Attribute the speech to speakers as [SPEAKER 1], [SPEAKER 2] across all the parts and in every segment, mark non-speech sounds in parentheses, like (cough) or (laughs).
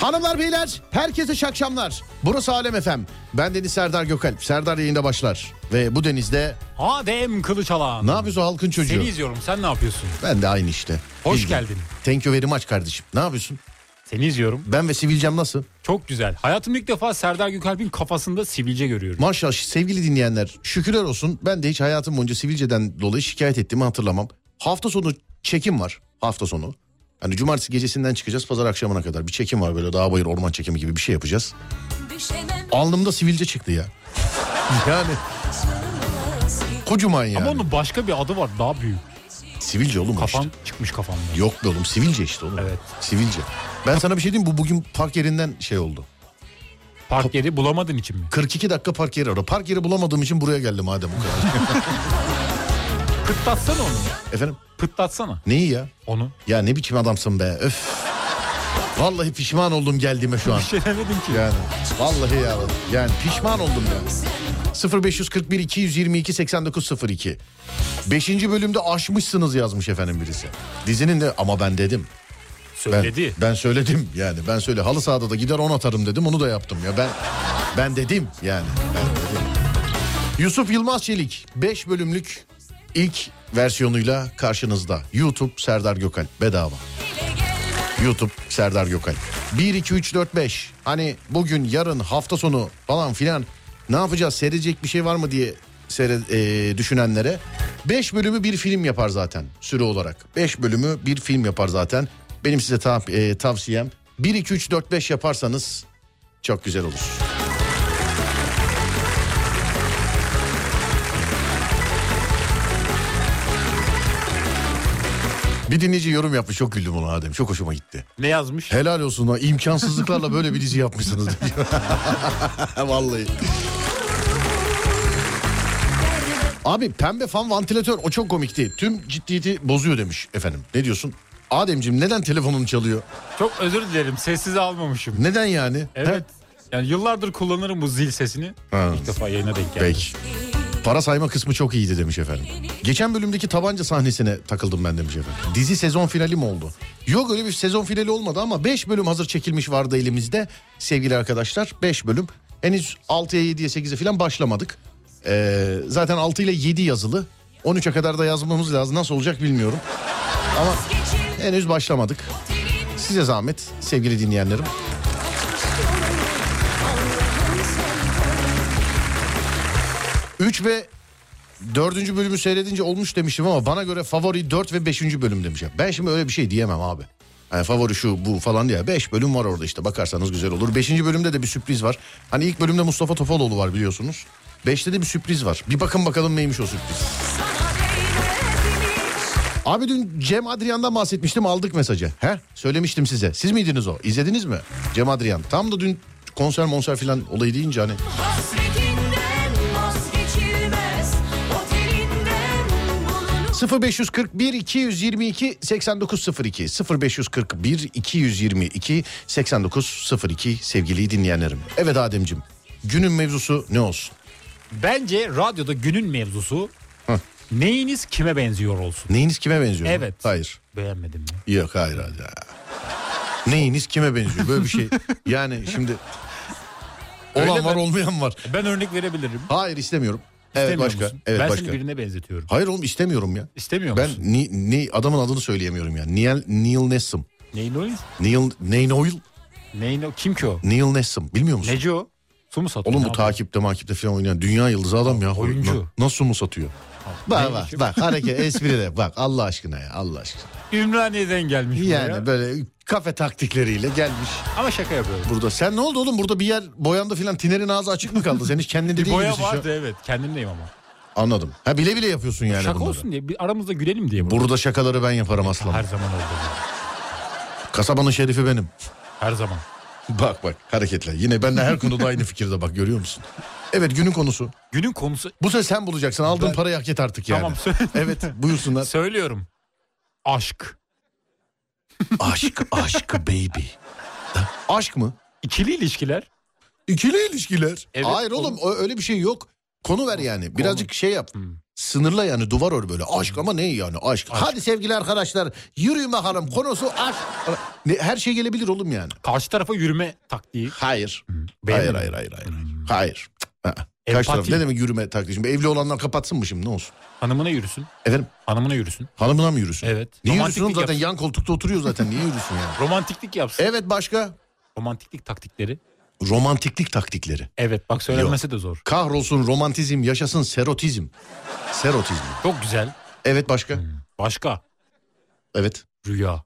[SPEAKER 1] Hanımlar beyler herkese iyi akşamlar. Burası Alem FM. Ben Deniz Serdar Gökalp. Serdar yayında başlar. Ve bu denizde
[SPEAKER 2] Adem Kılıçalan.
[SPEAKER 1] ne yapıyorsun halkın çocuğu?
[SPEAKER 2] Seni izliyorum. Sen ne yapıyorsun?
[SPEAKER 1] Ben de aynı işte.
[SPEAKER 2] Hoş
[SPEAKER 1] Bildim.
[SPEAKER 2] geldin.
[SPEAKER 1] Thank you very much kardeşim. Ne yapıyorsun?
[SPEAKER 2] Seni izliyorum.
[SPEAKER 1] Ben ve Sivilcem nasıl?
[SPEAKER 2] Çok güzel. Hayatımda ilk defa Serdar Gökalp'in kafasında sivilce görüyorum.
[SPEAKER 1] Maşallah sevgili dinleyenler şükürler olsun. Ben de hiç hayatım boyunca Sivilce'den dolayı şikayet ettiğimi hatırlamam. Hafta sonu çekim var. Hafta sonu. Hani cumartesi gecesinden çıkacağız pazar akşamına kadar. Bir çekim var böyle dağ bayır orman çekimi gibi bir şey yapacağız.
[SPEAKER 3] Düşemem
[SPEAKER 1] Alnımda sivilce çıktı ya. Yani
[SPEAKER 3] sarılmaz ki
[SPEAKER 1] kocaman yani.
[SPEAKER 2] Ama onun başka bir adı var daha büyük.
[SPEAKER 1] Sivilce oğlum o
[SPEAKER 2] Kafam
[SPEAKER 1] işte.
[SPEAKER 2] çıkmış kafamda.
[SPEAKER 1] Yok be oğlum sivilce işte oğlum.
[SPEAKER 2] Evet.
[SPEAKER 1] Sivilce. Ben sana bir şey diyeyim mi? bu bugün park yerinden şey oldu.
[SPEAKER 2] Park yeri bulamadın için mi?
[SPEAKER 1] 42 dakika park yeri ara. Park yeri bulamadığım için buraya geldim madem o
[SPEAKER 2] (laughs)
[SPEAKER 1] kadar.
[SPEAKER 2] Pıtlatsana onu.
[SPEAKER 1] Efendim
[SPEAKER 2] Pıtlatsana
[SPEAKER 1] neyi ya?
[SPEAKER 2] onu.
[SPEAKER 1] Ya ne biçim adamsın be öf. Vallahi pişman oldum geldiğime şu an.
[SPEAKER 2] Bir şey demedim ki.
[SPEAKER 1] Yani vallahi ya yani pişman oldum ya. 0541 222 8902. 5. bölümde aşmışsınız yazmış efendim birisi. Dizinin de ama ben dedim. Ben,
[SPEAKER 2] Söyledi.
[SPEAKER 1] ben söyledim yani ben söyle halı sahada da gider on atarım dedim onu da yaptım ya ben ben dedim yani ben dedim. Yusuf Yılmaz Çelik 5 bölümlük ilk versiyonuyla karşınızda. YouTube Serdar Gökalp bedava.
[SPEAKER 3] bile gelmem
[SPEAKER 1] YouTube Serdar Gökalp. 1 2 3 4 5. Hani bugün yarın hafta sonu falan filan ne yapacağız? Seyredecek bir şey var mı diye seyre- e, düşünenlere 5 bölümü bir film yapar zaten süre olarak. 5 bölümü bir film yapar zaten. Benim size ta- e, tavsiyem 1 2 3 4 5 yaparsanız çok güzel olur. Bir dinleyici yorum yapmış çok güldüm ona Adem çok hoşuma gitti.
[SPEAKER 2] Ne yazmış?
[SPEAKER 1] Helal olsun lan imkansızlıklarla böyle bir dizi yapmışsınız. diyor. Vallahi. Abi pembe fan vantilatör o çok komikti. Tüm ciddiyeti bozuyor demiş efendim. Ne diyorsun? Ademciğim neden telefonun çalıyor?
[SPEAKER 2] Çok özür dilerim. Sessize almamışım.
[SPEAKER 1] Neden yani?
[SPEAKER 2] Evet. Yani yıllardır kullanırım bu zil sesini.
[SPEAKER 1] Ha.
[SPEAKER 2] İlk defa yayına denk
[SPEAKER 1] He?
[SPEAKER 2] geldi.
[SPEAKER 1] Peki. Para sayma kısmı çok iyiydi demiş efendim. Geçen bölümdeki tabanca sahnesine takıldım ben demiş efendim. Dizi sezon finali mi oldu? Yok öyle bir sezon finali olmadı ama 5 bölüm hazır çekilmiş vardı elimizde sevgili arkadaşlar. 5 bölüm. Henüz 6'ya 7'ye 8'e falan başlamadık. Ee, zaten 6 ile 7 yazılı. 13'e kadar da yazmamız lazım. Nasıl olacak bilmiyorum. Ama henüz başlamadık. Size zahmet sevgili dinleyenlerim. Üç ve dördüncü bölümü seyredince olmuş demiştim ama bana göre favori 4 ve 5. bölüm demişim. Ben şimdi öyle bir şey diyemem abi. Yani favori şu bu falan diye. 5 bölüm var orada işte bakarsanız güzel olur. 5. bölümde de bir sürpriz var. Hani ilk bölümde Mustafa Topaloğlu var biliyorsunuz. 5'te de bir sürpriz var. Bir bakın bakalım neymiş o sürpriz.
[SPEAKER 3] sana değmedim hiç
[SPEAKER 1] Abi dün Cem Adrian'dan bahsetmiştim aldık mesajı. He? Söylemiştim size. Siz miydiniz o? İzlediniz mi? Cem Adrian. Tam da dün konser monser filan olayı deyince hani
[SPEAKER 3] Hasretinden vazgeçilmez O telinden bulunur
[SPEAKER 1] 0541 222 8902 0541 222 8902 sevgili dinleyenlerim. Evet Ademcim. Günün mevzusu ne olsun?
[SPEAKER 2] Bence radyoda günün mevzusu neyiniz kime benziyor olsun.
[SPEAKER 1] Neyiniz kime benziyor?
[SPEAKER 2] Evet.
[SPEAKER 1] Hayır.
[SPEAKER 2] Beğenmedim mi?
[SPEAKER 1] Yok hayır hayır. Neyiniz kime benziyor? Böyle bir şey. Yani şimdi olan
[SPEAKER 2] Öyle
[SPEAKER 1] var
[SPEAKER 2] mi?
[SPEAKER 1] olmayan var.
[SPEAKER 2] Ben örnek verebilirim.
[SPEAKER 1] Hayır istemiyorum. Evet
[SPEAKER 2] İstemiyor
[SPEAKER 1] başka.
[SPEAKER 2] musun?
[SPEAKER 1] Evet
[SPEAKER 2] ben
[SPEAKER 1] başka.
[SPEAKER 2] seni birine benzetiyorum.
[SPEAKER 1] Hayır oğlum istemiyorum ya.
[SPEAKER 2] İstemiyor
[SPEAKER 1] Ben
[SPEAKER 2] musun?
[SPEAKER 1] ni, ni- adamın adını söyleyemiyorum ya. Neil Neil Nessum.
[SPEAKER 2] Neyin o?
[SPEAKER 1] Neil Neil Oil.
[SPEAKER 2] Neyin o? Kim ki o?
[SPEAKER 1] Neil Nessum. Bilmiyor musun?
[SPEAKER 2] Neci o? Su mu satıyor?
[SPEAKER 1] Oğlum
[SPEAKER 2] Ne
[SPEAKER 1] bu
[SPEAKER 2] yapıyor?
[SPEAKER 1] takipte makipte falan oynayan dünya yıldızı adam ya.
[SPEAKER 2] Oyuncu.
[SPEAKER 1] Na- Nasıl mu satıyor? Bak
[SPEAKER 2] Neymiş
[SPEAKER 1] bak bak hareket espri de bak Allah aşkına ya Allah aşkına.
[SPEAKER 2] Ümraniye'den gelmiş bu
[SPEAKER 1] Yani
[SPEAKER 2] ya.
[SPEAKER 1] böyle kafe taktikleriyle gelmiş
[SPEAKER 2] Ama şaka yapıyorum.
[SPEAKER 1] burada. Sen ne oldu oğlum burada bir yer boyandı filan tinerin ağzı açık mı kaldı? Sen hiç kendinde
[SPEAKER 2] (laughs) Bir
[SPEAKER 1] değil
[SPEAKER 2] boya
[SPEAKER 1] gibisin şu an.
[SPEAKER 2] vardı evet. Kendimdeyim ama.
[SPEAKER 1] Anladım. Ha bile bile yapıyorsun yani
[SPEAKER 2] şaka
[SPEAKER 1] bunları.
[SPEAKER 2] olsun diye bir aramızda gülelim diye. bu.
[SPEAKER 1] Burada şakaları ben yaparım aslanım.
[SPEAKER 2] Her zaman oldu. bu.
[SPEAKER 1] Kasabanın şerifi benim. (laughs)
[SPEAKER 2] Her zaman.
[SPEAKER 1] Bak bak hareketler. Yine ben de her
[SPEAKER 2] (laughs)
[SPEAKER 1] konuda aynı fikirde bak görüyor musun? Evet günün konusu.
[SPEAKER 2] Günün konusu
[SPEAKER 1] Bu sefer sen bulacaksın. Aldığın
[SPEAKER 2] Ben-
[SPEAKER 1] parayı hak et artık yani.
[SPEAKER 2] Tamam, söyle.
[SPEAKER 1] Evet buyursunlar.
[SPEAKER 2] söylüyorum. Aşk.
[SPEAKER 1] Aşk, aşk baby. Aşk mı?
[SPEAKER 2] İkili ilişkiler.
[SPEAKER 1] İkili ilişkiler.
[SPEAKER 2] Evet,
[SPEAKER 1] Hayır oğlum
[SPEAKER 2] oğlum.
[SPEAKER 1] ö- öyle bir şey yok. Konu ver yani. Birazcık şey yap. Sınırla yani duvar ör böyle. Aşk ama ne yani aşk. Hadi sevgili arkadaşlar yürüyün bakalım konusu aşk. Ne, her şey gelebilir oğlum yani.
[SPEAKER 2] Karşı tarafa yürüme taktiği.
[SPEAKER 1] Hayır. Hmm. Hayır
[SPEAKER 2] Beğenmedim.
[SPEAKER 1] hayır hayır hayır. Hayır. Cık, ı-ı. Karşı taraf
[SPEAKER 2] Empati.
[SPEAKER 1] ne demek yürüme taktiği? Şimdi evli olanlar kapatsın mı şimdi ne olsun?
[SPEAKER 2] Hanımına yürüsün.
[SPEAKER 1] Efendim
[SPEAKER 2] Hanımına yürüsün.
[SPEAKER 1] hanımına mı yürüsün?
[SPEAKER 2] Evet.
[SPEAKER 1] Niye
[SPEAKER 2] Romantiklik
[SPEAKER 1] yürüsün oğlum? zaten E-
[SPEAKER 2] yapsın.
[SPEAKER 1] yan koltukta oturuyor zaten niye yürüsün yani?
[SPEAKER 2] Romantiklik yapsın.
[SPEAKER 1] Evet başka?
[SPEAKER 2] Romantiklik taktikleri.
[SPEAKER 1] Romantiklik taktikleri.
[SPEAKER 2] Evet bak söylenmesi de zor.
[SPEAKER 1] Kahrolsun romantizm yaşasın serotizm. Serotizm.
[SPEAKER 2] Çok güzel.
[SPEAKER 1] Evet başka?
[SPEAKER 2] Başka.
[SPEAKER 1] Evet.
[SPEAKER 2] Rüya.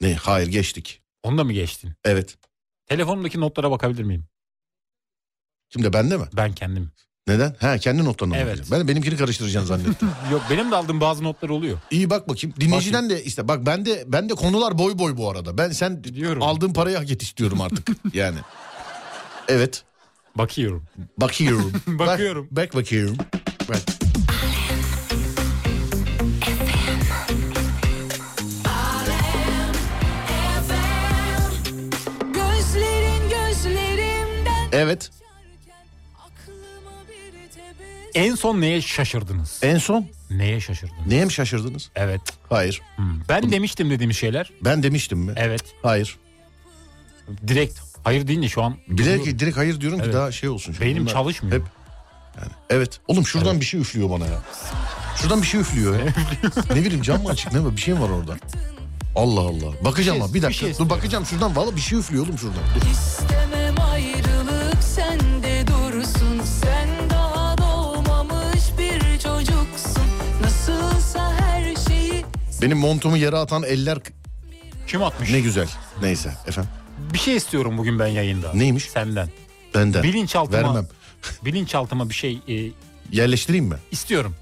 [SPEAKER 1] Ne? Hayır geçtik.
[SPEAKER 2] Onu da mı geçtin?
[SPEAKER 1] Evet.
[SPEAKER 2] Telefonumdaki notlara bakabilir miyim?
[SPEAKER 1] Şimdi bende mi?
[SPEAKER 2] Ben kendim.
[SPEAKER 1] Neden? Ha kendi notlarına
[SPEAKER 2] Evet.
[SPEAKER 1] bakacağım. Ben benimkini karıştıracaksın zannettim.
[SPEAKER 2] Yok benim de aldığım bazı notlar oluyor.
[SPEAKER 1] İyi bak bakayım. Dinleyiciden de iste. Bak bende bende konular boy boy bu arada. Ben sen
[SPEAKER 2] Biliyorum.
[SPEAKER 1] aldığın parayı hak et istiyorum artık. yani. Evet.
[SPEAKER 2] Bakıyorum.
[SPEAKER 1] Bakıyorum.
[SPEAKER 2] (laughs) Bakıyorum.
[SPEAKER 1] Bak, bak bakıyorum. Bak.
[SPEAKER 3] Gözlerin gözlerimden
[SPEAKER 1] Evet.
[SPEAKER 3] geçerken aklıma bir tebessüm
[SPEAKER 2] En son neye şaşırdınız?
[SPEAKER 1] En son
[SPEAKER 2] Neye şaşırdınız?
[SPEAKER 1] neye mi şaşırdınız?
[SPEAKER 2] Evet.
[SPEAKER 1] Hayır.
[SPEAKER 2] Hmm. Ben demiştim dediğimiz şeyler.
[SPEAKER 1] Ben demiştim mi?
[SPEAKER 2] Evet.
[SPEAKER 1] Hayır.
[SPEAKER 2] Direkt. Hayır deyince şu an.
[SPEAKER 1] Direkt, direkt hayır diyorum ki
[SPEAKER 2] Evet.
[SPEAKER 1] daha şey olsun. şimdi.
[SPEAKER 2] Beynim
[SPEAKER 1] Bunlar
[SPEAKER 2] çalışmıyor.
[SPEAKER 1] Hep Evet. Oğlum şuradan bir şey üflüyor bana ya. Şuradan bir şey üflüyor ya. ne bileyim cam mı açık ne var bir şey mi var orada. Allah Allah. Bakacağım
[SPEAKER 2] Bir şey-
[SPEAKER 1] ama bir
[SPEAKER 2] bir
[SPEAKER 1] dakika.
[SPEAKER 2] şey
[SPEAKER 1] Dur
[SPEAKER 2] istiyorum.
[SPEAKER 1] bakacağım şuradan. Valla bir şey üflüyor oğlum şuradan. Dur.
[SPEAKER 3] İstemem ayrılık sende dursun Sen daha doğmamış bir çocuksun Nasılsa her şeyi
[SPEAKER 1] Benim montumu yere atan eller k-
[SPEAKER 2] Kim atmış?
[SPEAKER 1] ne güzel. Neyse efendim.
[SPEAKER 2] Bir şey istiyorum bugün ben yayında.
[SPEAKER 1] Neymiş?
[SPEAKER 2] Senden.
[SPEAKER 1] Benden.
[SPEAKER 2] Bilinçaltıma.
[SPEAKER 1] Vermem.
[SPEAKER 2] (laughs) Bilinçaltıma bir şey e,
[SPEAKER 1] Yerleştireyim mi?
[SPEAKER 2] istiyorum.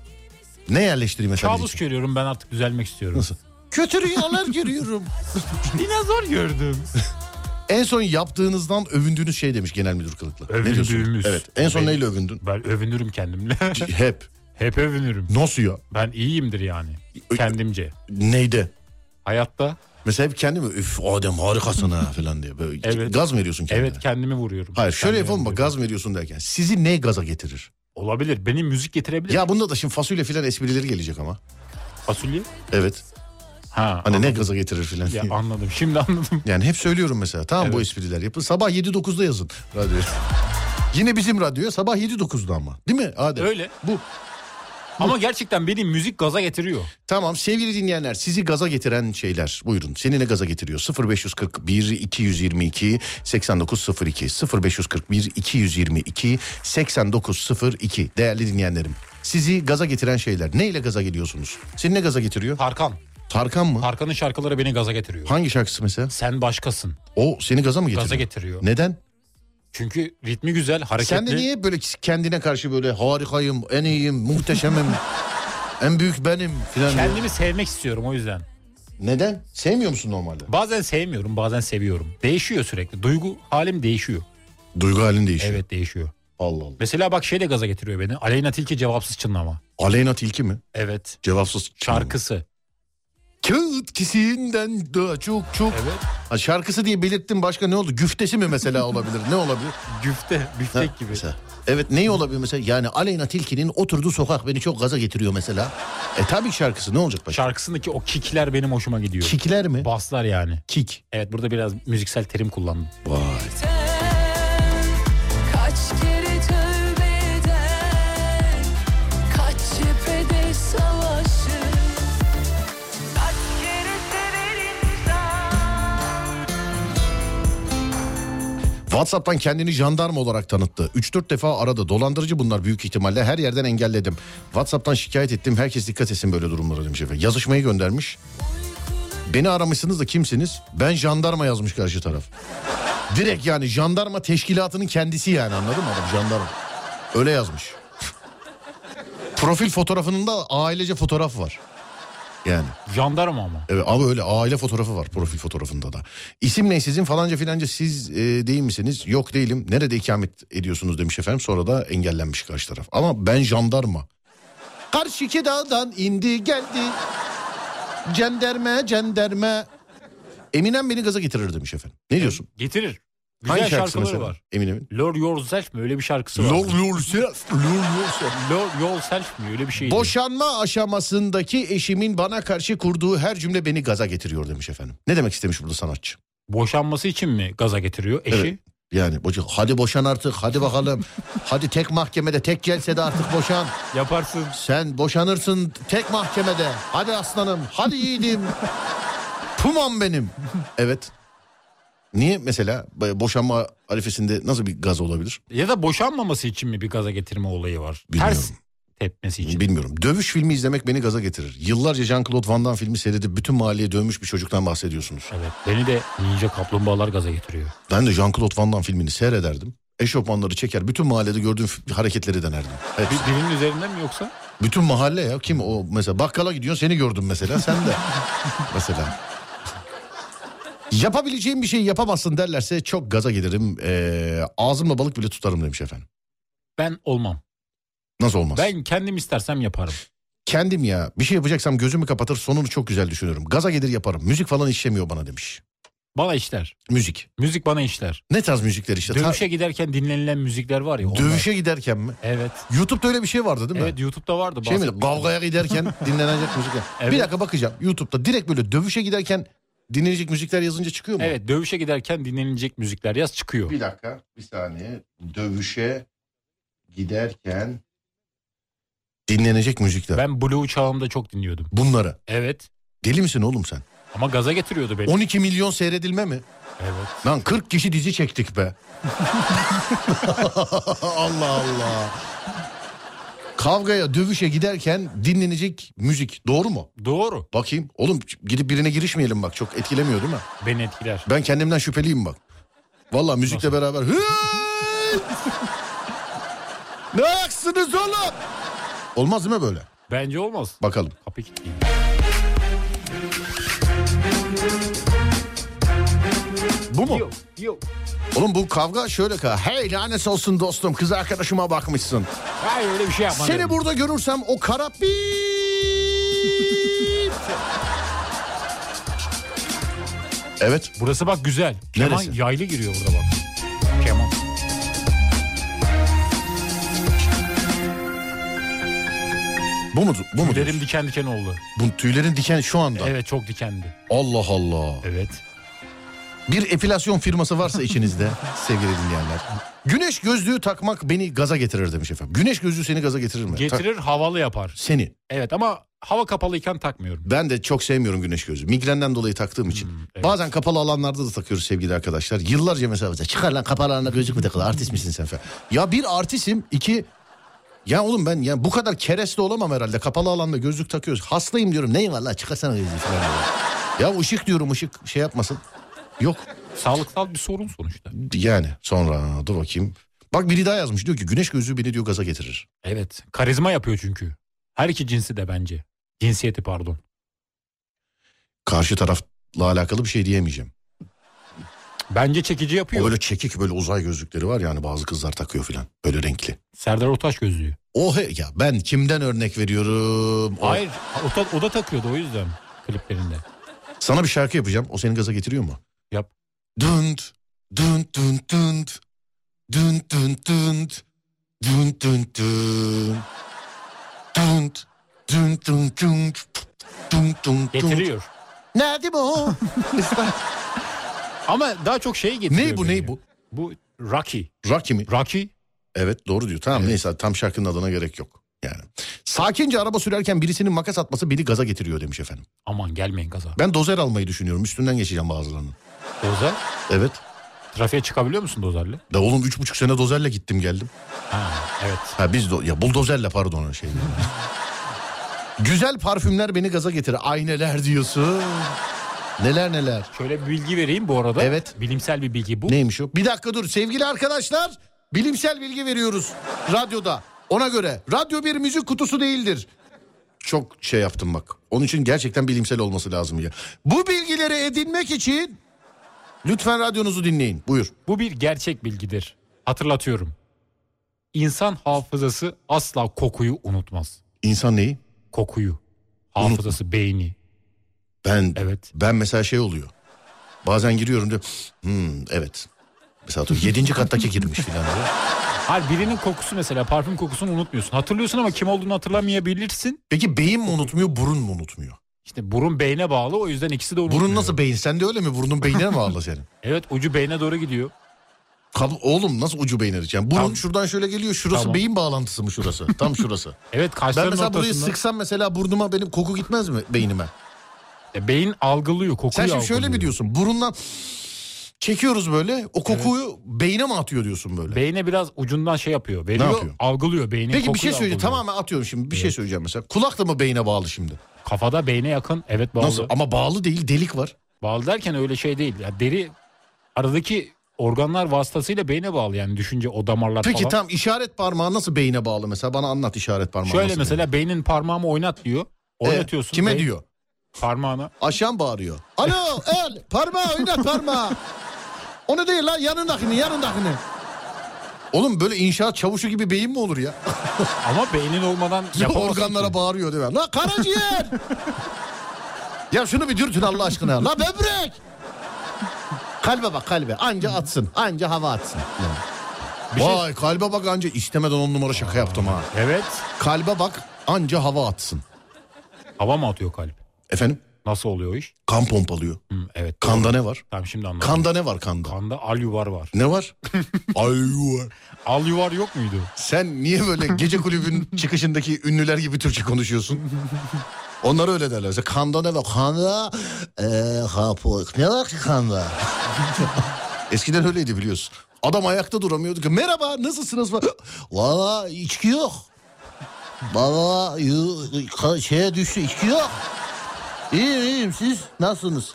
[SPEAKER 1] Ne yerleştireyim mesela?
[SPEAKER 2] Kabus görüyorum ben artık düzelmek istiyorum.
[SPEAKER 1] Nasıl? Kötü rüyalar görüyorum.
[SPEAKER 2] (laughs) Dinozor gördüm.
[SPEAKER 1] (laughs) En son yaptığınızdan övündüğünüz şey demiş genel müdür kılıklı. Ne diyorsun?
[SPEAKER 2] Övündüğümüz.
[SPEAKER 1] Evet. En son
[SPEAKER 2] Ben-
[SPEAKER 1] neyle övündün?
[SPEAKER 2] Ben övünürüm kendimle. (laughs)
[SPEAKER 1] Hep.
[SPEAKER 2] Hep övünürüm.
[SPEAKER 1] Nasıl ya?
[SPEAKER 2] Ben iyiyimdir yani.
[SPEAKER 1] Ö-
[SPEAKER 2] Kendimce.
[SPEAKER 1] Neyde?
[SPEAKER 2] Hayatta
[SPEAKER 1] Mesela hep kendimi üf Adem harikasın ha falan diye. Böyle
[SPEAKER 2] Evet.
[SPEAKER 1] Gaz mı veriyorsun kendine?
[SPEAKER 2] evet kendimi vuruyorum.
[SPEAKER 1] Hayır şöyle
[SPEAKER 2] Kendimi
[SPEAKER 1] yapalım bak
[SPEAKER 2] vuruyorum.
[SPEAKER 1] gaz mı veriyorsun derken. Sizi ne gaza getirir?
[SPEAKER 2] Olabilir. Benim müzik getirebilir.
[SPEAKER 1] Ya bunda da şimdi fasulye filan esprileri gelecek ama.
[SPEAKER 2] Fasulye.
[SPEAKER 1] Evet.
[SPEAKER 2] Ha.
[SPEAKER 1] Hani ne gaza getirir filan.
[SPEAKER 2] Ya
[SPEAKER 1] diye.
[SPEAKER 2] (laughs) anladım. Şimdi
[SPEAKER 1] (laughs)
[SPEAKER 2] anladım.
[SPEAKER 1] Yani hep söylüyorum mesela. Tamam bu espriler yapın. Sabah 7-9'da yazın radyoya. (laughs) Yine bizim radyoya sabah 7-9'da ama. Değil mi Adem?
[SPEAKER 2] Öyle.
[SPEAKER 1] Bu.
[SPEAKER 2] Ama gerçekten beni müzik gaza getiriyor.
[SPEAKER 1] Tamam sevgili dinleyenler sizi gaza getiren şeyler buyurun. Seni ne gaza getiriyor? 0541 222 8902 0541 222 8902 değerli dinleyenlerim. Sizi gaza getiren şeyler neyle gaza geliyorsunuz? Seni ne gaza getiriyor?
[SPEAKER 2] Tarkan.
[SPEAKER 1] Tarkan mı?
[SPEAKER 2] Tarkan'ın şarkıları beni gaza getiriyor.
[SPEAKER 1] Hangi şarkısı mesela?
[SPEAKER 2] Sen başkasın.
[SPEAKER 1] O seni gaza mı getiriyor?
[SPEAKER 2] Gaza getiriyor.
[SPEAKER 1] Neden?
[SPEAKER 2] Çünkü ritmi güzel, hareketli.
[SPEAKER 1] Sen de niye böyle kendine karşı böyle harikayım, en iyiyim,
[SPEAKER 2] (laughs)
[SPEAKER 1] muhteşemim, en büyük benim filan. diyor?
[SPEAKER 2] Kendimi sevmek istiyorum o yüzden.
[SPEAKER 1] Neden? Sevmiyor musun normalde?
[SPEAKER 2] Bazen sevmiyorum, bazen seviyorum. Değişiyor sürekli. Duygu halim değişiyor.
[SPEAKER 1] Şey- Duygu halin değişiyor.
[SPEAKER 2] Evet değişiyor.
[SPEAKER 1] Allah Allah.
[SPEAKER 2] Mesela bak şey de gaza getiriyor beni. Aleyna Tilki cevapsız çınlama.
[SPEAKER 1] Aleyna Tilki mi?
[SPEAKER 2] Evet.
[SPEAKER 1] Cevapsız
[SPEAKER 2] Şarkısı.
[SPEAKER 1] Hmm. Kağıt kisinden daha çok çok.
[SPEAKER 2] Evet.
[SPEAKER 1] Ha, şarkısı diye belirttin başka ne oldu? Güftesi mi mesela olabilir? Ne olabilir?
[SPEAKER 2] Güfte,
[SPEAKER 1] Ha,
[SPEAKER 2] büftek gibi.
[SPEAKER 1] Mesela. Evet neyi olabilir mesela? Yani Aleyna Tilki'nin oturduğu sokak beni çok gaza getiriyor mesela. E tabii ki şarkısı ne olacak başka?
[SPEAKER 2] Şarkısındaki o kikler benim hoşuma gidiyor.
[SPEAKER 1] Kikler mi?
[SPEAKER 2] Baslar yani.
[SPEAKER 1] Kik.
[SPEAKER 2] Evet burada biraz müziksel terim kullandım.
[SPEAKER 1] Vay.
[SPEAKER 3] biten Kaç kere tövbe eden Kaç cephede savaşır Kaç kere sever insan
[SPEAKER 1] WhatsApp'tan kendini jandarma olarak tanıttı. 3-4 defa aradı. Dolandırıcı bunlar büyük ihtimalle. Her yerden engelledim. WhatsApp'tan şikayet ettim. Herkes dikkat etsin böyle durumlara demiş efendim. Yazışmayı göndermiş. Beni aramışsınız da kimsiniz? Ben jandarma yazmış karşı taraf. Direkt yani jandarma teşkilatının kendisi yani anladın mı adam jandarma. Öyle yazmış. Profil fotoğrafının da ailece fotoğraf var. Yani.
[SPEAKER 2] Jandarma ama.
[SPEAKER 1] Evet ama öyle aile fotoğrafı var profil fotoğrafında da. İsim ne sizin falanca filanca siz e, değil misiniz? Yok değilim. Nerede ikamet ediyorsunuz demiş efendim. Sonra da engellenmiş karşı taraf. Ama ben jandarma. Karşıki dağdan indi geldi. Cenderme cenderme. Eminem beni gaza getirir demiş efendim. Ne diyorsun?
[SPEAKER 2] Getirir. Güzel
[SPEAKER 1] Hangi şarkısı
[SPEAKER 2] şarkıları
[SPEAKER 1] mesela?
[SPEAKER 2] var.
[SPEAKER 1] Emin emin.
[SPEAKER 2] Lord Yourself mi öyle bir şarkısı var.
[SPEAKER 1] Lor lor self, lor lor self.
[SPEAKER 2] Lord Yourself mi öyle bir şey. şeydi.
[SPEAKER 1] Boşanma aşamasındaki eşimin bana karşı kurduğu her cümle beni gaza getiriyor demiş efendim. Ne demek istemiş burada sanatçı?
[SPEAKER 2] Boşanması için mi gaza getiriyor eşi?
[SPEAKER 1] Evet. Yani boca- hadi boşan artık hadi bakalım. hadi tek mahkemede tek celsede artık boşan.
[SPEAKER 2] Yaparsın.
[SPEAKER 1] Sen boşanırsın tek mahkemede. Hadi aslanım, hadi yiğidim. Pumam benim. Evet. Niye mesela boşanma arifesinde nasıl bir gaz olabilir?
[SPEAKER 2] Ya da boşanmaması için mi bir gaza getirme olayı var?
[SPEAKER 1] Bilmiyorum.
[SPEAKER 2] Ters tepmesi için.
[SPEAKER 1] Bilmiyorum. Dövüş filmi izlemek beni gaza getirir. Yıllarca Jean-Claude Van Damme filmi seyredip bütün mahalleye dövmüş bir çocuktan bahsediyorsunuz.
[SPEAKER 2] Evet. Beni de Ninja Kaplumbağalar gaza getiriyor.
[SPEAKER 1] Ben de Jean-Claude Van Damme filmini seyrederdim. Eşofmanları çeker. Bütün mahallede gördüğüm f- hareketleri denerdim. Hep-
[SPEAKER 2] Bir, birinin üzerinden mi yoksa?
[SPEAKER 1] Bütün mahalle ya. Kim o mesela bakkala gidiyorsun seni gördüm mesela sen
[SPEAKER 2] (laughs)
[SPEAKER 1] de. mesela. Yapabileceğim bir şey yapamazsın derlerse çok gaza gelirim. Ee, ağzımla balık bile tutarım demiş efendim.
[SPEAKER 2] Ben olmam.
[SPEAKER 1] Nasıl olmaz?
[SPEAKER 2] Ben kendim istersem yaparım.
[SPEAKER 1] Kendim ya bir şey yapacaksam gözümü kapatır sonunu çok güzel düşünürüm. Gaza gelir yaparım. Müzik falan işlemiyor bana demiş.
[SPEAKER 2] Bana işler.
[SPEAKER 1] Müzik.
[SPEAKER 2] Müzik bana işler.
[SPEAKER 1] Ne tarz müzikler işte? Ta-
[SPEAKER 2] Dövüşe giderken dinlenilen müzikler var ya. onlar.
[SPEAKER 1] Dövüşe giderken mi?
[SPEAKER 2] Evet.
[SPEAKER 1] Youtube'da öyle bir şey vardı değil mi?
[SPEAKER 2] Evet YouTube'da vardı.
[SPEAKER 1] Şey mi?
[SPEAKER 2] bahsetmiştim.
[SPEAKER 1] Kavgaya
[SPEAKER 2] (laughs)
[SPEAKER 1] giderken dinlenecek müzikler.
[SPEAKER 2] Evet.
[SPEAKER 1] Bir dakika bakacağım. Youtube'da direkt böyle dövüşe giderken dinlenecek müzikler yazınca çıkıyor mu?
[SPEAKER 2] Evet dövüşe giderken dinlenilecek müzikler yaz çıkıyor.
[SPEAKER 1] Bir dakika, bir saniye. Dövüşe giderken dinlenecek müzikler.
[SPEAKER 2] Ben Blue çağımda çok dinliyordum.
[SPEAKER 1] Bunları.
[SPEAKER 2] Evet.
[SPEAKER 1] Deli misin oğlum sen?
[SPEAKER 2] Ama gaza getiriyordu beni.
[SPEAKER 1] 12 milyon seyredilme mi?
[SPEAKER 2] Evet.
[SPEAKER 1] Lan 40 kişi dizi çektik be. (laughs) Allah Allah. Kavgaya, dövüşe giderken dinlenecek müzik. Doğru mu?
[SPEAKER 2] Doğru.
[SPEAKER 1] Bakayım. Oğlum gidip birine girişmeyelim bak. Çok etkilemiyor değil mi?
[SPEAKER 2] Beni etkiler.
[SPEAKER 1] Ben kendimden şüpheliyim bak. Vallahi müzikle beraber. "Hey! ne aksınız oğlum? Olmaz değil mi böyle?
[SPEAKER 2] Bence olmaz.
[SPEAKER 1] Bakalım.
[SPEAKER 2] Kapı kilitli.
[SPEAKER 1] Bu mu?
[SPEAKER 2] Yok. Yok.
[SPEAKER 1] Oğlum bu kavga şöyle ka. Hey lanet olsun dostum kız arkadaşıma bakmışsın.
[SPEAKER 2] Hayır öyle bir şey yapmadım.
[SPEAKER 1] Seni burada görürsem o kara bip. Evet.
[SPEAKER 2] Burası bak güzel. Keman
[SPEAKER 1] Neresi?
[SPEAKER 2] yaylı giriyor burada bak. Keman.
[SPEAKER 1] Bu mu? Bu mu?
[SPEAKER 2] Tüylerim diken diken oldu.
[SPEAKER 1] Bu tüylerin diken şu anda.
[SPEAKER 2] Evet çok dikendi.
[SPEAKER 1] Allah Allah.
[SPEAKER 2] Evet.
[SPEAKER 1] Bir epilasyon firması varsa içinizde sevgili dinleyenler. Güneş gözlüğü takmak beni gaza getirir demiş efendim. Güneş gözlüğü seni gaza getirir mi? Tak-
[SPEAKER 2] Getirir havalı yapar.
[SPEAKER 1] seni.
[SPEAKER 2] Evet ama hava kapalıyken takmıyorum.
[SPEAKER 1] Ben de çok sevmiyorum güneş gözlüğü. Migrenden dolayı taktığım için.
[SPEAKER 2] Hmm, evet.
[SPEAKER 1] Bazen kapalı alanlarda da takıyoruz sevgili arkadaşlar. Yıllarca mesela bize, çıkar lan kapalı alanda gözlük mü takılı artist misin sen falan. Ya bir artistim iki ya oğlum ben ya bu kadar kereste olamam herhalde. Kapalı alanda gözlük takıyoruz. Hastayım diyorum. Neyin var lan çıkarsana gözlüğü falan. diyor. ya ışık diyorum ışık şey yapmasın. Yok
[SPEAKER 2] Sağlıksal bir sorun sonuçta.
[SPEAKER 1] Yani sonra ha, dur bakayım. Bak biri daha yazmış diyor ki güneş gözlüğü beni diyor gaza getirir.
[SPEAKER 2] Evet. Karizma yapıyor çünkü. Her iki cinsi de bence. Cinsiyeti pardon.
[SPEAKER 1] Karşı tarafla alakalı bir şey diyemeyeceğim.
[SPEAKER 2] Bence çekici
[SPEAKER 1] O
[SPEAKER 2] yapıyor.
[SPEAKER 1] böyle çekik böyle uzay gözlükleri var yani bazı kızlar takıyor filan böyle renkli.
[SPEAKER 2] Serdar Otaş gözlüğü.
[SPEAKER 1] O he, ya ben kimden örnek veriyorum? O-
[SPEAKER 2] Hayır. O da, o da takıyordu o yüzden kliplerinde.
[SPEAKER 1] Sana bir şarkı yapacağım. O seni gaza getiriyor mu?
[SPEAKER 2] Yap.
[SPEAKER 1] Dünt, dünt, dünt, dünt. Dünt, dünt, dünt. Dünt, dünt, dünt. Dünt, dünt, dünt, dünt. Dünt, dünt, dünt.
[SPEAKER 2] Getiriyor.
[SPEAKER 1] Nerede
[SPEAKER 2] (laughs)
[SPEAKER 1] bu?
[SPEAKER 2] Ama daha çok şey getiriyor.
[SPEAKER 1] Ney bu
[SPEAKER 2] beni.
[SPEAKER 1] ney bu?
[SPEAKER 2] Bu Rocky.
[SPEAKER 1] Rocky mi?
[SPEAKER 2] Rocky
[SPEAKER 1] Evet doğru diyor. Tamam neyse tam şarkının adına gerek yok. Yani. Sakince araba sürerken birisinin makas atması beni gaza getiriyor demiş efendim.
[SPEAKER 2] aman gelmeyin kaza.
[SPEAKER 1] Ben dozer almayı düşünüyorum. Üstünden geçeceğim bazılarının.
[SPEAKER 2] Dozer.
[SPEAKER 1] Evet.
[SPEAKER 2] Trafiğe çıkabiliyor musun dozerle?
[SPEAKER 1] Da oğlum üç buçuk sene dozerle gittim geldim.
[SPEAKER 2] Ha, evet.
[SPEAKER 1] Ha biz do- ya buldozerle pardon şey. dedim. (laughs) Güzel parfümler beni gaza getirir. Ay neler diyorsun. Neler neler.
[SPEAKER 2] Şöyle bir bilgi vereyim bu arada.
[SPEAKER 1] Evet.
[SPEAKER 2] Bilimsel bir bilgi bu.
[SPEAKER 1] Neymiş o? Bir dakika dur sevgili arkadaşlar. Bilimsel bilgi veriyoruz radyoda. Ona göre radyo bir müzik kutusu değildir. Çok şey yaptım bak. Onun için gerçekten bilimsel olması lazım ya. Bu bilgileri edinmek için lütfen radyonuzu dinleyin. Buyur.
[SPEAKER 2] Bu bir gerçek bilgidir. Hatırlatıyorum. İnsan hafızası asla kokuyu unutmaz.
[SPEAKER 1] İnsan neyi?
[SPEAKER 2] Kokuyu. Hafızası, beyni.
[SPEAKER 1] Ben
[SPEAKER 2] Evet.
[SPEAKER 1] ben mesela şey oluyor. Bazen giriyorum diyor. Hmm, evet. Mesela atıyorum yedinci kattaki girmiş filan diye.
[SPEAKER 2] Hayır birinin kokusu mesela parfüm kokusunu unutmuyorsun. Hatırlıyorsun ama kim olduğunu hatırlamayabilirsin.
[SPEAKER 1] Peki beyin mi unutmuyor burun mu unutmuyor?
[SPEAKER 2] İşte burun beyne bağlı o yüzden ikisi de unutmuyor.
[SPEAKER 1] Burun nasıl beyin? Sen de öyle mi? Burnun beynine mi bağlı senin?
[SPEAKER 2] Evet ucu beyne doğru gidiyor.
[SPEAKER 1] Kab- Oğlum nasıl ucu beyin arası? Yani burun
[SPEAKER 2] Tamam.
[SPEAKER 1] şuradan şöyle geliyor. Şurası
[SPEAKER 2] Tamam.
[SPEAKER 1] beyin bağlantısı mı şurası? Tam
[SPEAKER 2] (laughs)
[SPEAKER 1] şurası.
[SPEAKER 2] Evet
[SPEAKER 1] ben
[SPEAKER 2] kaşların
[SPEAKER 1] mesela burayı
[SPEAKER 2] ortasında.
[SPEAKER 1] sıksam mesela burnuma benim koku gitmez mi beynime?
[SPEAKER 2] E, beyin algılıyor kokuyu
[SPEAKER 1] Sen şimdi
[SPEAKER 2] algılıyor.
[SPEAKER 1] şöyle mi diyorsun? Burundan çekiyoruz böyle. O kokuyu beyne mi atıyor diyorsun böyle?
[SPEAKER 2] Beyne biraz ucundan şey yapıyor. Veriyor,
[SPEAKER 1] yapıyor?
[SPEAKER 2] algılıyor beynin
[SPEAKER 1] Peki bir
[SPEAKER 2] kokuyu
[SPEAKER 1] şey söyleyeceğim.
[SPEAKER 2] algılıyor.
[SPEAKER 1] Tamamen atıyorum şimdi. Bir şey söyleyeceğim mesela. Kulak da mı beyne bağlı şimdi?
[SPEAKER 2] Kafada beyne yakın. Evet bağlı.
[SPEAKER 1] Nasıl? Ama bağlı değil delik var.
[SPEAKER 2] Bağlı derken öyle şey değil. Ya deri aradaki organlar vasıtasıyla beyne bağlı yani düşünce o damarlar
[SPEAKER 1] Peki
[SPEAKER 2] falan.
[SPEAKER 1] tam işaret parmağı nasıl beyine bağlı mesela? Bana anlat işaret parmağı
[SPEAKER 2] Şöyle
[SPEAKER 1] nasıl
[SPEAKER 2] mesela beynin parmağımı oynat diyor.
[SPEAKER 1] beyine? Ee,
[SPEAKER 2] Oynatıyorsun.
[SPEAKER 1] kime
[SPEAKER 2] beyin
[SPEAKER 1] diyor?
[SPEAKER 2] Parmağına.
[SPEAKER 1] Aşan bağırıyor. (laughs) Alo el parmağı oynat parmağı. Onu değil lan yanındakini yanındakini. Oğlum böyle inşaat çavuşu gibi beyin mi olur ya? (laughs)
[SPEAKER 2] Ama beynin olmadan yapamazsın
[SPEAKER 1] Organlara
[SPEAKER 2] ki.
[SPEAKER 1] bağırıyor değil mi? La (laughs) karaciğer! ya şunu bir dürtün Allah aşkına. La böbrek! Kalbe bak kalbe. Anca atsın. Anca hava atsın.
[SPEAKER 2] Bir şey-
[SPEAKER 1] Vay kalbe bak anca istemeden on numara şaka yaptım ha.
[SPEAKER 2] Evet.
[SPEAKER 1] Kalbe bak anca hava atsın.
[SPEAKER 2] Hava mı atıyor kalp?
[SPEAKER 1] Efendim?
[SPEAKER 2] Nasıl oluyor o iş?
[SPEAKER 1] Kan pompalıyor.
[SPEAKER 2] Hı, evet.
[SPEAKER 1] Kanda ne var?
[SPEAKER 2] Tamam şimdi anladım.
[SPEAKER 1] Kanda ne var kanda?
[SPEAKER 2] Kanda al yuvar var.
[SPEAKER 1] Ne var? (laughs) Ay yuvar.
[SPEAKER 2] Al yuvar yok muydu?
[SPEAKER 1] Sen niye böyle gece kulübün çıkışındaki ünlüler gibi Türkçe konuşuyorsun? Onlar öyle derler. Mesela kanda ne var? Kanda eee hapı. Ne var ki kanda? Eskiden öyleydi biliyorsun. Adam ayakta duramıyordu ki. Merhaba nasılsınız? (laughs) Valla içki yok. Valla yu- ka- şeye düştü içki yok. İyiyim iyiyim siz nasılsınız?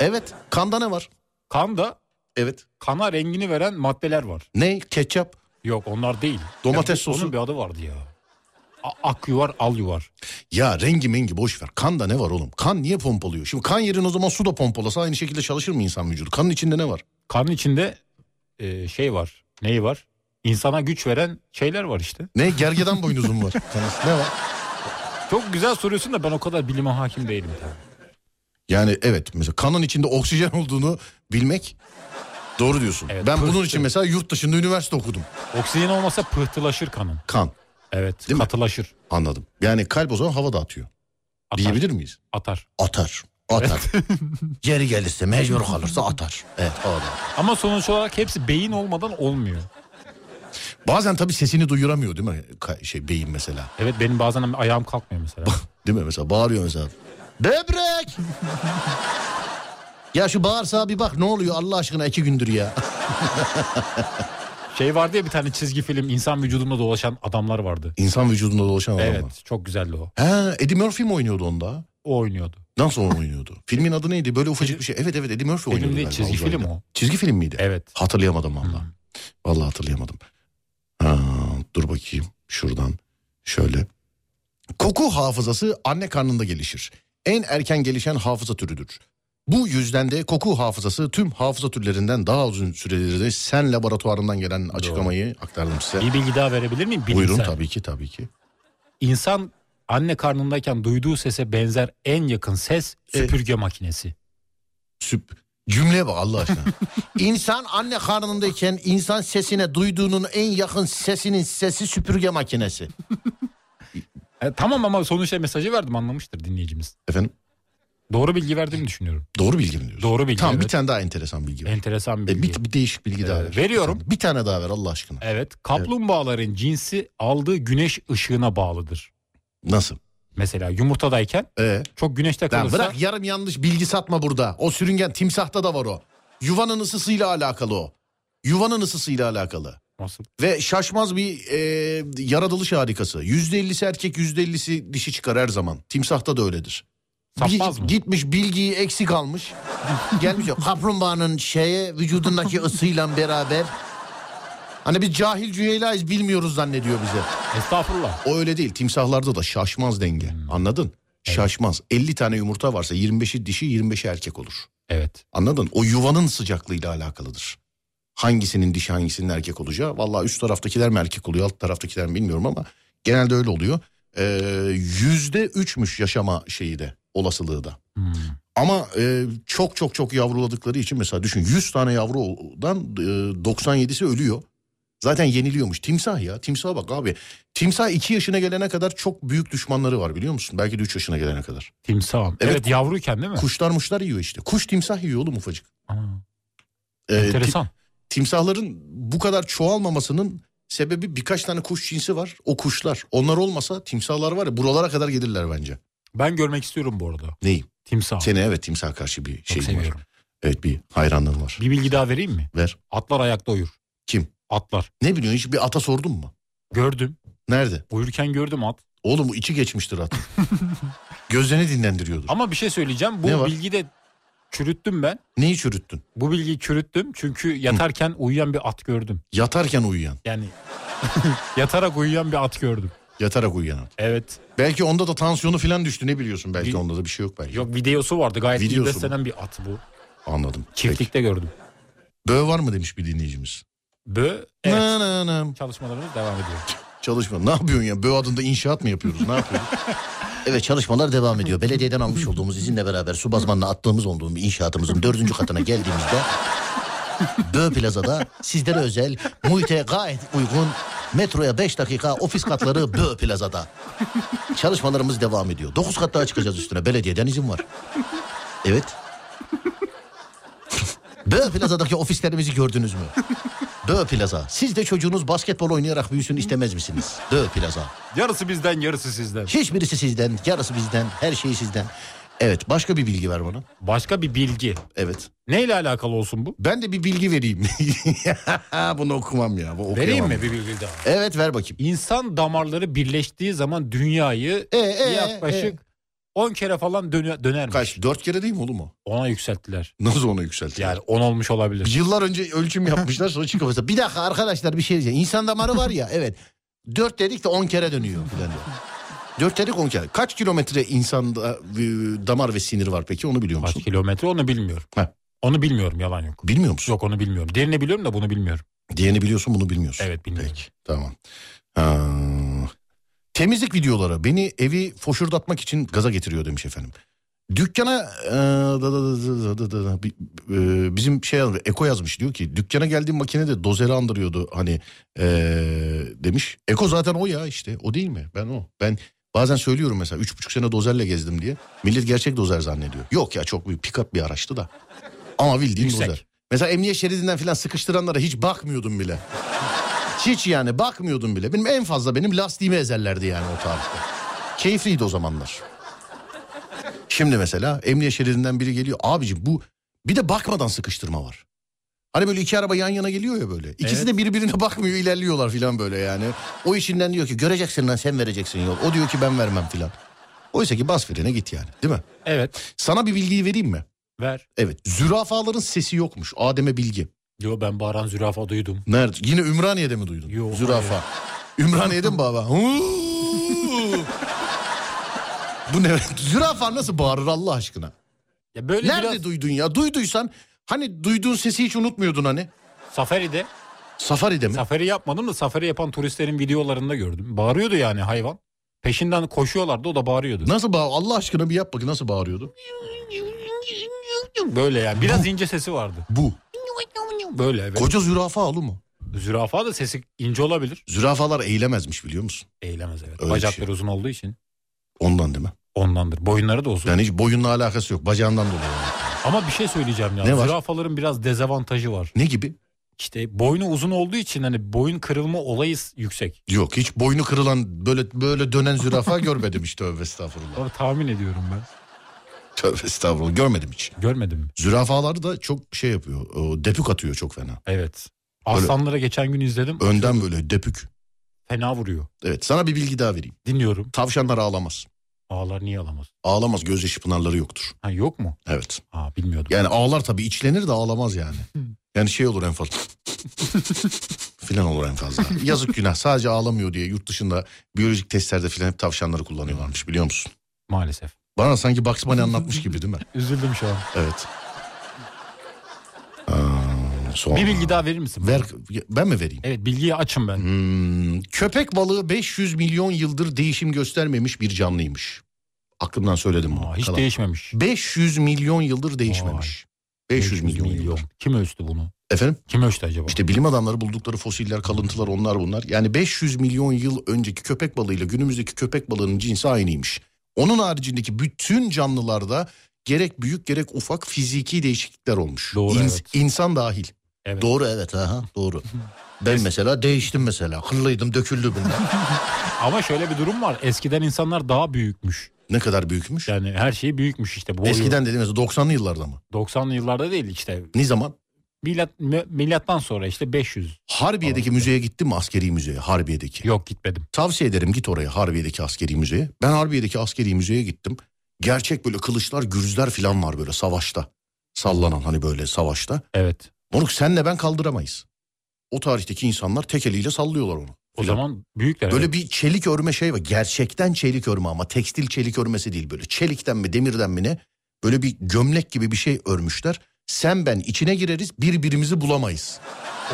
[SPEAKER 1] Evet kanda ne var?
[SPEAKER 2] Kanda
[SPEAKER 1] Evet.
[SPEAKER 2] kana rengini veren maddeler var.
[SPEAKER 1] Ne? Ketçap.
[SPEAKER 2] Yok onlar değil.
[SPEAKER 1] Domates
[SPEAKER 2] Ya,
[SPEAKER 1] sosu.
[SPEAKER 2] Onun bir adı vardı ya. A- ak yuvar al yuvar.
[SPEAKER 1] Ya rengi mengi boş ver. Kanda ne var oğlum? Kan niye pompalıyor? Şimdi kan yerine o zaman su da pompalasa aynı şekilde çalışır mı insan vücudu? Kanın içinde ne var?
[SPEAKER 2] Kanın içinde e, şey var. Neyi var? İnsana güç veren şeyler var işte.
[SPEAKER 1] Ne? Gergedan boynuzun (laughs) var. ne var?
[SPEAKER 2] Çok güzel soruyorsun da ben o kadar bilime hakim değilim.
[SPEAKER 1] Yani evet mesela kanın içinde oksijen olduğunu bilmek doğru diyorsun.
[SPEAKER 2] Evet,
[SPEAKER 1] ben bunun
[SPEAKER 2] pıhtı.
[SPEAKER 1] için mesela yurt dışında üniversite okudum.
[SPEAKER 2] Oksijen olmasa pıhtılaşır kanın.
[SPEAKER 1] Kan
[SPEAKER 2] Evet
[SPEAKER 1] Değil mi?
[SPEAKER 2] katılaşır.
[SPEAKER 1] anladım. Yani kalp o zaman hava dağıtıyor.
[SPEAKER 2] Atar.
[SPEAKER 1] Diyebilir miyiz?
[SPEAKER 2] Atar.
[SPEAKER 1] Atar. Atar. (laughs) Geri gelirse mecbur kalırsa atar. Evet hava dağıtıyor.
[SPEAKER 2] Ama sonuç olarak hepsi beyin olmadan olmuyor.
[SPEAKER 1] Bazen tabii sesini duyuramıyor değil mi? Ka- şey beyin mesela.
[SPEAKER 2] Evet benim bazen ayağım kalkmıyor
[SPEAKER 1] (laughs)
[SPEAKER 2] mesela.
[SPEAKER 1] Değil mi mesela bağırıyor mesela. Böbrek! ya şu bağırsağa bir bak ne oluyor Allah aşkına iki gündür ya.
[SPEAKER 2] Şey vardı ya bir tane çizgi film insan vücudunda dolaşan adamlar vardı.
[SPEAKER 1] İnsan vücudunda dolaşan adam mı?
[SPEAKER 2] Evet çok güzeldi o.
[SPEAKER 1] He Eddie Murphy mi oynuyordu onda?
[SPEAKER 2] O oynuyordu.
[SPEAKER 1] Nasıl onu oynuyordu? Filmin adı neydi? Böyle ufacık bir şey. Evet evet Eddie Murphy
[SPEAKER 2] Film
[SPEAKER 1] oynuyordu.
[SPEAKER 2] değil,
[SPEAKER 1] galiba
[SPEAKER 2] çizgi film
[SPEAKER 1] uzayda.
[SPEAKER 2] o.
[SPEAKER 1] Çizgi film miydi?
[SPEAKER 2] Evet.
[SPEAKER 1] Hatırlayamadım valla. Valla hatırlayamadım. Ha, dur bakayım şuradan şöyle. Koku hafızası anne karnında gelişir. En erken gelişen hafıza türüdür. Bu yüzden de koku hafızası tüm hafıza türlerinden daha uzun süredir de sen laboratuvarından gelen açıklamayı aktardım size.
[SPEAKER 2] Bir bilgi daha verebilir miyim? Bilimsel.
[SPEAKER 1] Buyurun tabii ki tabii ki.
[SPEAKER 2] İnsan anne karnındayken duyduğu sese benzer en yakın ses süpürge makinesi.
[SPEAKER 1] Süp. Cümleye bak Allah aşkına. insan anne karnındayken insan sesine duyduğunun en yakın sesinin sesi süpürge makinesi.
[SPEAKER 2] E, tamam ama sonuçta mesajı verdim anlamıştır dinleyicimiz.
[SPEAKER 1] Efendim
[SPEAKER 2] Doğru bilgi verdiğimi düşünüyorum.
[SPEAKER 1] doğru bilgi mi diyorsun?
[SPEAKER 2] Doğru bilgi,
[SPEAKER 1] Tamam bir
[SPEAKER 2] evet.
[SPEAKER 1] tane daha enteresan bilgi ver.
[SPEAKER 2] Enteresan bir
[SPEAKER 1] E,
[SPEAKER 2] bilgi.
[SPEAKER 1] bir, bir değişik bilgi daha
[SPEAKER 2] Ee,
[SPEAKER 1] ver.
[SPEAKER 2] veriyorum.
[SPEAKER 1] Bir tane, bir tane daha ver Allah aşkına.
[SPEAKER 2] Evet kaplumbağaların cinsi aldığı güneş ışığına bağlıdır.
[SPEAKER 1] Nasıl?
[SPEAKER 2] Mesela yumurtadayken
[SPEAKER 1] Ee,
[SPEAKER 2] çok güneşte
[SPEAKER 1] lan
[SPEAKER 2] kalırsa
[SPEAKER 1] bırak yarım yanlış bilgi satma burada. O sürüngen timsahta da var o. Yuvanın ısısıyla alakalı o. Yuvanın ısısıyla alakalı.
[SPEAKER 2] nasıl?
[SPEAKER 1] Ve şaşmaz bir e, yaratılış harikası. Yüzde ellisi erkek yüzde ellisi dişi çıkar her zaman. Timsahta da öyledir.
[SPEAKER 2] Sapmaz
[SPEAKER 1] Bil-
[SPEAKER 2] mı?
[SPEAKER 1] Gitmiş bilgiyi eksik almış. Gelmiş yok. Kaplumbağanın şeye vücudundaki ısıyla beraber. Hani biz cahil cüheyla'yız bilmiyoruz zannediyor bize.
[SPEAKER 2] Estağfurullah.
[SPEAKER 1] O öyle değil. Timsahlarda da şaşmaz denge. Anladın? Şaşmaz. 50 tane yumurta varsa 25'i dişi 25'i erkek olur.
[SPEAKER 2] Evet.
[SPEAKER 1] Anladın? O yuvanın sıcaklığıyla alakalıdır. Hangisinin dişi hangisinin erkek olacağı. Vallahi üst taraftakiler mi erkek oluyor alt taraftakiler mi bilmiyorum ama genelde Ee, öyle oluyor. Yüzde üçmüş yaşama şeyi de olasılığı da.
[SPEAKER 2] Hmm.
[SPEAKER 1] Ama e, çok çok çok yavruladıkları için mesela düşün 100 tane yavrudan e, 97'si ölüyor. Zaten yeniliyormuş. Timsah ya. Timsaha bak abi. Timsah 2 yaşına gelene kadar çok büyük düşmanları var biliyor musun? Belki de 3 yaşına gelene kadar.
[SPEAKER 2] Timsahım.
[SPEAKER 1] Evet.
[SPEAKER 2] Evet, yavruyken değil mi?
[SPEAKER 1] Kuşlar muşlar yiyor işte. Kuş timsah yiyor oğlum ufacık.
[SPEAKER 2] Aa,
[SPEAKER 1] Ee, ti-
[SPEAKER 2] enteresan.
[SPEAKER 1] timsahların bu kadar çoğalmamasının sebebi birkaç tane kuş cinsi var. O kuşlar. Onlar olmasa timsahlar var ya buralara kadar gelirler bence.
[SPEAKER 2] Ben görmek istiyorum bu arada.
[SPEAKER 1] Neyi?
[SPEAKER 2] Timsah.
[SPEAKER 1] Seni evet timsah karşı bir
[SPEAKER 2] Çok
[SPEAKER 1] şeyin Şey, var.
[SPEAKER 2] seviyorum.
[SPEAKER 1] Evet bir hayranlığın var.
[SPEAKER 2] Bir bilgi daha vereyim mi?
[SPEAKER 1] Ver.
[SPEAKER 2] Atlar ayakta uyur.
[SPEAKER 1] Kim?
[SPEAKER 2] Atlar.
[SPEAKER 1] Ne biliyorsun hiç bir ata sordun mu?
[SPEAKER 2] Gördüm.
[SPEAKER 1] Nerede?
[SPEAKER 2] Uyurken gördüm at.
[SPEAKER 1] Oğlum bu içi geçmiştir at. (laughs) Gözlerini dinlendiriyordur.
[SPEAKER 2] Ama bir şey söyleyeceğim.
[SPEAKER 1] Ne
[SPEAKER 2] Bu
[SPEAKER 1] var?
[SPEAKER 2] bilgi de çürüttüm ben.
[SPEAKER 1] Neyi çürüttün?
[SPEAKER 2] Bu bilgiyi çürüttüm çünkü yatarken uyuyan bir at gördüm.
[SPEAKER 1] Yatarken uyuyan.
[SPEAKER 2] Yani (laughs) yatarak uyuyan bir at gördüm.
[SPEAKER 1] Yatarak uyuyan at.
[SPEAKER 2] Evet.
[SPEAKER 1] Belki onda da tansiyonu falan düştü ne biliyorsun belki
[SPEAKER 2] Bil-
[SPEAKER 1] onda da bir şey yok belki.
[SPEAKER 2] Yok videosu vardı gayet iyi
[SPEAKER 1] Videosu mu?
[SPEAKER 2] beslenen bir at bu.
[SPEAKER 1] Anladım. Peki.
[SPEAKER 2] Çiftlikte gördüm.
[SPEAKER 1] Böğ var mı demiş bir dinleyicimiz.
[SPEAKER 2] Bö. Evet.
[SPEAKER 1] Na na na.
[SPEAKER 2] Çalışmalarımız devam ediyor.
[SPEAKER 1] Çalışma. Ne yapıyorsun ya? Bö adında inşaat mı yapıyoruz? Ne yapıyoruz?
[SPEAKER 4] (laughs) Evet çalışmalar devam ediyor. Belediyeden almış olduğumuz izinle beraber su bazmanla attığımız olduğum bir inşaatımızın dördüncü katına geldiğimizde Bö Plaza'da sizlere özel muhite gayet uygun metroya 5 dakika ofis katları Bö Plaza'da. Çalışmalarımız devam ediyor. 9 kat daha çıkacağız üstüne. Belediyeden izin var. Evet. (laughs) Bö Plaza'daki ofislerimizi gördünüz mü? Bö Plaza. Siz de çocuğunuz basketbol oynayarak büyüsün istemez misiniz? Bö Plaza.
[SPEAKER 2] Yarısı bizden yarısı sizden.
[SPEAKER 4] Hiçbirisi sizden, yarısı bizden, her şeyi sizden. Evet, başka bir bilgi ver bana.
[SPEAKER 2] Başka bir bilgi.
[SPEAKER 1] evet.
[SPEAKER 2] Neyle alakalı olsun bu?
[SPEAKER 1] Ben de bir bilgi vereyim. (laughs) Bunu okumam ya. bu okuyamam.
[SPEAKER 2] Vereyim mi bir bilgi daha?
[SPEAKER 1] Evet ver bakayım.
[SPEAKER 2] İnsan damarları birleştiği zaman dünyayı
[SPEAKER 1] E, e,
[SPEAKER 2] yaklaşık 10 kere falan döner dönermiş.
[SPEAKER 1] Kaç? Dört kere değil mi oğlum o?
[SPEAKER 2] Ona yükselttiler.
[SPEAKER 1] Nasıl onu yükseltiyor?
[SPEAKER 2] Yani 10 olmuş olabilir.
[SPEAKER 1] Yıllar önce ölçüm yapmışlar
[SPEAKER 2] (laughs)
[SPEAKER 1] sonra çıkıyor.
[SPEAKER 4] Kafası, Bir dakika arkadaşlar bir şey diyeceğim. İnsan damarı var ya, evet.
[SPEAKER 1] Dört dedik de on kere dönüyor. falan diyor. Dört dedik on kere. Kaç kilometre insanda e, damar ve sinir var peki onu biliyor
[SPEAKER 2] Kaç
[SPEAKER 1] musun?
[SPEAKER 2] kilometre onu bilmiyorum.
[SPEAKER 1] Ha.
[SPEAKER 2] Onu bilmiyorum yalan yok.
[SPEAKER 1] Bilmiyor musun?
[SPEAKER 2] Yok onu bilmiyorum. Diğerini biliyorum da bunu bilmiyorum.
[SPEAKER 1] Diyeni biliyorsun bunu bilmiyorsun.
[SPEAKER 2] Evet bilmiyorum.
[SPEAKER 1] Peki tamam. Ee, temizlik videoları beni evi foşurdatmak için gaza getiriyor demiş efendim. Dükkana ee, da, da, da, da, da, da, da, bi- e, bizim şey yazmış, Eko yazmış diyor ki dükkana geldiğim makine de dozeri andırıyordu hani ee, demiş. Eko zaten o ya işte o değil mi ben o ben bazen söylüyorum mesela üç buçuk sene dozerle gezdim diye millet gerçek dozer zannediyor. Yok ya çok büyük pick-up bir araçtı da ama bildiğin
[SPEAKER 2] Yüksek.
[SPEAKER 1] dozer. Mesela emniyet şeridinden falan sıkıştıranlara hiç bakmıyordum bile. Hiç yani bakmıyordum bile. Benim en fazla benim lastiğimi ezerlerdi yani o tarihte. Keyifliydi o zamanlar. Şimdi mesela emniyet şeridinden biri geliyor. Abicim bu bir de bakmadan sıkıştırma var. Hani böyle iki araba yan yana geliyor ya böyle. İkisi
[SPEAKER 2] Evet.
[SPEAKER 1] de birbirine (laughs) bakmıyor ilerliyorlar filan böyle yani.
[SPEAKER 4] O işinden diyor ki göreceksin lan sen vereceksin yol. O diyor ki ben vermem filan.
[SPEAKER 1] Oysa ki bas frene git yani değil mi?
[SPEAKER 2] Evet
[SPEAKER 1] Sana bir bilgiyi vereyim mi?
[SPEAKER 2] ver.
[SPEAKER 1] Evet zürafaların sesi yokmuş. Adem'e bilgi.
[SPEAKER 2] Yo ben bağıran zürafa duydum.
[SPEAKER 1] Nerede? Yine Ümraniye'de mi duydun?
[SPEAKER 2] Yok,
[SPEAKER 1] Zürafa. Ümraniye'de mi baba? Bu ne? Zürafa nasıl bağırır Allah aşkına?
[SPEAKER 2] Ya böyle
[SPEAKER 1] Nerede
[SPEAKER 2] biraz
[SPEAKER 1] duydun ya? Duyduysan hani duyduğun sesi hiç unutmuyordun hani.
[SPEAKER 2] safaride.
[SPEAKER 1] Safari'de mi?
[SPEAKER 2] Safari yapmadım da safari yapan turistlerin videolarında gördüm. Bağırıyordu yani hayvan. Peşinden koşuyorlardı o da bağırıyordu.
[SPEAKER 1] Nasıl bağır? Allah aşkına bir yap bakayım nasıl bağırıyordu?
[SPEAKER 2] Böyle yani biraz ince sesi vardı.
[SPEAKER 1] Bu.
[SPEAKER 2] Böyle evet.
[SPEAKER 1] Koca zürafa alı mı?
[SPEAKER 2] Zürafa da sesi ince olabilir.
[SPEAKER 1] Zürafalar eğilemezmiş biliyor musun?
[SPEAKER 2] Eğilemez evet.
[SPEAKER 1] Öyle bir
[SPEAKER 2] Bacakları
[SPEAKER 1] şey.
[SPEAKER 2] uzun olduğu için
[SPEAKER 1] Ondan değil mi?
[SPEAKER 2] ondandır. Boyunları da uzun.
[SPEAKER 1] Yani hiç boyunla alakası yok. Bacağından dolayı.
[SPEAKER 2] Ama bir şey söyleyeceğim ya.
[SPEAKER 1] Ne var?
[SPEAKER 2] Zürafaların biraz dezavantajı var.
[SPEAKER 1] Ne gibi?
[SPEAKER 2] İşte boynu uzun olduğu için hani boyun kırılma olayı s- yüksek.
[SPEAKER 1] Yok hiç boynu kırılan böyle böyle dönen zürafa (laughs) görmedim hiç tövbe estağfurullah.
[SPEAKER 2] Onu tahmin ediyorum ben.
[SPEAKER 1] Tövbe estağfurullah görmedim hiç.
[SPEAKER 2] Görmedim mi?
[SPEAKER 1] Zürafalar da çok şey yapıyor. o Depük atıyor çok fena.
[SPEAKER 2] Evet. Aslanlara geçen gün izledim.
[SPEAKER 1] Önden böyle depük.
[SPEAKER 2] Fena vuruyor.
[SPEAKER 1] Evet sana bir bilgi daha vereyim.
[SPEAKER 2] Dinliyorum.
[SPEAKER 1] Tavşanlar ağlamaz.
[SPEAKER 2] Ağlar niye alamaz?
[SPEAKER 1] Ağlamaz gözyaşı pınarları yoktur.
[SPEAKER 2] Ha yok mu?
[SPEAKER 1] Evet.
[SPEAKER 2] Aa bilmiyordum.
[SPEAKER 1] Yani ağlar tabii içlenir de ağlamaz yani. Yani şey olur en fazla. filan olur en fazla. Yazık günah sadece ağlamıyor diye yurt dışında biyolojik testlerde filan hep tavşanları kullanıyorlarmış biliyor musun?
[SPEAKER 2] Maalesef.
[SPEAKER 1] Bana sanki Bugs Bunny anlatmış gibi değil mi?
[SPEAKER 2] Üzüldüm şu an.
[SPEAKER 1] Evet. Aa, sonra-
[SPEAKER 2] Bir bilgi daha verir misin?
[SPEAKER 1] Ver, ben mi vereyim?
[SPEAKER 2] Evet bilgiyi açın ben.
[SPEAKER 1] Hmm, köpek balığı 500 milyon yıldır değişim göstermemiş bir canlıymış. Aklımdan söyledim bunu.
[SPEAKER 2] Aa, hiç
[SPEAKER 1] Kalan.
[SPEAKER 2] değişmemiş.
[SPEAKER 1] 500 milyon yıldır değişmemiş. 500 milyon, yıldır.
[SPEAKER 2] Kim ölçtü bunu?
[SPEAKER 1] Efendim?
[SPEAKER 2] Kim ölçtü acaba?
[SPEAKER 1] İşte bilim adamları buldukları fosiller, kalıntılar onlar bunlar. Yani 500 milyon yıl önceki köpek balığıyla günümüzdeki köpek balığının cinsi aynıymış. Onun haricindeki bütün canlılarda gerek büyük gerek ufak fiziki değişiklikler olmuş.
[SPEAKER 2] Doğru, evet.
[SPEAKER 1] İnsan dahil.
[SPEAKER 2] Evet.
[SPEAKER 4] Doğru evet aha doğru. Ben mesela değiştim mesela. Hırlıydım döküldü bunlar.
[SPEAKER 2] Ama şöyle bir durum var. Eskiden insanlar daha büyükmüş.
[SPEAKER 1] Ne kadar büyükmüş?
[SPEAKER 2] Yani her şey büyükmüş işte. Boyu.
[SPEAKER 1] Eskiden dediğimiz 90'lı yıllarda mı?
[SPEAKER 2] 90'lı yıllarda değil işte.
[SPEAKER 1] Ne zaman?
[SPEAKER 2] Milat, mü- milattan sonra işte 500.
[SPEAKER 1] Harbiye'deki müzeye gittin mi askeri müzeye? Harbiye'deki.
[SPEAKER 2] Yok gitmedim.
[SPEAKER 1] Tavsiye ederim git oraya Harbiye'deki askeri müzeye. Ben Harbiye'deki askeri müzeye gittim. Gerçek böyle kılıçlar, gürzler falan var böyle savaşta. Sallanan hani böyle savaşta.
[SPEAKER 2] Evet.
[SPEAKER 1] Moruk senle ben kaldıramayız. O tarihteki insanlar tek eliyle sallıyorlar onu.
[SPEAKER 2] O
[SPEAKER 1] Filan.
[SPEAKER 2] zaman büyükler.
[SPEAKER 1] Böyle
[SPEAKER 2] evet.
[SPEAKER 1] bir çelik örme şey var. Gerçekten çelik örme ama tekstil çelik örmesi değil böyle. Çelikten mi demirden mi ne? Böyle bir gömlek gibi bir şey örmüşler. Sen ben içine gireriz birbirimizi bulamayız.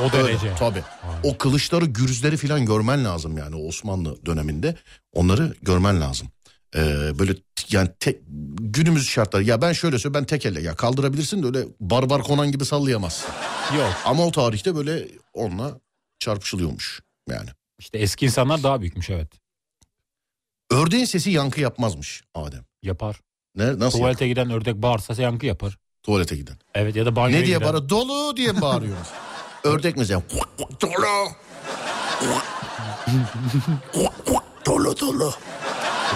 [SPEAKER 2] o
[SPEAKER 1] Öyle,
[SPEAKER 2] derece.
[SPEAKER 1] tabii.
[SPEAKER 2] Vay.
[SPEAKER 1] O kılıçları, gürzleri falan görmen lazım yani o Osmanlı döneminde. Onları görmen lazım. Ee, böyle t- yani tek, günümüz şartları ya ben şöyle söyleyeyim ben tek elle ya kaldırabilirsin de öyle barbar konan gibi sallayamazsın.
[SPEAKER 2] Yok.
[SPEAKER 1] Ama o tarihte böyle onunla çarpışılıyormuş yani.
[SPEAKER 2] İşte eski insanlar daha büyükmüş evet.
[SPEAKER 1] Ördeğin sesi yankı yapmazmış Adem.
[SPEAKER 2] Yapar.
[SPEAKER 1] Ne, nasıl yani?
[SPEAKER 2] Tuvalete giden ördek bağırsa yankı yapar.
[SPEAKER 1] Tuvalete giden.
[SPEAKER 2] Evet ya da banyoya
[SPEAKER 1] Ne diye
[SPEAKER 2] giren-
[SPEAKER 1] bana dolu diye mi bağırıyorsunuz? Ördek mi sen? Dolu. dolu dolu.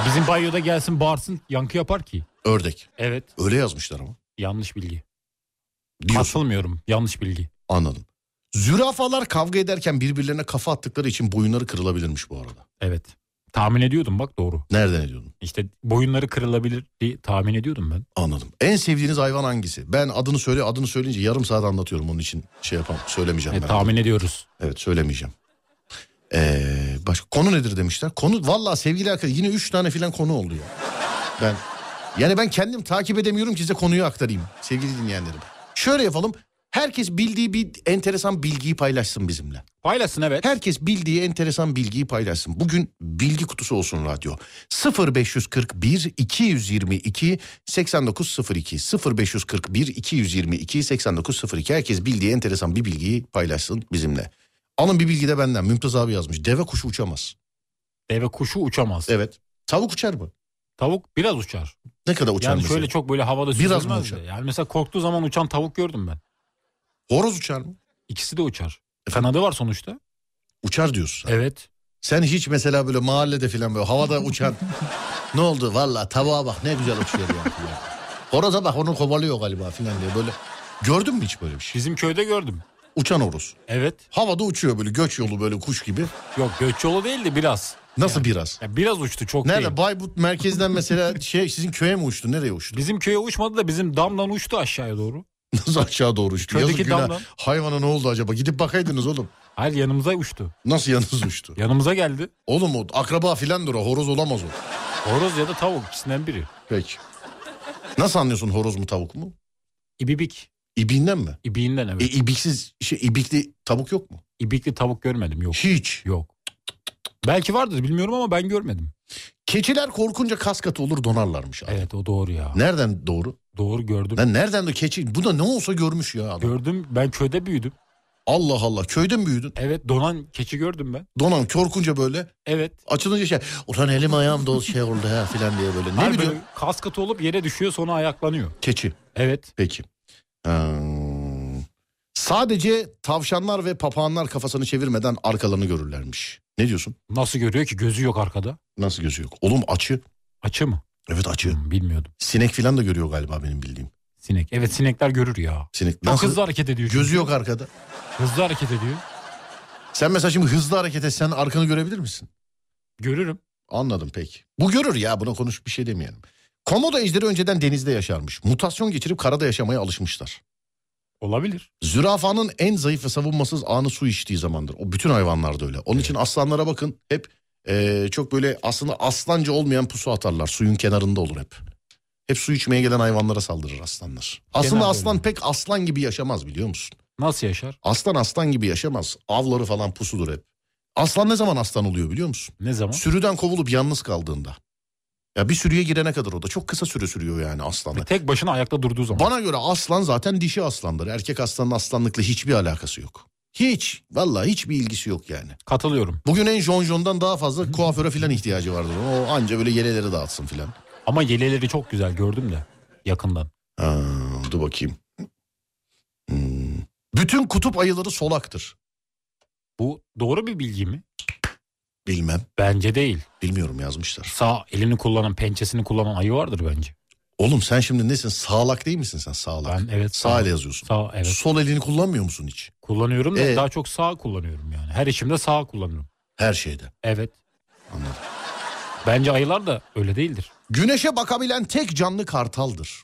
[SPEAKER 2] Bizim banyoda gelsin bağırsın yankı yapar ki.
[SPEAKER 1] Ördek.
[SPEAKER 2] Evet.
[SPEAKER 1] Öyle yazmışlar ama.
[SPEAKER 2] Yanlış bilgi.
[SPEAKER 1] Diyorsun.
[SPEAKER 2] Katılmıyorum. Yanlış bilgi.
[SPEAKER 1] Anladım. Zürafalar kavga ederken birbirlerine kafa attıkları için boyunları kırılabilirmiş bu arada.
[SPEAKER 2] Evet. Tahmin ediyordum bak doğru.
[SPEAKER 1] Nereden ediyordun?
[SPEAKER 2] İşte boyunları kırılabilir diye tahmin ediyordum ben.
[SPEAKER 1] Anladım. En sevdiğiniz hayvan hangisi? Ben adını söyle adını söyleyince yarım saat anlatıyorum onun için şey yapamam. Söylemeyeceğim
[SPEAKER 2] E,
[SPEAKER 1] ben.
[SPEAKER 2] tahmin ediyoruz.
[SPEAKER 1] Evet söylemeyeceğim. Ee, başka konu nedir demişler. Konu valla sevgili arkadaşlar yine üç tane filan konu oldu ya. Ben yani ben kendim takip edemiyorum ki size konuyu aktarayım sevgili dinleyenlerim. Şöyle yapalım. Herkes bildiği bir enteresan bilgiyi paylaşsın bizimle.
[SPEAKER 2] Paylaşsın evet.
[SPEAKER 1] Herkes bildiği enteresan bilgiyi paylaşsın. Bugün bilgi kutusu olsun radyo. 0541 222 8902 0541 222 8902 herkes bildiği enteresan bir bilgiyi paylaşsın bizimle. Alın bir bilgi de benden. Mümtaz abi yazmış. Deve kuşu uçamaz.
[SPEAKER 2] Deve kuşu uçamaz.
[SPEAKER 1] Evet. Tavuk uçar mı?
[SPEAKER 2] Tavuk biraz uçar.
[SPEAKER 1] Ne kadar uçar
[SPEAKER 2] yani
[SPEAKER 1] mesela?
[SPEAKER 2] şöyle çok böyle havada
[SPEAKER 1] Biraz mı
[SPEAKER 2] süzülmez de.
[SPEAKER 1] uçar?
[SPEAKER 2] Yani mesela korktuğu zaman uçan tavuk gördüm ben.
[SPEAKER 1] Horoz uçar mı?
[SPEAKER 2] İkisi de uçar.
[SPEAKER 1] Efendim?
[SPEAKER 2] Kanadı var sonuçta.
[SPEAKER 1] Uçar diyorsun. sen.
[SPEAKER 2] Evet.
[SPEAKER 1] Sen hiç mesela böyle mahallede filan böyle
[SPEAKER 2] (laughs)
[SPEAKER 1] havada uçan.
[SPEAKER 4] ne oldu valla tavuğa bak ne güzel uçuyor ya.
[SPEAKER 1] Horoza bak onu kovalıyor galiba filan diye böyle. Gördün mü hiç böyle bir şey?
[SPEAKER 2] Bizim köyde gördüm.
[SPEAKER 1] Uçan horoz.
[SPEAKER 2] Evet.
[SPEAKER 1] Havada uçuyor böyle göç yolu böyle kuş gibi.
[SPEAKER 2] Yok göç yolu değil de biraz.
[SPEAKER 1] Nasıl biraz?
[SPEAKER 2] Ya biraz uçtu çok
[SPEAKER 1] Nerede?
[SPEAKER 2] değil.
[SPEAKER 1] Bayburt merkezden
[SPEAKER 2] (laughs)
[SPEAKER 1] mesela şey sizin köye mi uçtu? Nereye uçtu? (laughs)
[SPEAKER 2] Bizim köye uçmadı da bizim damdan uçtu aşağıya doğru.
[SPEAKER 1] Nasıl aşağı doğru uçtu?
[SPEAKER 2] Köydeki
[SPEAKER 1] Yazık günah.
[SPEAKER 2] damla.
[SPEAKER 1] Hayvana ne oldu acaba? Gidip bakaydınız oğlum.
[SPEAKER 2] Hayır yanımıza uçtu.
[SPEAKER 1] Nasıl yalnız uçtu?
[SPEAKER 2] Yanımıza geldi.
[SPEAKER 1] Oğlum o akraba filandır o. Horoz olamaz o.
[SPEAKER 2] Horoz ya da tavuk ikisinden biri.
[SPEAKER 1] Peki. Nasıl anlıyorsun horoz mu tavuk mu?
[SPEAKER 2] İbibik.
[SPEAKER 1] İbiğinden mi?
[SPEAKER 2] İbiğinden evet.
[SPEAKER 1] E, ibiksiz, şey, ibikli tavuk yok mu?
[SPEAKER 2] İbikli tavuk görmedim yok.
[SPEAKER 1] Hiç.
[SPEAKER 2] Yok. Belki vardır bilmiyorum ama ben görmedim.
[SPEAKER 1] Keçiler korkunca kas katı olur donarlarmış. abi.
[SPEAKER 2] Evet o doğru ya.
[SPEAKER 1] Nereden doğru?
[SPEAKER 2] Doğru gördüm.
[SPEAKER 1] Ben nereden de keçi? Bu da ne olsa görmüş ya adam.
[SPEAKER 2] Gördüm ben köyde büyüdüm.
[SPEAKER 1] Allah Allah. Köyde mi büyüdün?
[SPEAKER 2] Evet donan keçi gördüm ben.
[SPEAKER 1] Donan korkunca böyle
[SPEAKER 2] Evet.
[SPEAKER 1] açılınca şey ulan elim ayağım dol şey oldu ha filan diye böyle. Ne
[SPEAKER 2] Her
[SPEAKER 1] biliyor?
[SPEAKER 2] böyle kaskatı olup yere düşüyor sonra ayaklanıyor.
[SPEAKER 1] Keçi.
[SPEAKER 2] Evet.
[SPEAKER 1] Peki. Hmm. Sadece tavşanlar ve papağanlar kafasını çevirmeden arkalarını görürlermiş. Ne diyorsun?
[SPEAKER 2] Nasıl görüyor ki gözü yok arkada.
[SPEAKER 1] Nasıl gözü yok? Oğlum açı.
[SPEAKER 2] Açı mı?
[SPEAKER 1] Evet açı.
[SPEAKER 2] Hmm, bilmiyordum.
[SPEAKER 1] Sinek filan da görüyor galiba benim bildiğim.
[SPEAKER 2] Sinek. Evet sinekler görür ya.
[SPEAKER 1] Sinek.
[SPEAKER 2] Çok
[SPEAKER 1] Nasıl?
[SPEAKER 2] hızlı hareket ediyor. çünkü.
[SPEAKER 1] Gözü yok arkada.
[SPEAKER 2] Hızlı hareket ediyor.
[SPEAKER 1] Sen mesela şimdi hızlı hareket etsen arkanı görebilir misin?
[SPEAKER 2] Görürüm.
[SPEAKER 1] Anladım peki. Bu görür ya buna konuş bir şey demeyelim. Komodo ejderi önceden denizde yaşarmış. Mutasyon geçirip karada yaşamaya alışmışlar.
[SPEAKER 2] Olabilir.
[SPEAKER 1] Zürafanın en zayıf ve savunmasız anı su içtiği zamandır. O bütün hayvanlarda öyle. Onun için aslanlara bakın hep e, çok böyle aslında aslanca olmayan pusu atarlar. Suyun kenarında olur hep. Hep su içmeye gelen hayvanlara saldırır aslanlar. Aslında
[SPEAKER 2] Genelde
[SPEAKER 1] aslan
[SPEAKER 2] öyle.
[SPEAKER 1] pek aslan gibi yaşamaz biliyor musun?
[SPEAKER 2] Nasıl yaşar?
[SPEAKER 1] Aslan aslan gibi yaşamaz. Avları falan pusudur hep. Aslan ne zaman aslan oluyor biliyor musun?
[SPEAKER 2] Ne zaman?
[SPEAKER 1] Sürüden kovulup yalnız kaldığında. Ya bir sürüye girene kadar o da çok kısa süre sürüyor yani aslanla.
[SPEAKER 2] Tek başına ayakta durduğu zaman.
[SPEAKER 1] Bana göre aslan zaten dişi aslandır. Erkek aslanın aslanlıkla hiçbir alakası yok. Hiç. Vallahi hiçbir ilgisi yok yani.
[SPEAKER 2] Katılıyorum.
[SPEAKER 1] Bugün en jonjondan daha fazla kuaföre falan ihtiyacı vardır. O anca böyle yeleleri dağıtsın filan.
[SPEAKER 2] Ama yeleleri çok güzel gördüm de yakından.
[SPEAKER 1] Ha, dur bakayım. Hmm. Bütün kutup ayıları solaktır.
[SPEAKER 2] Bu doğru bir bilgi mi?
[SPEAKER 1] Bilmem.
[SPEAKER 2] Bence değil.
[SPEAKER 1] Bilmiyorum yazmışlar.
[SPEAKER 2] Sağ elini kullanan, pençesini kullanan ayı vardır bence.
[SPEAKER 1] Oğlum sen şimdi nesin? Sağlak değil misin sen? Sağlak.
[SPEAKER 2] Ben evet
[SPEAKER 1] Sağ ile yazıyorsun.
[SPEAKER 2] Sağ evet.
[SPEAKER 1] Sol elini kullanmıyor musun hiç?
[SPEAKER 2] Kullanıyorum da
[SPEAKER 1] Ee?
[SPEAKER 2] daha çok sağ kullanıyorum yani. Her işimde sağ kullanıyorum.
[SPEAKER 1] Her şeyde.
[SPEAKER 2] Evet.
[SPEAKER 1] Anladım.
[SPEAKER 2] Bence ayılar da öyle değildir.
[SPEAKER 1] Güneşe bakabilen tek canlı kartaldır.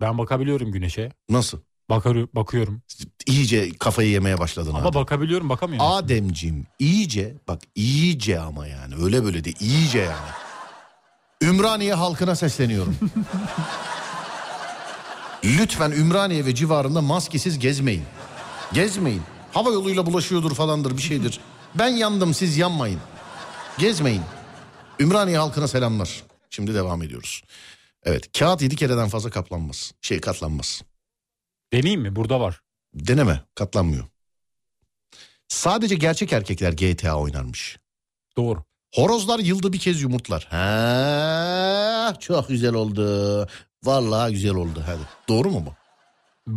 [SPEAKER 2] Ben bakabiliyorum güneşe.
[SPEAKER 1] Nasıl?
[SPEAKER 2] Bakar, bakıyorum.
[SPEAKER 1] İyice kafayı yemeye başladın.
[SPEAKER 2] Ama
[SPEAKER 1] Adem.
[SPEAKER 2] bakabiliyorum bakamıyorum.
[SPEAKER 1] Ademcim iyice bak iyice ama yani öyle böyle de iyice yani. Ümraniye halkına sesleniyorum. Lütfen Ümraniye ve civarında maskesiz gezmeyin. Gezmeyin. Hava yoluyla bulaşıyordur falandır bir şeydir. Ben yandım siz yanmayın. Gezmeyin. Ümraniye halkına selamlar. Şimdi devam ediyoruz. Evet kağıt yedi kereden fazla kaplanmaz. Şey katlanmaz.
[SPEAKER 2] Deneyeyim mi? Burada var.
[SPEAKER 1] Deneme katlanmıyor. Sadece gerçek erkekler GTA oynarmış.
[SPEAKER 2] Doğru.
[SPEAKER 1] Horozlar yılda bir kez yumurtlar.
[SPEAKER 4] Ha, çok güzel oldu. Vallahi güzel oldu. Hadi.
[SPEAKER 1] Doğru mu bu?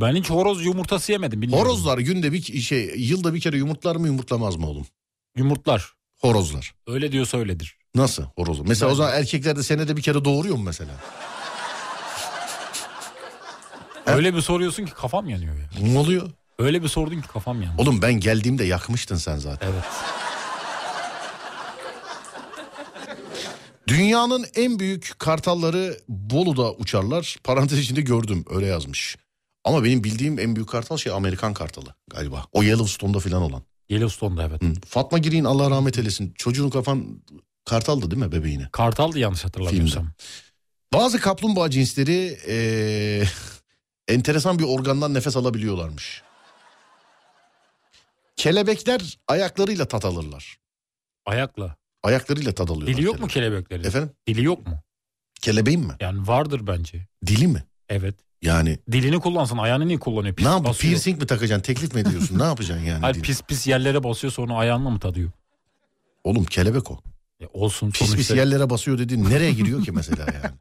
[SPEAKER 2] Ben hiç horoz yumurtası yemedim. Bilmiyorum.
[SPEAKER 1] Horozlar günde bir şey yılda bir kere yumurtlar mı yumurtlamaz mı oğlum?
[SPEAKER 2] Yumurtlar.
[SPEAKER 1] Horozlar.
[SPEAKER 2] Öyle diyorsa öyledir.
[SPEAKER 1] Nasıl horozlar? Mesela o zaman erkekler de senede bir kere doğuruyor mu mesela?
[SPEAKER 2] Öyle bir soruyorsun ki kafam yanıyor ya.
[SPEAKER 1] Ne oluyor?
[SPEAKER 2] Öyle bir sordun ki kafam yandı.
[SPEAKER 1] Oğlum ben geldiğimde yakmıştın sen zaten.
[SPEAKER 2] Evet.
[SPEAKER 1] Dünyanın en büyük kartalları Bolu'da uçarlar. Parantez içinde gördüm öyle yazmış. Ama benim bildiğim en büyük kartal şey Amerikan kartalı galiba. O Yellowstone'da falan olan.
[SPEAKER 2] Yellowstone'da evet.
[SPEAKER 1] Hı. Fatma Giri'nin Allah rahmet eylesin. Çocuğun kafan kartaldı değil mi bebeğine?
[SPEAKER 2] Kartal'dı yanlış hatırlamıyorsam.
[SPEAKER 1] Bazı kaplumbağa cinsleri eee, (laughs) enteresan bir organdan nefes alabiliyorlarmış. Kelebekler ayaklarıyla tat alırlar.
[SPEAKER 2] Ayakla.
[SPEAKER 1] Ayaklarıyla tat alıyorlar.
[SPEAKER 2] Dili yok mu
[SPEAKER 1] kelebek.
[SPEAKER 2] kelebeklerin?
[SPEAKER 1] Efendim?
[SPEAKER 2] Dili yok mu?
[SPEAKER 1] Kelebeğin mi?
[SPEAKER 2] Yani vardır bence.
[SPEAKER 1] Dili mi?
[SPEAKER 2] Evet.
[SPEAKER 1] Yani
[SPEAKER 2] Dilini kullansın. Ayağını niye kullanıyor? Pis
[SPEAKER 1] ne yapacaksın?
[SPEAKER 2] basıyor.
[SPEAKER 1] Piercing mi takacaksın? Teklif mi ediyorsun? ne yapacaksın yani?
[SPEAKER 2] Hayır
[SPEAKER 1] dili?
[SPEAKER 2] pis pis yerlere basıyor sonra ayağınla mı tadıyor?
[SPEAKER 1] Oğlum kelebek o.
[SPEAKER 2] Ya olsun
[SPEAKER 1] Pis
[SPEAKER 2] sonuçta.
[SPEAKER 1] pis yerlere basıyor dediğin nereye giriyor ki mesela
[SPEAKER 2] (laughs)
[SPEAKER 1] yani?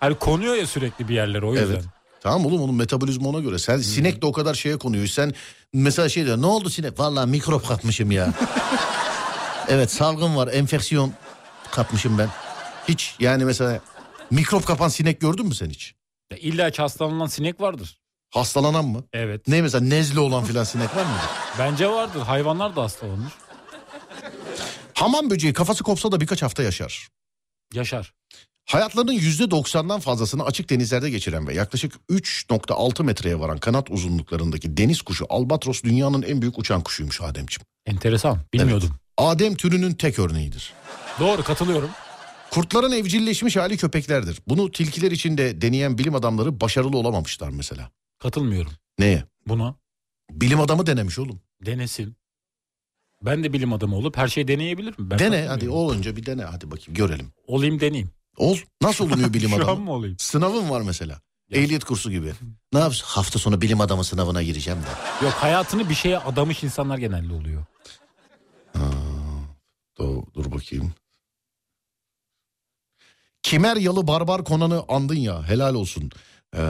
[SPEAKER 2] Hayır konuyor ya sürekli bir yerlere o yüzden.
[SPEAKER 1] Evet. Tamam oğlum onun metabolizma ona göre. Sen sinek de o kadar şeye konuyor. Sen mesela şey diyor ne oldu sinek?
[SPEAKER 4] Vallahi mikrop kapmışım
[SPEAKER 2] (laughs)
[SPEAKER 4] ya. evet salgın var. Enfeksiyon kapmışım ben.
[SPEAKER 1] Hiç yani mesela mikrop kapan sinek gördün mü sen hiç?
[SPEAKER 2] Ya İlla ki hastalanılan sinek vardır.
[SPEAKER 1] Hastalanan mı?
[SPEAKER 2] Evet.
[SPEAKER 1] Ne mesela nezle olan filan sinek var mı?
[SPEAKER 2] Bence vardır. Hayvanlar da hastalanır.
[SPEAKER 1] Hamam böceği kafası kopsa da birkaç hafta yaşar.
[SPEAKER 2] Yaşar.
[SPEAKER 1] Hayatlarının %90'dan fazlasını açık denizlerde geçiren ve yaklaşık 3.6 metreye varan kanat uzunluklarındaki deniz kuşu albatros dünyanın en büyük uçan kuşuymuş Ademciğim.
[SPEAKER 2] Enteresan. Bilmiyordum.
[SPEAKER 1] Adem türünün tek örneğidir.
[SPEAKER 2] Doğru katılıyorum.
[SPEAKER 1] Kurtların evcilleşmiş hali köpeklerdir. Bunu tilkiler için de deneyen bilim adamları başarılı olamamışlar mesela.
[SPEAKER 2] Katılmıyorum
[SPEAKER 1] Neye?
[SPEAKER 2] buna.
[SPEAKER 1] Bilim adamı denemiş oğlum.
[SPEAKER 2] Denesin. Ben de bilim adamı olup her şeyi deneyebilirim.
[SPEAKER 1] Dene
[SPEAKER 2] Ben katılmıyorum.
[SPEAKER 1] hadi olunca bir dene hadi bakayım görelim.
[SPEAKER 2] Olayım deneyeyim.
[SPEAKER 1] Ol. Nasıl oluyor bilim
[SPEAKER 2] (laughs) Şu an
[SPEAKER 1] adamı?
[SPEAKER 2] mı olayım?
[SPEAKER 1] Sınavın var mesela.
[SPEAKER 2] Ya.
[SPEAKER 1] Ehliyet kursu gibi.
[SPEAKER 4] Ne yapsın? Hafta sonu bilim adamı sınavına gireceğim de.
[SPEAKER 2] Yok hayatını bir şeye adamış insanlar genelde oluyor.
[SPEAKER 1] Dur, dur bakayım. Kimeryalı barbar Konan'ı andın ya helal olsun. Ee,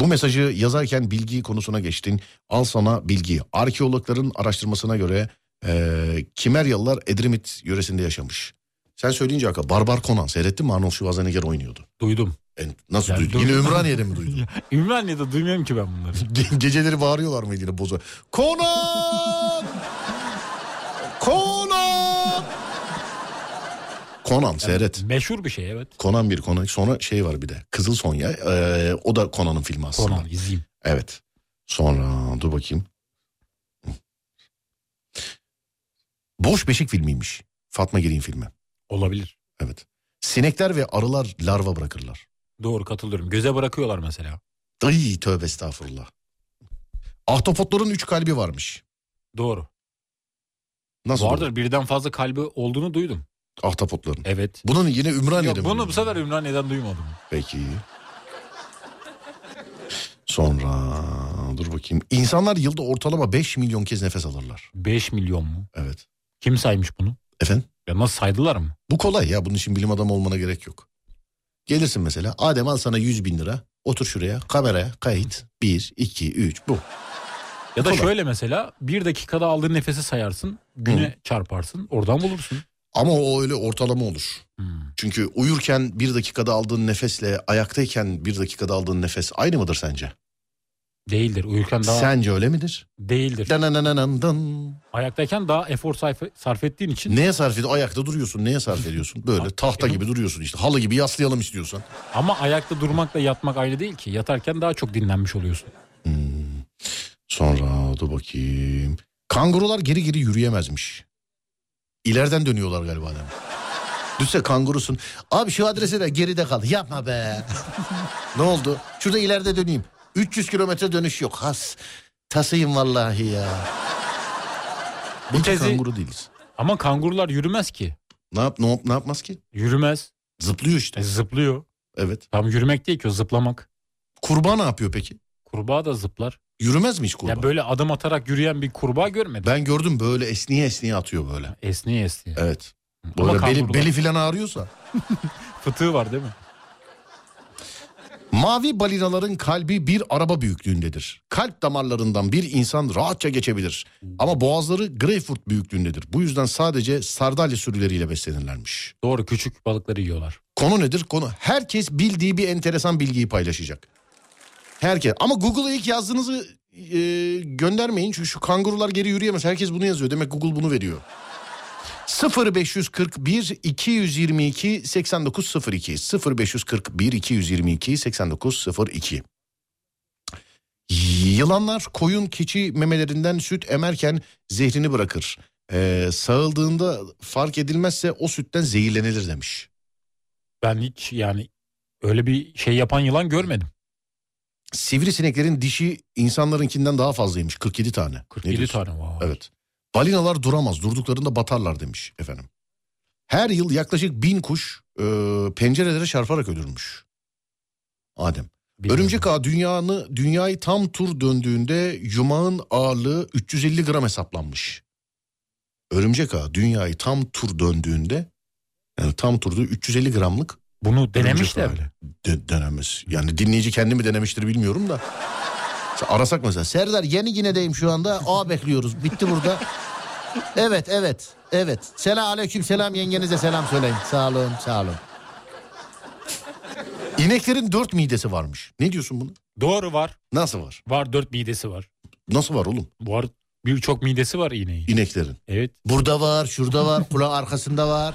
[SPEAKER 1] bu mesajı yazarken bilgi konusuna geçtin. Al sana bilgi. Arkeologların araştırmasına göre ee, Kimeryalılar Edremit yöresinde yaşamış. Sen söyleyince Aka Barbar Konan seyrettin mi Arnold Schwarzenegger oynuyordu.
[SPEAKER 2] Duydum. (laughs)
[SPEAKER 1] En- nasıl
[SPEAKER 2] Yani
[SPEAKER 1] duydun?
[SPEAKER 2] duydum.
[SPEAKER 1] Yine Ümraniye'de mi duydun?
[SPEAKER 2] Ümraniye'de duymuyorum ki ben
[SPEAKER 1] (laughs)
[SPEAKER 2] bunları.
[SPEAKER 1] Ge- Geceleri bağırıyorlar mıydı yine boza? Conan! Conan! Conan seyret.
[SPEAKER 2] Meşhur bir şey evet.
[SPEAKER 1] Conan bir Conan. Sonra şey var bir de. Kızıl Sonya. Ee, o da Conan'ın filmi aslında.
[SPEAKER 2] Konan izleyeyim.
[SPEAKER 1] Evet. Sonra dur bakayım. Boş Beşik filmiymiş. Fatma Giri'nin filmi.
[SPEAKER 2] Olabilir.
[SPEAKER 1] Evet. Sinekler ve arılar larva bırakırlar.
[SPEAKER 2] Doğru katılıyorum. Göze bırakıyorlar mesela.
[SPEAKER 1] Ay tövbe estağfurullah. Ahtapotların üç kalbi varmış.
[SPEAKER 2] Doğru.
[SPEAKER 1] Nasıl?
[SPEAKER 2] Vardır birden fazla kalbi olduğunu duydum.
[SPEAKER 1] Ahtapotların.
[SPEAKER 2] Evet.
[SPEAKER 1] Bunun yine Ümraniye'de
[SPEAKER 2] Yok,
[SPEAKER 1] mi?
[SPEAKER 2] bunu bu sefer Ümraniye'den duymadım.
[SPEAKER 1] Peki. Sonra dur bakayım. İnsanlar yılda ortalama 5 milyon kez nefes alırlar.
[SPEAKER 2] 5 milyon mu?
[SPEAKER 1] Evet.
[SPEAKER 2] Kim saymış bunu?
[SPEAKER 1] Efendim?
[SPEAKER 2] Ya nasıl saydılar mı?
[SPEAKER 1] Bu kolay ya. Bunun için bilim adamı olmana gerek yok. Gelirsin mesela. Adem al sana 100 bin lira. Otur şuraya. Kameraya kayıt. 1, 2, 3. Bu.
[SPEAKER 2] Ya da
[SPEAKER 1] Kolay.
[SPEAKER 2] şöyle mesela bir dakikada aldığın nefesi sayarsın. Güne çarparsın. Oradan bulursun.
[SPEAKER 1] Ama o öyle ortalama olur.
[SPEAKER 2] Hmm.
[SPEAKER 1] Çünkü uyurken bir dakikada aldığın nefesle ayaktayken bir dakikada aldığın nefes aynı mıdır sence?
[SPEAKER 2] Değildir. Uyurken daha
[SPEAKER 1] Sence öyle midir?
[SPEAKER 2] değildir.
[SPEAKER 1] Dananananan dan.
[SPEAKER 2] Ayaktayken daha efor sarf, sarf ettiğin için
[SPEAKER 1] Neye sarf ediyorsun? Ayakta duruyorsun. Neye sarf ediyorsun? Böyle tahta gibi duruyorsun işte. Halı gibi yaslayalım istiyorsan.
[SPEAKER 2] ama ayakta durmakla yatmak ayrı değil ki. Yatarken daha çok dinlenmiş oluyorsun.
[SPEAKER 1] Hmm. Sonra dur bakayım. Kangurular geri geri yürüyemezmiş. İleriden dönüyorlar galiba adam. Düşse kangurusun. Abi şu adrese de geride kal. Yapma be. ne oldu? Şurada ileride döneyim. 300 kilometre dönüş yok. Has. Tasayım vallahi ya. Bu
[SPEAKER 2] tezi-
[SPEAKER 1] kanguru değiliz.
[SPEAKER 2] Ama kangurular yürümez ki.
[SPEAKER 1] Ne, yap, ne, yap- ne yapmaz ki?
[SPEAKER 2] Yürümez.
[SPEAKER 1] Zıplıyor işte.
[SPEAKER 2] E, zıplıyor.
[SPEAKER 1] Evet.
[SPEAKER 2] Tam yürümek değil ki o zıplamak.
[SPEAKER 1] Kurbağa ne yapıyor peki?
[SPEAKER 2] Kurbağa da zıplar.
[SPEAKER 1] Yürümez mi hiç kurbağa?
[SPEAKER 2] Ya böyle adım atarak yürüyen bir kurbağa görmedim.
[SPEAKER 1] Ben gördüm böyle esniye esniye atıyor böyle.
[SPEAKER 2] Esniye esniye.
[SPEAKER 1] Evet.
[SPEAKER 2] Ama
[SPEAKER 1] Böyle beli,
[SPEAKER 2] kangurular-
[SPEAKER 1] beli filan ağrıyorsa.
[SPEAKER 2] Fıtığı var değil mi?
[SPEAKER 1] Mavi balinaların kalbi bir araba büyüklüğündedir. Kalp damarlarından bir insan rahatça geçebilir. Ama boğazları greyfurt büyüklüğündedir. Bu yüzden sadece sardalya sürüleriyle beslenirlermiş.
[SPEAKER 2] Doğru küçük balıkları yiyorlar.
[SPEAKER 1] Konu nedir? Konu herkes bildiği bir enteresan bilgiyi paylaşacak. Herkes. Ama Google'a ilk yazdığınızı e, göndermeyin. Çünkü şu kangurular geri yürüyemez. Herkes bunu yazıyor. Demek Google bunu veriyor. 0541 222 8902 0541 222 8902 Yılanlar koyun keçi memelerinden süt emerken zehrini bırakır. Ee, sağıldığında fark edilmezse o sütten zehirlenilir demiş.
[SPEAKER 2] Ben hiç yani öyle bir şey yapan yılan görmedim.
[SPEAKER 1] Sivrisineklerin dişi insanlarınkinden daha fazlaymış. 47 tane. Ne
[SPEAKER 2] 47
[SPEAKER 1] diyorsun?
[SPEAKER 2] tane var.
[SPEAKER 1] Evet. Balinalar duramaz. Durduklarında batarlar demiş efendim. Her yıl yaklaşık bin kuş e, pencerelere çarparak ölürmüş. Adem.
[SPEAKER 2] Bilmiyorum.
[SPEAKER 1] Örümcek ağı dünyanı, dünyayı tam tur döndüğünde yumağın ağırlığı 350 gram hesaplanmış. Örümcek ağı dünyayı tam tur döndüğünde yani tam turda 350 gramlık
[SPEAKER 2] Bunu
[SPEAKER 1] Örümcek
[SPEAKER 2] denemişler.
[SPEAKER 1] ağı. de- denemez. Yani dinleyici kendi mi denemiştir bilmiyorum da. Mesela Arasak mesela. Serdar yeni Gine'deyim şu anda. A bekliyoruz. Bitti burada. Evet evet evet. Selam aleyküm selam yengenize selam söyleyin. Sağ olun sağ olun. İneklerin dört midesi varmış. Ne diyorsun bunu?
[SPEAKER 2] Doğru var.
[SPEAKER 1] Nasıl var?
[SPEAKER 2] Var dört midesi var.
[SPEAKER 1] Nasıl var oğlum
[SPEAKER 2] Var birçok midesi var iğneyi.
[SPEAKER 1] ineklerin?
[SPEAKER 2] Evet.
[SPEAKER 4] Burada var, şurada var, kulağı arkasında var.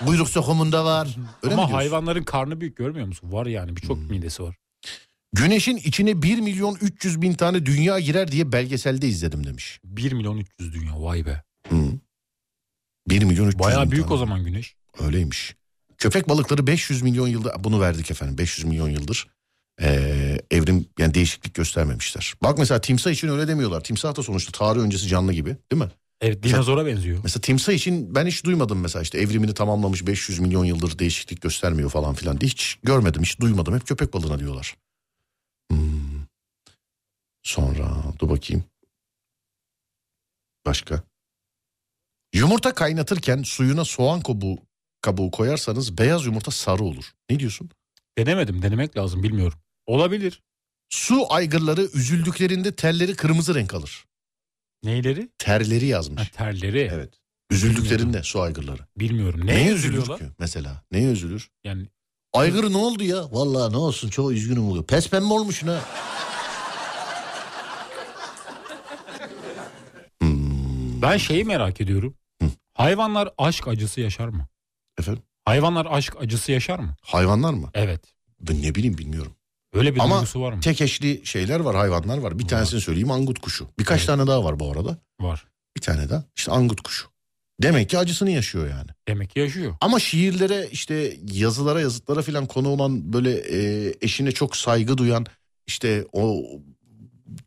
[SPEAKER 1] Buyruk sokumunda var. Öyle mi
[SPEAKER 2] Ama
[SPEAKER 1] diyorsun? Hmm.
[SPEAKER 2] hayvanların karnı büyük görmüyor musun? Var yani birçok midesi var.
[SPEAKER 1] Güneşin içine 1 milyon 300 bin tane dünya girer diye belgeselde izledim demiş.
[SPEAKER 2] 1 milyon 300 dünya vay be.
[SPEAKER 1] 1 milyon 300
[SPEAKER 2] Bayağı
[SPEAKER 1] bin
[SPEAKER 2] büyük
[SPEAKER 1] tane.
[SPEAKER 2] o zaman güneş.
[SPEAKER 1] Öyleymiş. Köpek balıkları 500 milyon yılda bunu verdik efendim 500 milyon yıldır Ee, evrim yani değişiklik göstermemişler. Bak mesela timsah için öyle demiyorlar. Timsah da sonuçta tarih öncesi canlı gibi değil mi?
[SPEAKER 2] Evet dinozora benziyor.
[SPEAKER 1] Mesela timsah için ben hiç duymadım mesela işte evrimini tamamlamış 500 milyon yıldır değişiklik göstermiyor falan filan diye hiç görmedim hiç duymadım hep köpek balığına diyorlar. Hmm. Sonra dur bakayım. Başka. Yumurta kaynatırken suyuna soğan kabuğu, kabuğu koyarsanız beyaz yumurta sarı olur. Ne diyorsun?
[SPEAKER 2] Denemedim denemek lazım bilmiyorum. Olabilir.
[SPEAKER 1] Su aygırları üzüldüklerinde terleri kırmızı renk alır.
[SPEAKER 2] Neyleri?
[SPEAKER 1] Terleri
[SPEAKER 2] Ha,
[SPEAKER 1] yazmış.
[SPEAKER 2] terleri.
[SPEAKER 1] Evet. Üzüldüklerinde su aygırları.
[SPEAKER 2] Bilmiyorum.
[SPEAKER 1] Neye
[SPEAKER 2] Neye
[SPEAKER 1] üzülür
[SPEAKER 2] üzülüyorlar?
[SPEAKER 1] ki mesela? Neye üzülür?
[SPEAKER 2] Yani
[SPEAKER 1] Aygır ne oldu ya?
[SPEAKER 4] Vallahi ne olsun çok üzgünüm oluyor. Pes pembe olmuşsun ha.
[SPEAKER 1] Hmm.
[SPEAKER 2] ben şeyi merak ediyorum. Hayvanlar aşk acısı yaşar mı?
[SPEAKER 1] Efendim?
[SPEAKER 2] Hayvanlar aşk acısı yaşar mı?
[SPEAKER 1] Hayvanlar mı?
[SPEAKER 2] Evet.
[SPEAKER 1] Ben ne bileyim bilmiyorum.
[SPEAKER 2] Öyle bir
[SPEAKER 1] Ama
[SPEAKER 2] duygusu var mı?
[SPEAKER 1] Tek eşli şeyler var, hayvanlar var. Bir tanesini söyleyeyim angut kuşu. Birkaç tane daha var bu arada.
[SPEAKER 2] var.
[SPEAKER 1] Bir tane daha. İşte angut kuşu. Demek ki acısını yaşıyor yani.
[SPEAKER 2] Demek ki yaşıyor.
[SPEAKER 1] Ama şiirlere işte yazılara yazıtlara filan konu olan böyle e, eşine çok saygı duyan işte o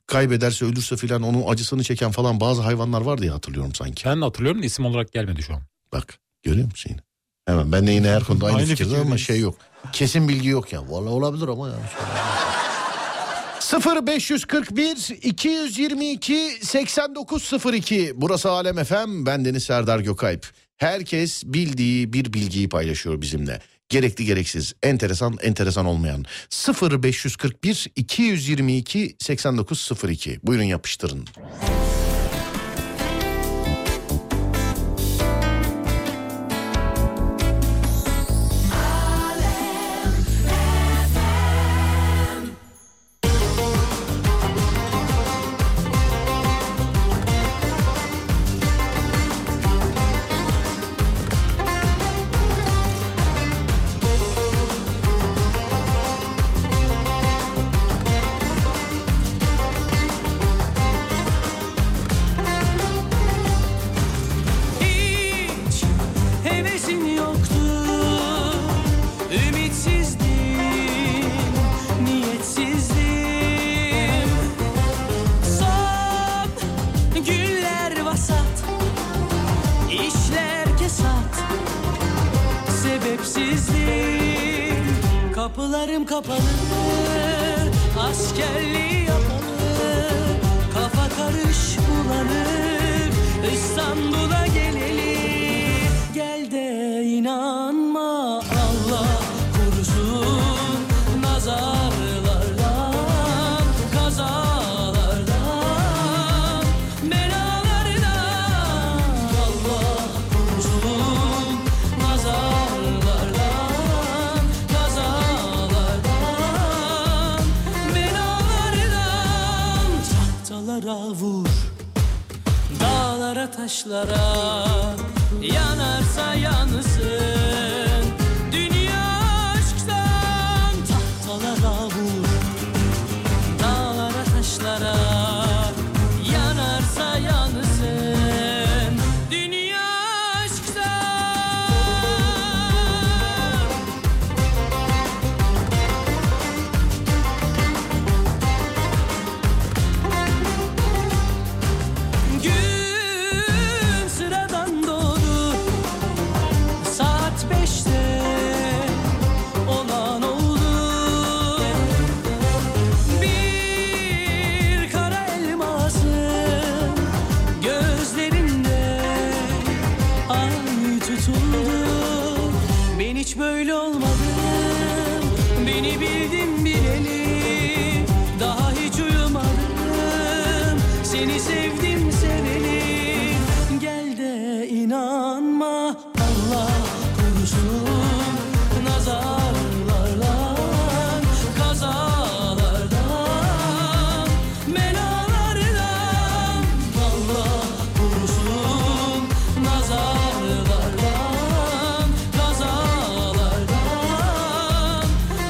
[SPEAKER 1] kaybederse ölürse filan onun acısını çeken falan bazı hayvanlar var diye hatırlıyorum sanki.
[SPEAKER 2] Ben de hatırlıyorum da isim olarak gelmedi şu an.
[SPEAKER 1] Bak görüyor musun yine? Hemen ben de yine her konuda aynı,
[SPEAKER 2] Aynı
[SPEAKER 1] fikirde ama
[SPEAKER 2] fikirdeyiz.
[SPEAKER 1] şey yok. Kesin bilgi yok ya. Vallahi olabilir ama ya. 0541 222 8902 Burası Alem FM. Ben Deniz Serdar Gökalp. Herkes bildiği bir bilgiyi paylaşıyor bizimle. Gerekli gereksiz, enteresan enteresan olmayan. 0541 222 8902 Buyurun yapıştırın.
[SPEAKER 5] Hiç hevesin yoktu, ümitsizdim, niyetsizdim. Son günler vasat, işler kesat, sebepsizdim. Kapılarım kapalı, askerliği yapalı, kafa karış bulanık. İstanbul'a gelelim, gel de inanma Allah korusun nazarlardan, kazalardan, belalardan. Allah korusun nazarlardan, kazalardan, belalardan. Tahtalara vur. Dağlara taşlara yanarsa yansın Dünya aşktan tahtalara vur Dağlara taşlara yanarsa yansın Dünya aşktan Gün sıradan doğdu Saat beşte olan oldu Bir kara elmasın gözlerinde ay tutuldu Ben hiç böyle olmadım Beni bildim bileli Daha hiç uyumadım Seni sevdim seveli Gel de inanma Allah korusun Nazarlardan Kazalardan Belalardan Allah korusun Nazarlardan Kazalardan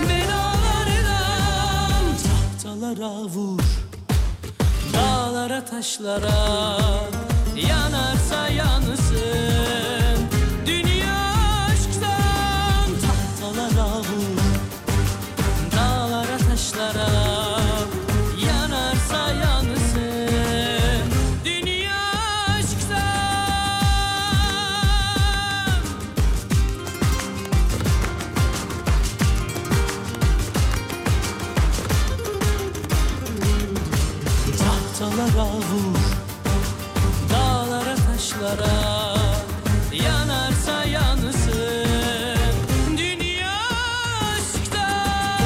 [SPEAKER 5] Belalardan Tahtalara vur Dağlara taşlara Yanarsa yansın Dünya aşktan Tahtalara vur Dağlara taşlara Yanarsa yansın Dünya aşktan Tahtalara vur Dağlara taşlara Yanarsa yansın Dünya aşktan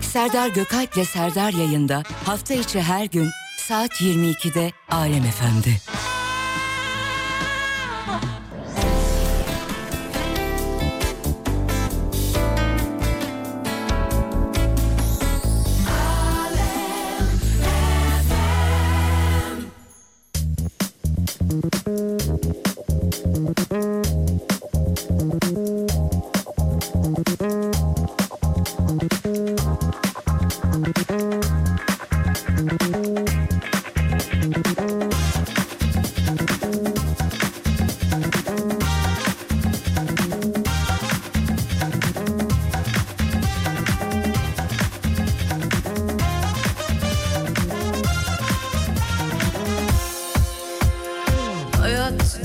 [SPEAKER 6] Serdar Gökalp ile Serdar yayında hafta içi her gün saat 22'de Alem Efendi.
[SPEAKER 5] Hayat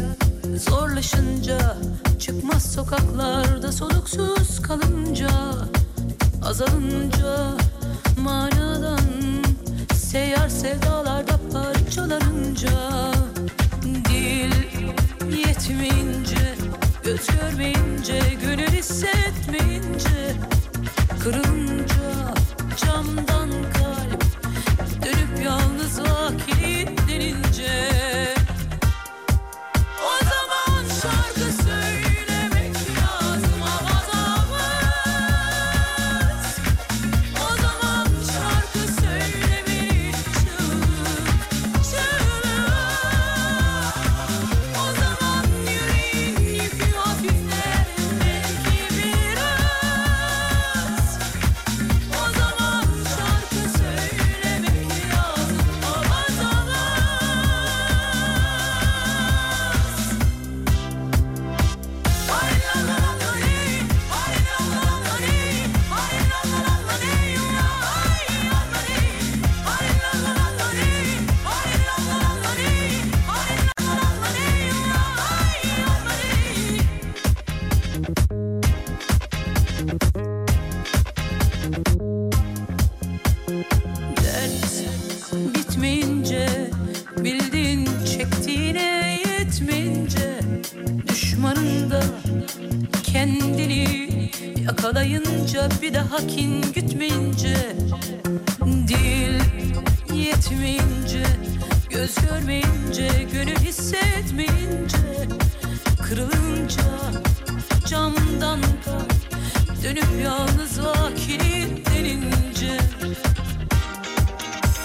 [SPEAKER 5] zorlaşınca Çıkmaz sokaklarda soluksuz kalınca Azalınca manadan Seyyar sevdalarda parçalanınca Dil yetmeyince Göz görmeyince Gönül hissetmeyince Kırılınca camdan kalp Dönüp yalnızlığa kilitlenince o zaman şarkı söylemek lazım azamet. O zaman şarkı söylemeli çığlık, çığlık. O zaman yüreğin yükü hafifler belki biraz. O zaman şarkı söylemek lazım azamet. Dert bitmeyince Bildiğin çektiğine yetmeyince Düşmanın da kendini yakalayınca bir daha kin gütmeyince Dil yetmeyince Göz görmeyince Gönül hissetmeyince Kırılınca camdan kalp Dönüp yalnızlığa kilitlenince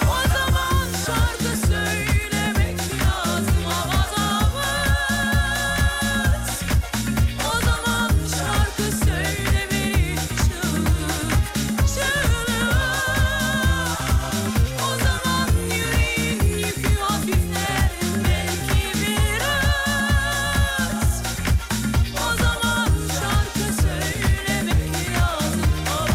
[SPEAKER 5] o zaman şarkı söylemek lazım azamet. O zaman şarkı söylemeli çığlık, çığlık. O zaman yüreğin yükü hafifler belki biraz. O zaman şarkı söylemek lazım azamet.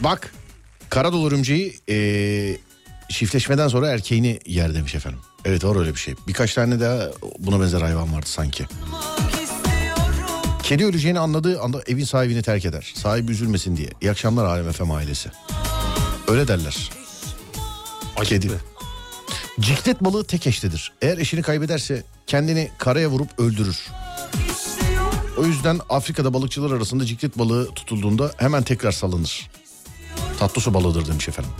[SPEAKER 1] Bak Karadolu örümceği eee, çiftleşmeden sonra erkeğini yer demiş efendim. Evet var öyle bir şey. Birkaç tane daha buna benzer hayvan vardı sanki.
[SPEAKER 5] Olmak istiyorum
[SPEAKER 1] Kedi öleceğini anladığı anda evin sahibini terk eder. Sahibi üzülmesin diye. İyi akşamlar Alem Efem ailesi. Öyle derler. Kedi. Ciklet balığı tek eşlidir. Eğer eşini kaybederse kendini karaya vurup öldürür.
[SPEAKER 5] istiyorum
[SPEAKER 1] O yüzden Afrika'da balıkçılar arasında ciklet balığı tutulduğunda hemen tekrar salınır. Tatlı su balığıdır demiş efendim.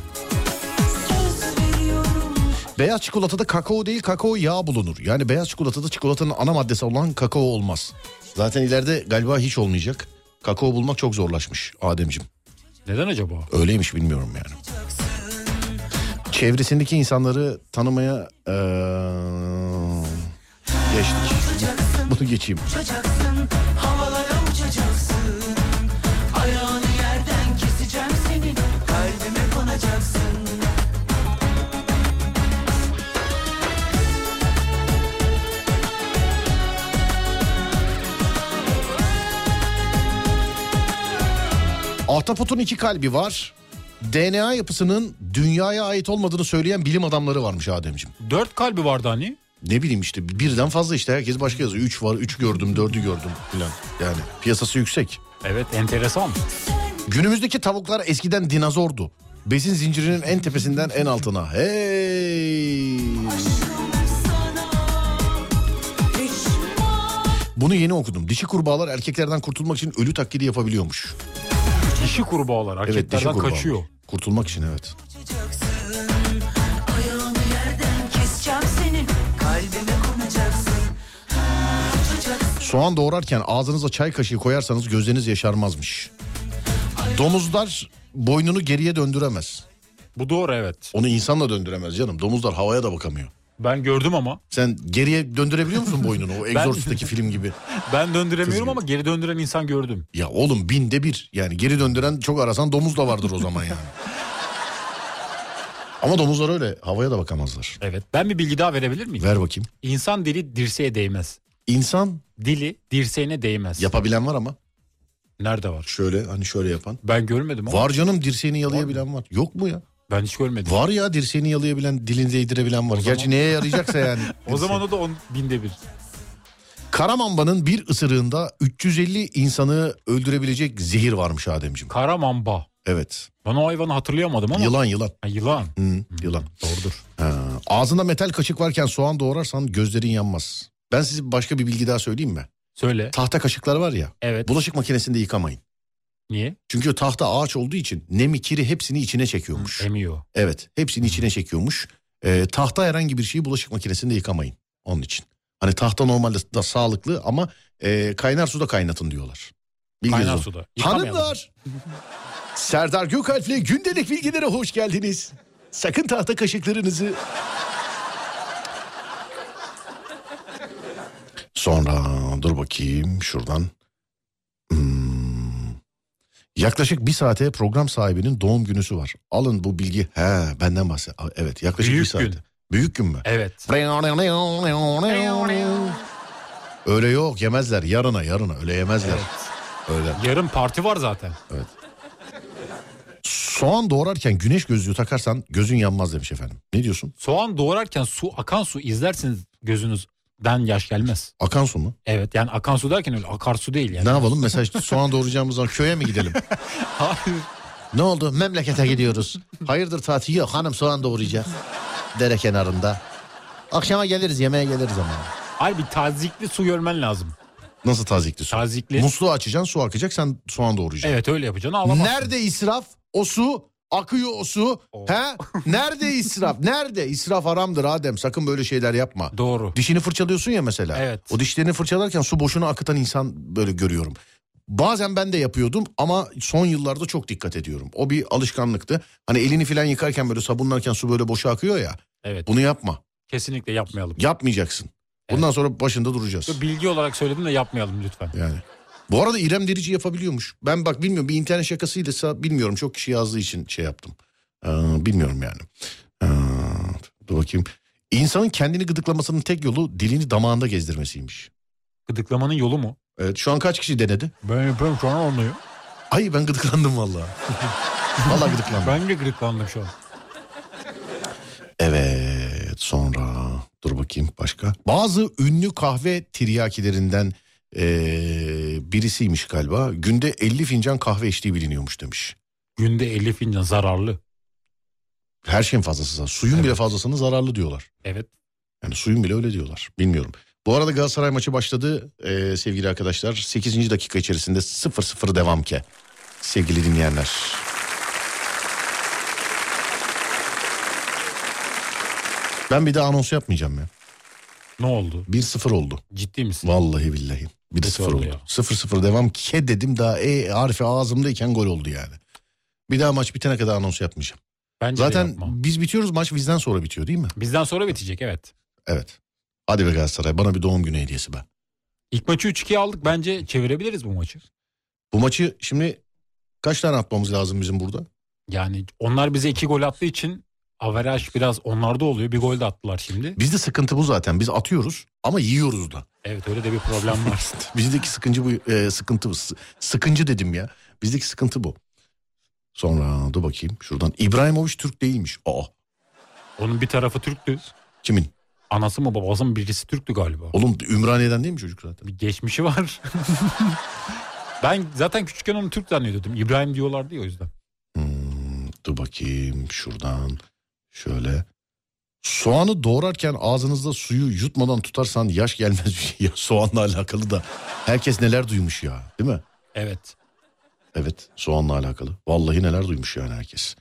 [SPEAKER 5] söz veriyorum
[SPEAKER 1] Beyaz çikolatada kakao değil kakao yağı bulunur. Yani beyaz çikolatada çikolatanın ana maddesi olan kakao olmaz. Zaten ileride galiba hiç olmayacak. Kakao bulmak çok zorlaşmış Ademcim.
[SPEAKER 2] Neden acaba?
[SPEAKER 1] Öyleymiş bilmiyorum yani. Çevresindeki insanları tanımaya eee, geçtik. Bunu geçeyim.
[SPEAKER 3] uçacaksın Havalara uçacaksın Ayağını yerden keseceğim senin Kalbime konacaksın
[SPEAKER 1] Ahtapotun iki kalbi var. DNA yapısının dünyaya ait olmadığını söyleyen bilim adamları varmış Ademciğim.
[SPEAKER 2] Dört kalbi vardı hani.
[SPEAKER 1] Ne bileyim işte birden fazla işte herkes başka yazıyor. Üç var, üç gördüm, dördü gördüm filan. Yani piyasası yüksek.
[SPEAKER 2] Evet enteresan.
[SPEAKER 1] Günümüzdeki tavuklar eskiden dinozordu. Besin zincirinin en tepesinden en altına. Hey! Bunu yeni okudum. Dişi kurbağalar erkeklerden kurtulmak için ölü taklidi yapabiliyormuş.
[SPEAKER 2] Dişi kurbağalar
[SPEAKER 1] Evet dişi
[SPEAKER 2] erkeklerden
[SPEAKER 1] kurbağalar.
[SPEAKER 2] kaçıyor.
[SPEAKER 1] Kurtulmak için evet.
[SPEAKER 3] Ayağını yerden keseceğim senin Kalbime konacaksın
[SPEAKER 1] Soğan doğrarken ağzınıza çay kaşığı koyarsanız gözleriniz yaşarmazmış. Domuzlar boynunu geriye döndüremez.
[SPEAKER 2] Bu doğru evet.
[SPEAKER 1] Onu insanla döndüremez canım. Domuzlar havaya da bakamıyor.
[SPEAKER 2] Ben gördüm ama.
[SPEAKER 1] Sen geriye döndürebiliyor musun boynunu?
[SPEAKER 2] (laughs)
[SPEAKER 1] O Exorcist'taki film gibi.
[SPEAKER 2] Ben döndüremiyorum
[SPEAKER 1] Kızgın.
[SPEAKER 2] ama geri döndüren insan gördüm.
[SPEAKER 1] Ya oğlum binde bir. Yani geri döndüren çok arasan domuz da vardır o zaman
[SPEAKER 2] (laughs)
[SPEAKER 1] yani. Ama domuzlar öyle havaya da bakamazlar.
[SPEAKER 2] Evet. Ben bir bilgi daha verebilir miyim?
[SPEAKER 1] Ver bakayım.
[SPEAKER 2] İnsan dili dirseğe değmez.
[SPEAKER 1] İnsan
[SPEAKER 2] Dili dirseğine değmez.
[SPEAKER 1] yapabilen var ama
[SPEAKER 2] Nerede var?
[SPEAKER 1] şöyle hani şöyle yapan.
[SPEAKER 2] Ben görmedim ama.
[SPEAKER 1] Var canım dirseğini yalayabilen var. Yok mu ya?
[SPEAKER 2] Ben hiç görmedim.
[SPEAKER 1] Var ya dirseğini yalayabilen, dilini değdirebilen var. Gerçi neye yarayacaksa yani.
[SPEAKER 2] (laughs) O zaman o da on binde bir.
[SPEAKER 1] Karamamba'nın bir ısırığında 350 insanı öldürebilecek zehir varmış Ademciğim.
[SPEAKER 2] Karamamba.
[SPEAKER 1] Evet.
[SPEAKER 2] Ben o hayvanı hatırlayamadım ama.
[SPEAKER 1] Yılan yılan.
[SPEAKER 2] Ha, yılan.
[SPEAKER 1] Hı, yılan.
[SPEAKER 2] Doğrudur.
[SPEAKER 1] Ha, Ağzında metal kaşık varken soğan doğrarsan gözlerin yanmaz. Ben size başka bir bilgi daha söyleyeyim mi?
[SPEAKER 2] Söyle.
[SPEAKER 1] Tahta kaşıklar var ya.
[SPEAKER 2] Evet.
[SPEAKER 1] Bulaşık makinesinde yıkamayın.
[SPEAKER 2] Niye?
[SPEAKER 1] Çünkü o tahta ağaç olduğu için nemi kiri hepsini içine çekiyormuş.
[SPEAKER 2] Emiyor.
[SPEAKER 1] Evet hepsini içine çekiyormuş. Ee, tahta herhangi bir şeyi bulaşık makinesinde yıkamayın onun için. Hani tahta normalde da sağlıklı ama e, kaynar suda kaynatın diyorlar. Bilginiz
[SPEAKER 2] Kaynar
[SPEAKER 1] olsun.
[SPEAKER 2] suda. Yıkamayalım.
[SPEAKER 1] Hanımlar. Serdar Gökalp'le gündelik bilgilere hoş geldiniz. Sakın tahta kaşıklarınızı... Sonra dur bakayım şuradan. Hmm. Yaklaşık bir saate program sahibinin doğum günüsü var. Alın bu bilgi. He benden bahset. Aa, Evet yaklaşık
[SPEAKER 2] Büyük
[SPEAKER 1] bir saat.
[SPEAKER 2] gün.
[SPEAKER 1] Büyük gün mü?
[SPEAKER 2] Evet.
[SPEAKER 1] Öyle yok yemezler yarına yarına öyle yemezler. Öyle.
[SPEAKER 2] Yarın parti var zaten.
[SPEAKER 1] Soğan doğrarken güneş gözlüğü takarsan gözün yanmaz demiş efendim. Ne diyorsun?
[SPEAKER 2] Soğan doğrarken su akan su izlersiniz gözünüzden yaş gelmez.
[SPEAKER 1] Akan su mu?
[SPEAKER 2] Evet yani akan su derken öyle akarsu değil yani.
[SPEAKER 1] Ne yapalım mesela işte soğan doğrayacağımız zaman köye mi gidelim?
[SPEAKER 2] (laughs) Hayır.
[SPEAKER 1] ne oldu? Memlekete gidiyoruz. Hayırdır tatil yok hanım soğan doğrayacak. Dere kenarında. Akşama geliriz yemeğe geliriz ama.
[SPEAKER 2] Hayır bir tazikli su görmen lazım.
[SPEAKER 1] Nasıl tazikli su?
[SPEAKER 2] Tazikli.
[SPEAKER 1] Musluğu açacaksın su akacak sen soğan doğrayacaksın.
[SPEAKER 2] Evet öyle yapacaksın ağlamazsın.
[SPEAKER 1] Nerede israf? O su akıyor o su.
[SPEAKER 2] O.
[SPEAKER 1] He? Nerede israf? Nerede? İsraf haramdır Adem. Sakın böyle şeyler yapma.
[SPEAKER 2] Doğru.
[SPEAKER 1] Dişini fırçalıyorsun ya mesela.
[SPEAKER 2] Evet.
[SPEAKER 1] O dişlerini fırçalarken su boşuna akıtan insan böyle görüyorum. Bazen ben de yapıyordum ama son yıllarda çok dikkat ediyorum. O bir alışkanlıktı. Hani elini falan yıkarken böyle sabunlarken su böyle boşa akıyor ya.
[SPEAKER 2] Evet
[SPEAKER 1] Bunu yapma.
[SPEAKER 2] kesinlikle yapmayalım.
[SPEAKER 1] Yapmayacaksın. Bundan sonra başında duracağız.
[SPEAKER 2] Bilgi olarak söyledim de yapmayalım lütfen.
[SPEAKER 1] Yani. Bu arada İrem Derici yapabiliyormuş. Ben bak bilmiyorum bir internet şakasıyla bilmiyorum çok kişi yazdığı için şey yaptım. Ee, bilmiyorum yani. Ee, dur bakayım. İnsanın kendini gıdıklamasının tek yolu dilini damağında gezdirmesiymiş.
[SPEAKER 2] Gıdıklamanın yolu mu?
[SPEAKER 1] Evet, şu an kaç kişi denedi?
[SPEAKER 2] Ben yapıyorum şu an olmuyor.
[SPEAKER 1] (laughs) Ay ben gıdıklandım valla.
[SPEAKER 4] Vallahi gıdıklandım.
[SPEAKER 2] Ben de gırtlandım şu an.
[SPEAKER 1] Evet sonra dur bakayım başka. Bazı ünlü kahve tiryakilerinden eee, birisiymiş galiba. Günde 50 fincan kahve içtiği biliniyormuş demiş.
[SPEAKER 2] Günde 50 fincan zararlı.
[SPEAKER 1] Her şeyin fazlası zarar- Suyun bile fazlasını zararlı diyorlar.
[SPEAKER 2] Evet.
[SPEAKER 1] Yani suyun bile öyle diyorlar. Bilmiyorum. Bu arada Galatasaray maçı başladı eee, sevgili arkadaşlar. 8. dakika içerisinde 0-0 devam ke. Sevgili dinleyenler. Ben bir daha anons yapmayacağım ya.
[SPEAKER 2] Ne oldu?
[SPEAKER 1] 1-0 oldu.
[SPEAKER 2] Ciddi misin?
[SPEAKER 1] Vallahi billahi. Bir de
[SPEAKER 2] Kötü
[SPEAKER 1] sıfır
[SPEAKER 2] oldu
[SPEAKER 1] oldu.
[SPEAKER 2] ya.
[SPEAKER 1] Sıfır sıfır devam ke dedim daha e harfi ağzımdayken gol oldu yani. Bir daha maç bitene kadar anons yapmayacağım.
[SPEAKER 2] Bence de
[SPEAKER 1] Zaten
[SPEAKER 2] şey yapma.
[SPEAKER 1] biz bitiyoruz maç bizden sonra bitiyor değil mi?
[SPEAKER 2] Bizden sonra bitecek evet.
[SPEAKER 1] Evet. Hadi be Galatasaray bana bir doğum günü hediyesi be.
[SPEAKER 2] İlk maçı 3-2 aldık. Bence çevirebiliriz bu maçı.
[SPEAKER 1] Bu maçı şimdi kaç tane atmamız lazım bizim burada?
[SPEAKER 2] Yani onlar bize 2 gol attığı için averaj biraz onlarda oluyor. Bir gol de attılar şimdi.
[SPEAKER 1] Bizde sıkıntı bu zaten. Biz atıyoruz ama yiyoruz da. (laughs)
[SPEAKER 2] Evet öyle de bir problem var.
[SPEAKER 1] Bizdeki sıkıntı bu e, sıkıntı bu. S- Sıkıncı dedim ya. Bizdeki sıkıntı bu. Sonra dur bakayım şuradan. İbrahimovic Türk değilmiş. Aa
[SPEAKER 2] Onun bir tarafı Türktü.
[SPEAKER 1] kimin?
[SPEAKER 2] Anası mı babası mı birisi Türktü galiba.
[SPEAKER 1] Oğlum Ümraniye'den değil mi çocuk zaten?
[SPEAKER 2] Bir geçmişi var. (laughs) ben zaten küçükken onu Türk zannediyordum. İbrahim diyorlardı ya o yüzden.
[SPEAKER 1] Hmm, dur bakayım şuradan şöyle. Soğanı doğrarken ağzınızda suyu yutmadan tutarsan yaş gelmez. şey. (laughs) ya soğanla alakalı da herkes neler duymuş ya değil mi?
[SPEAKER 2] Evet.
[SPEAKER 1] Evet soğanla alakalı. Vallahi neler duymuş yani herkes.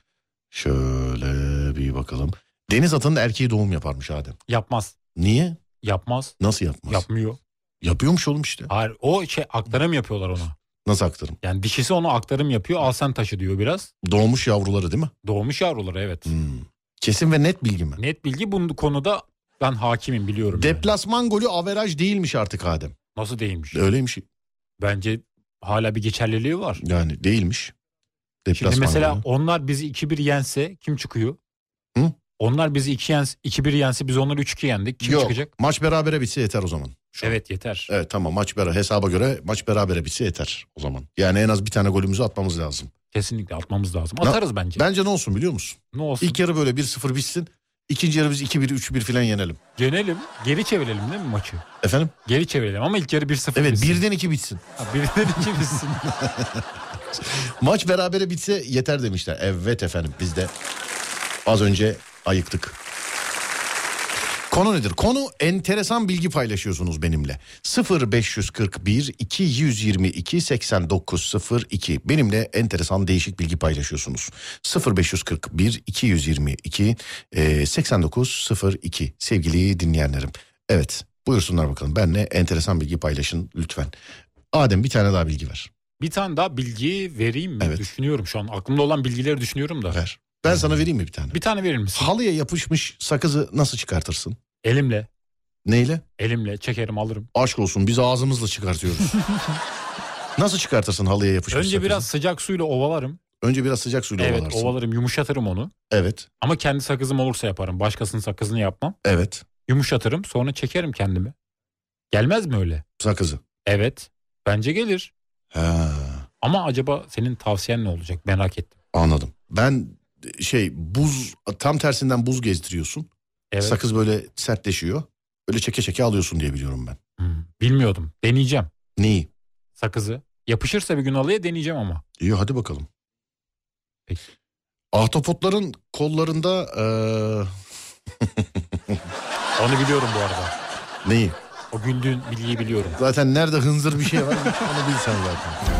[SPEAKER 1] Şöyle bir bakalım. Deniz atının erkeği doğum yaparmış Adem.
[SPEAKER 2] Yapmaz.
[SPEAKER 1] Niye?
[SPEAKER 2] Yapmaz.
[SPEAKER 1] Nasıl yapmaz?
[SPEAKER 2] Yapmıyor.
[SPEAKER 1] Yapıyormuş oğlum işte.
[SPEAKER 2] Hayır o şey aktarım yapıyorlar ona.
[SPEAKER 1] Nasıl aktarım?
[SPEAKER 2] Yani dişisi onu aktarım yapıyor. Al sen taşı diyor biraz.
[SPEAKER 1] Doğmuş yavruları değil mi?
[SPEAKER 2] Doğmuş yavruları evet.
[SPEAKER 1] Hmm. Kesin ve net bilgi mi?
[SPEAKER 2] Net bilgi bu konuda ben hakimim biliyorum. yani.
[SPEAKER 1] Deplasman golü averaj değilmiş artık Adem.
[SPEAKER 2] Nasıl değilmiş?
[SPEAKER 1] Öyleymiş.
[SPEAKER 2] Bence hala bir geçerliliği var.
[SPEAKER 1] Yani değilmiş.
[SPEAKER 2] Şimdi
[SPEAKER 1] Deplasman
[SPEAKER 2] mesela
[SPEAKER 1] golü.
[SPEAKER 2] onlar bizi 2-1 yense kim çıkıyor?
[SPEAKER 1] Hı?
[SPEAKER 2] Onlar bizi 2 yens 2-1 yense biz onları 3-2 yendik. Kim
[SPEAKER 1] Yok,
[SPEAKER 2] çıkacak?
[SPEAKER 1] Maç berabere bitse yeter o zaman. Şu an.
[SPEAKER 2] Evet yeter.
[SPEAKER 1] Evet tamam maç beraber hesaba göre maç berabere bitse yeter o zaman. Yani en az bir tane golümüzü atmamız lazım.
[SPEAKER 2] Kesinlikle atmamız lazım.
[SPEAKER 1] Ne-
[SPEAKER 2] Atarız bence.
[SPEAKER 1] Bence ne olsun biliyor musun?
[SPEAKER 2] Ne olsun?
[SPEAKER 1] İlk yarı böyle 1-0 bitsin. İkinci yarı biz 2-1 3-1 falan yenelim.
[SPEAKER 2] Yenelim. Geri çevirelim değil mi maçı?
[SPEAKER 1] Efendim?
[SPEAKER 2] Geri çevirelim ama ilk yarı 1-0
[SPEAKER 1] Evet
[SPEAKER 2] bitsin.
[SPEAKER 1] birden 2 bitsin.
[SPEAKER 2] Ha, birden
[SPEAKER 1] (laughs)
[SPEAKER 2] iki bitsin.
[SPEAKER 1] Maç berabere bitse yeter demişler. Evet efendim biz de az önce ayıktık. Konu nedir? Konu enteresan bilgi paylaşıyorsunuz benimle. 0541 222 8902 benimle enteresan değişik bilgi paylaşıyorsunuz. 0541 222 eee, 8902 sevgili dinleyenlerim. Evet buyursunlar bakalım benle enteresan bilgi paylaşın lütfen. Adem bir tane daha bilgi ver.
[SPEAKER 2] Bir tane daha bilgi vereyim mi?
[SPEAKER 1] Evet.
[SPEAKER 2] Düşünüyorum şu an. Aklımda olan bilgileri düşünüyorum da.
[SPEAKER 1] Ver. Ben sana vereyim mi bir tane?
[SPEAKER 2] Bir tane verir misin?
[SPEAKER 1] Halıya yapışmış sakızı nasıl çıkartırsın?
[SPEAKER 2] Elimle.
[SPEAKER 1] Neyle?
[SPEAKER 2] Elimle çekerim alırım.
[SPEAKER 1] Aşk olsun biz ağzımızla çıkartıyoruz. nasıl çıkartırsın halıya yapışmış
[SPEAKER 2] Önce
[SPEAKER 1] sakızı?
[SPEAKER 2] biraz sıcak suyla ovalarım.
[SPEAKER 1] Önce biraz sıcak suyla
[SPEAKER 2] evet
[SPEAKER 1] ovalarsın.
[SPEAKER 2] ovalarım yumuşatırım onu.
[SPEAKER 1] Evet,
[SPEAKER 2] Ama kendi sakızım olursa yaparım. Başkasının sakızını yapmam.
[SPEAKER 1] evet.
[SPEAKER 2] Yumuşatırım sonra çekerim kendimi. Gelmez mi öyle?
[SPEAKER 1] Sakızı.
[SPEAKER 2] Evet. Bence gelir.
[SPEAKER 1] Ha,
[SPEAKER 2] Ama acaba senin tavsiyen ne olacak merak ettim.
[SPEAKER 1] anladım. Ben şey buz tam tersinden buz gezdiriyorsun.
[SPEAKER 2] Evet.
[SPEAKER 1] Sakız böyle sertleşiyor. Böyle çeke çeke alıyorsun diye biliyorum ben.
[SPEAKER 2] Hmm, bilmiyordum. Deneyeceğim
[SPEAKER 1] Neyi?
[SPEAKER 2] sakızı. Yapışırsa bir gün alaya deneyeceğim ama.
[SPEAKER 1] İyi hadi bakalım.
[SPEAKER 2] Peki.
[SPEAKER 1] Ahtapotların kollarında
[SPEAKER 2] Onu biliyorum bu arada.
[SPEAKER 1] eee, neyi?
[SPEAKER 2] O güldüğün bilgiyi biliyorum.
[SPEAKER 1] Zaten nerede hınzır bir şey var onu bil sen zaten.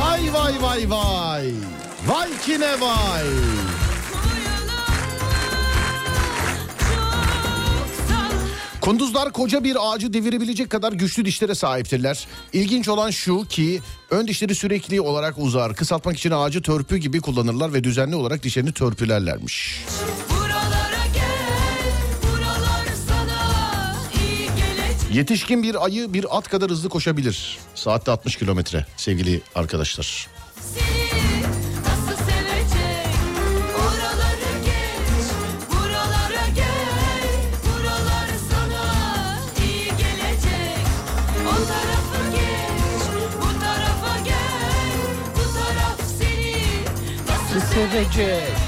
[SPEAKER 1] Vay vay. Vay ki ne vay. Kunduzlar koca bir ağacı devirebilecek kadar güçlü dişlere sahiptirler. İlginç olan şu ki ön dişleri sürekli olarak uzar. Kısaltmak için ağacı törpü gibi kullanırlar ve düzenli olarak dişlerini törpülerlermiş.
[SPEAKER 5] Buralara gel Buralar sana iyi gelecek
[SPEAKER 1] Yetişkin bir ayı bir at kadar hızlı koşabilir. Saatte 60 kilometre sevgili arkadaşlar.
[SPEAKER 5] seni Nasıl sevecek Buraları geç Buralara gel Buralar sana iyi gelecek O tarafa geç Bu tarafa gel Bu taraf seni Nasıl sevecek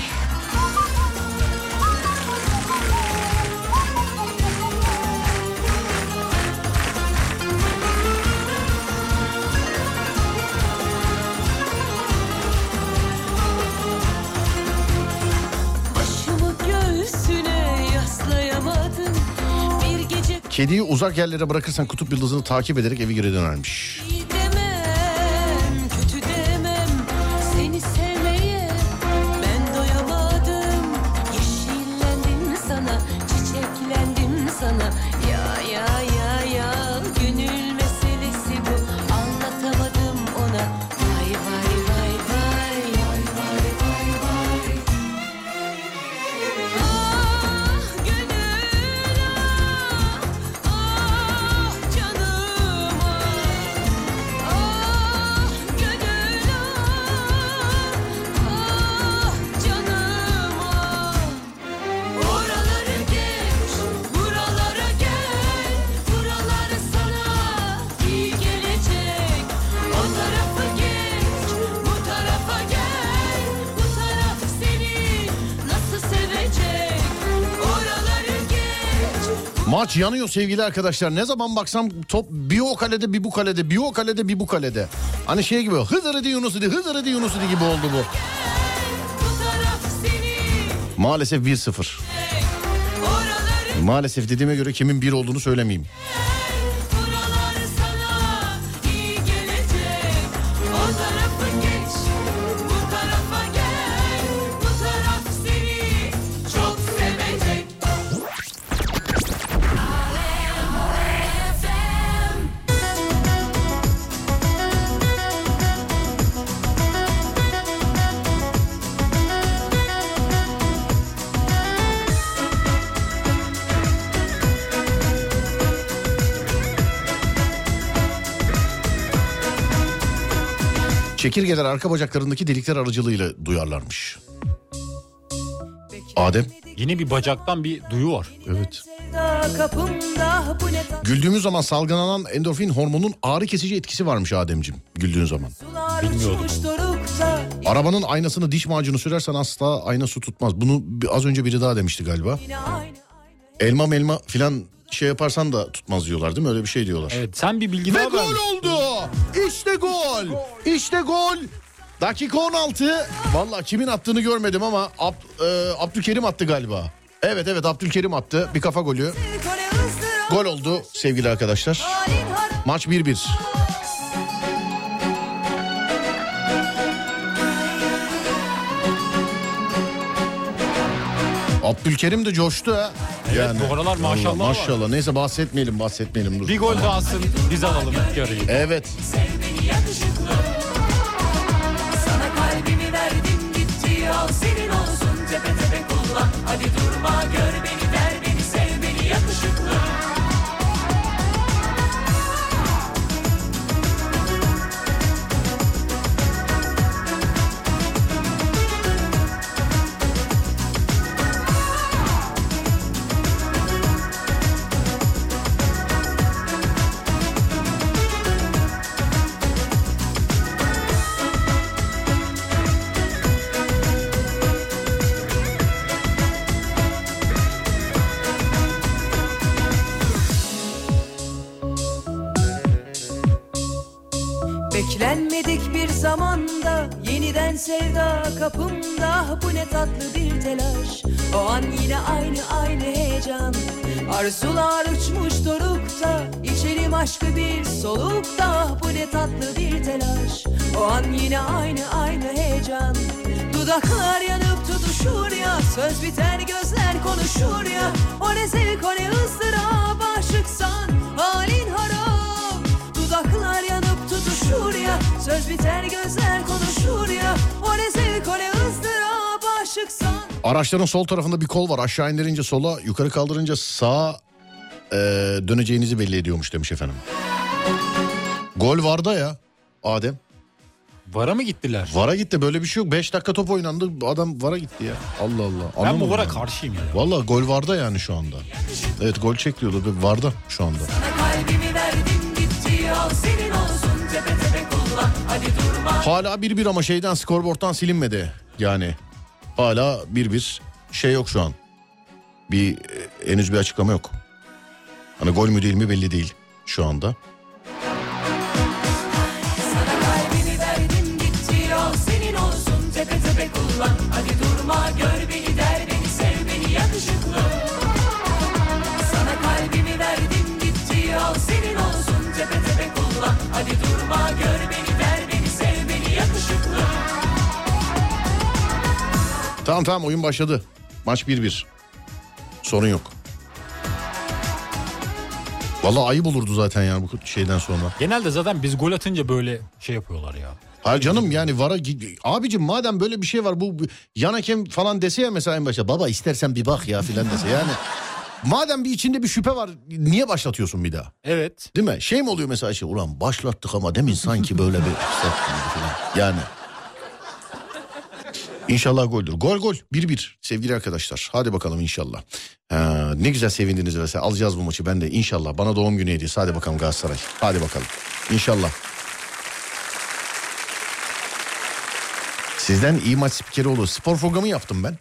[SPEAKER 5] Başımı göğsüne yaslayamadım Bir gece
[SPEAKER 1] Kediyi uzak yerlere bırakırsan kutup yıldızını takip ederek evi geri dönermiş.
[SPEAKER 5] İyi demem, kötü demem Seni sevmeye ben doyamadım Yeşillendim sana, çiçeklendim sana Ya ya ya ya gönül meselesi bu Anlatamadım ona Vay vay vay vay Vay vay vay vay Ah gönül ah Ah canım ah Ah gönül ah, ah canım ah Oraları geç, buralara gel Buralar sana iyi gelecek O tarafa geç, bu tarafa gel Bu taraf seni nasıl sevecek Oraları geç
[SPEAKER 1] Maç yanıyor sevgili arkadaşlar. Ne zaman baksam top bir o kalede bir bu kalede bir o kalede bir bu kalede. Hani şey gibi Hızır idi Yunus idi Hızır idi Yunus idi gibi oldu bu.
[SPEAKER 5] eh, Bu taraf seni eh.
[SPEAKER 1] Maalesef 1-0.
[SPEAKER 5] Oraları
[SPEAKER 1] Maalesef dediğime göre kimin bir olduğunu söylemeyeyim.
[SPEAKER 5] buralar sana iyi gelecek O tarafa geç bu tarafa gel Bu taraf seni çok sevecek Alem FM
[SPEAKER 1] Çekirgeler arka bacaklarındaki delikler aracılığıyla duyarlarmış. Adem.
[SPEAKER 2] Yine bir bacaktan bir duyu var.
[SPEAKER 1] Evet.
[SPEAKER 3] Sevda kapımda bu ne tatlı
[SPEAKER 1] Güldüğümüz zaman salgılanan endorfin hormonunun ağrı kesici etkisi varmış Ademcim güldüğün zaman.
[SPEAKER 3] sular
[SPEAKER 2] Bilmiyordum.
[SPEAKER 3] uçmuş dorukta
[SPEAKER 1] Arabanın aynasını diş macunu sürersen asla ayna su tutmaz. Bunu bir- az önce biri daha demişti galiba.
[SPEAKER 3] Yine aynı
[SPEAKER 1] Elma melma filan şey yaparsan da tutmaz diyorlar değil mi? Öyle bir şey diyorlar.
[SPEAKER 2] Evet sen bir bilgi
[SPEAKER 1] Ve
[SPEAKER 2] daha
[SPEAKER 1] gol
[SPEAKER 2] ver.
[SPEAKER 1] oldu. İşte gol. İşte gol. Dakika 16. Valla kimin attığını görmedim ama Ab- e, Abdülkerim attı galiba. Evet evet Abdülkerim attı. Bir kafa golü.
[SPEAKER 3] Kole ızdırap
[SPEAKER 1] Gol oldu sevgili arkadaşlar.
[SPEAKER 3] Halin harap
[SPEAKER 1] Maç 1-1. Abdülkerim de coştu ha. Evet
[SPEAKER 2] bu aralar maşallah var.
[SPEAKER 1] Maşallah. Neyse bahsetmeyelim bahsetmeyelim. Dur.
[SPEAKER 2] Bir gol daha atsın biz alalım ilk yarıyı.
[SPEAKER 1] Evet.
[SPEAKER 3] Sana kalbimi verdim gitti al senin olsun Tepe tepe kullan hadi durma gör beni ver beni sev beni yakışıklı Beklenmedik bir zamanda yeniden sevda kapımda bu ne tatlı bir telaş o an yine aynı aynı heyecan arzular uçmuş dorukta içerim aşkı bir solukta bu ne tatlı bir telaş O an yine aynı aynı heyecan Dudaklar yanıp tutuşur ya Söz biter gözler konuşur ya O ne zevk o ne ızdırap Aşıksan halin harap Dudaklar yanıp tutuşur ya Söz biter gözler konuşur ya O ne zevk o ne ızdırap Aşıksan
[SPEAKER 1] Araçların sol tarafında bir kol var. Aşağı indirince sola, yukarı kaldırınca sağa e, döneceğinizi belli ediyormuş demiş efendim. Gol vardı ya Adem.
[SPEAKER 2] Vara mı gittiler?
[SPEAKER 1] Vara gitti böyle bir şey yok. 5 dakika top oynandı adam vara gitti ya. Allah Allah.
[SPEAKER 2] ben bu
[SPEAKER 1] Anlamadım
[SPEAKER 2] vara
[SPEAKER 1] yani.
[SPEAKER 2] karşıyım ya.
[SPEAKER 1] Valla gol vardı yani şu anda. Evet gol çek diyordu. Bir Vardı şu anda.
[SPEAKER 3] Sana kalbimi verdim gitti al senin olsun Tepe tepe kullan hadi durma
[SPEAKER 1] Hala 1-1 ama şeyden skorboardtan silinmedi. Yani hala 1-1 şey yok şu an. Bir e, henüz bir açıklama yok. Hani gol mü değil mi belli değil şu anda.
[SPEAKER 3] Sana kalbimi verdim gitti al senin olsun tepe tepe kullan Hadi durma gör beni der beni sev beni yakışıklı Sana kalbimi verdim gitti al senin olsun tepe tepe kullan Hadi durma gör beni der beni sev beni yakışıklı
[SPEAKER 1] Tamam tamam oyun başladı. Maç 1-1. Sorun yok. Valla ayıp olurdu zaten yani bu şeyden sonra.
[SPEAKER 2] Genelde zaten biz gol atınca böyle şey yapıyorlar ya.
[SPEAKER 1] Hayır canım yani vara gi- abicim madem böyle bir şey var bu bu yan hakem falan dese ya mesela en başta baba istersen bir bak ya filan dese yani madem bir içinde bir şüphe var niye başlatıyorsun bir daha
[SPEAKER 2] Evet.
[SPEAKER 1] değil mi? Şey mi oluyor mesela şey ulan başlattık ama demin sanki böyle bir filan. yani İnşallah goldür. Gol gol 1-1 sevgili arkadaşlar. Hadi bakalım inşallah. Ee, ne güzel sevindiniz mesela. Alacağız bu maçı ben de inşallah. Bana doğum günü hediyesi. Hadi bakalım Galatasaray. Hadi bakalım. İnşallah. Sizden iyi maç spikeri olur. Spor programı yaptım ben.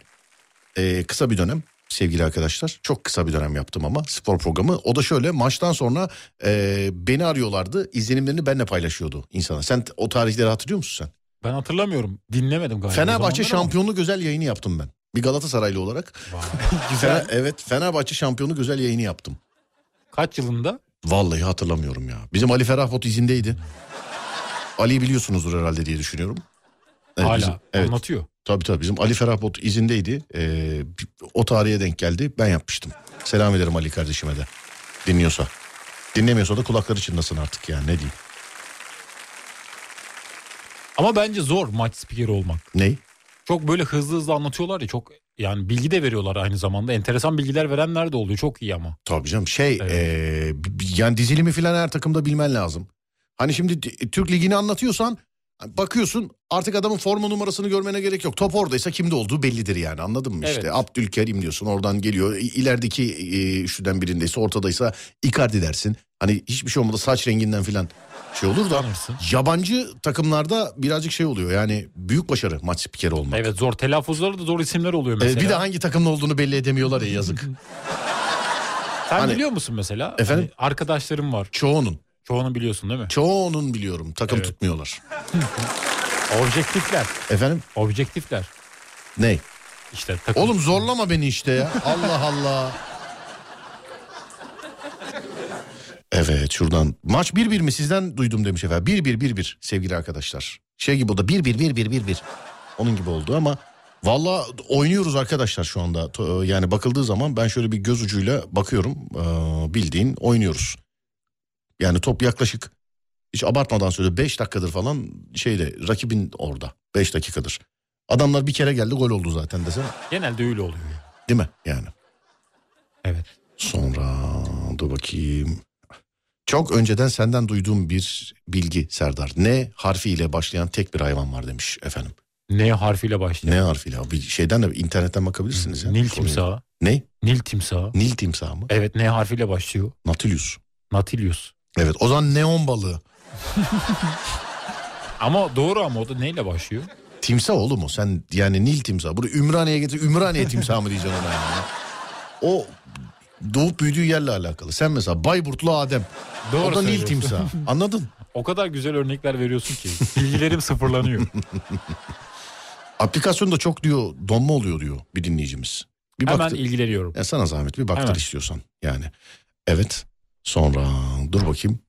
[SPEAKER 1] Ee, kısa bir dönem sevgili arkadaşlar. Çok kısa bir dönem yaptım ama spor programı. O da şöyle maçtan sonra e, beni arıyorlardı. İzlenimlerini benle paylaşıyordu insana. Sen o tarihleri hatırlıyor musun sen?
[SPEAKER 2] Ben hatırlamıyorum. Dinlemedim galiba.
[SPEAKER 1] Fenerbahçe
[SPEAKER 2] o zamanlar ama-
[SPEAKER 1] şampiyonluk özel yayını yaptım ben. Bir Galatasaraylı olarak. (laughs)
[SPEAKER 2] Vay.
[SPEAKER 1] Fena- evet Fenerbahçe şampiyonluk özel yayını yaptım.
[SPEAKER 2] Kaç yılında?
[SPEAKER 1] Vallahi hatırlamıyorum ya. Bizim Ali Ferahbot izindeydi.
[SPEAKER 2] Hmm.
[SPEAKER 1] Ali'yi biliyorsunuzdur herhalde diye düşünüyorum. Evet,
[SPEAKER 2] Hala
[SPEAKER 1] bizim- evet.
[SPEAKER 2] anlatıyor.
[SPEAKER 1] Tabii tabii bizim Ali Ferahbot izindeydi. Ee, o tarihe denk geldi. Ben yapmıştım. Selam ederim Ali kardeşime de. Dinliyorsa. Dinlemiyorsa da kulakları çınlasın artık ya ne diyeyim.
[SPEAKER 2] Ama bence zor maç spikeri olmak.
[SPEAKER 1] Ney?
[SPEAKER 2] Çok böyle hızlı hızlı anlatıyorlar ya çok yani bilgi de veriyorlar aynı zamanda. Enteresan bilgiler verenler de oluyor. Çok iyi ama.
[SPEAKER 1] Tabii canım şey
[SPEAKER 2] Evet.
[SPEAKER 1] eee, b- b- yani dizilimi filan her takımda bilmen lazım. Hani şimdi t- Türk Ligi'ni anlatıyorsan hani bakıyorsun artık adamın forma numarasını görmene gerek yok. Top oradaysa kimde olduğu bellidir yani anladın mı işte.
[SPEAKER 2] Evet.
[SPEAKER 1] Abdülkerim diyorsun oradan geliyor. İ- İlerideki eee, şuradan birindeyse ortadaysa Icardi dersin. Hani hiçbir şey olmadı saç renginden filan şey olur da.
[SPEAKER 2] Tanırsın.
[SPEAKER 1] Yabancı takımlarda birazcık şey oluyor yani büyük başarı maç spikeri olmak.
[SPEAKER 2] Evet zor telaffuzları da zor isimler oluyor
[SPEAKER 1] Ee,
[SPEAKER 2] mesela.
[SPEAKER 1] bir de hangi takımda olduğunu belli edemiyorlar ya yazık.
[SPEAKER 2] (laughs) Sen
[SPEAKER 1] hani-
[SPEAKER 2] biliyor musun mesela?
[SPEAKER 1] Efendim?
[SPEAKER 2] Hani arkadaşlarım var.
[SPEAKER 1] Çoğunun.
[SPEAKER 2] Çoğunu biliyorsun değil mi?
[SPEAKER 1] Çoğunun biliyorum takım
[SPEAKER 2] Evet.
[SPEAKER 1] tutmuyorlar.
[SPEAKER 2] Objektifler.
[SPEAKER 1] Efendim
[SPEAKER 2] Objektifler.
[SPEAKER 1] ne?
[SPEAKER 2] İşte takım.
[SPEAKER 1] Oğlum zorlama beni işte ya. Allah Allah. Evet şuradan. Maç 1-1 mi sizden duydum demiş efendim. 1-1-1-1 sevgili arkadaşlar. Şey gibi oldu 1-1-1-1-1-1. Onun gibi oldu ama valla oynuyoruz arkadaşlar şu anda. To- e, Yani bakıldığı zaman ben şöyle bir göz ucuyla bakıyorum. Ee, bildiğin oynuyoruz. Yani top yaklaşık hiç abartmadan söyle 5 dakikadır falan şeyde rakibin orada 5 dakikadır. Adamlar bir kere geldi gol oldu zaten desene.
[SPEAKER 2] Genelde öyle oluyor. ya.
[SPEAKER 1] Değil mi yani?
[SPEAKER 2] Evet.
[SPEAKER 1] Sonra dur bakayım. Çok önceden senden duyduğum bir bilgi Serdar. N harfiyle başlayan tek bir hayvan var demiş efendim.
[SPEAKER 2] N harfiyle başlıyor.
[SPEAKER 1] N harfiyle. Bir şeyden de internetten bakabilirsiniz. ya.
[SPEAKER 2] Nil
[SPEAKER 1] Soruyu.
[SPEAKER 2] timsahı.
[SPEAKER 1] Ne?
[SPEAKER 2] Nil timsahı.
[SPEAKER 1] Nil timsahı mı?
[SPEAKER 2] Evet N harfiyle başlıyor.
[SPEAKER 1] Nautilus.
[SPEAKER 2] Natilius.
[SPEAKER 1] Evet o zaman neon balığı.
[SPEAKER 2] Ama doğru ama o da neyle başlıyor?
[SPEAKER 1] Timsah oğlum o. Sen yani Nil timsahı. Burayı Ümraniye'ye getir. Ümraniye timsahı mı diyeceksin ona yani. O doğup büyüdüğü yerle alakalı. Sen mesela Bayburtlu Adem.
[SPEAKER 2] Doğru
[SPEAKER 1] o da Nil
[SPEAKER 2] söylüyorsun.
[SPEAKER 1] timsahı. Anladın?
[SPEAKER 2] O kadar güzel örnekler veriyorsun ki bilgilerim sıfırlanıyor.
[SPEAKER 1] Aplikasyonda çok diyor donma oluyor diyor bir dinleyicimiz. Bir
[SPEAKER 2] Hemen
[SPEAKER 1] baktı-
[SPEAKER 2] ilgileniyorum.
[SPEAKER 1] Ya sana zahmet bir baktır
[SPEAKER 2] Hemen.
[SPEAKER 1] istiyorsan yani. Evet. Sonra dur bakayım.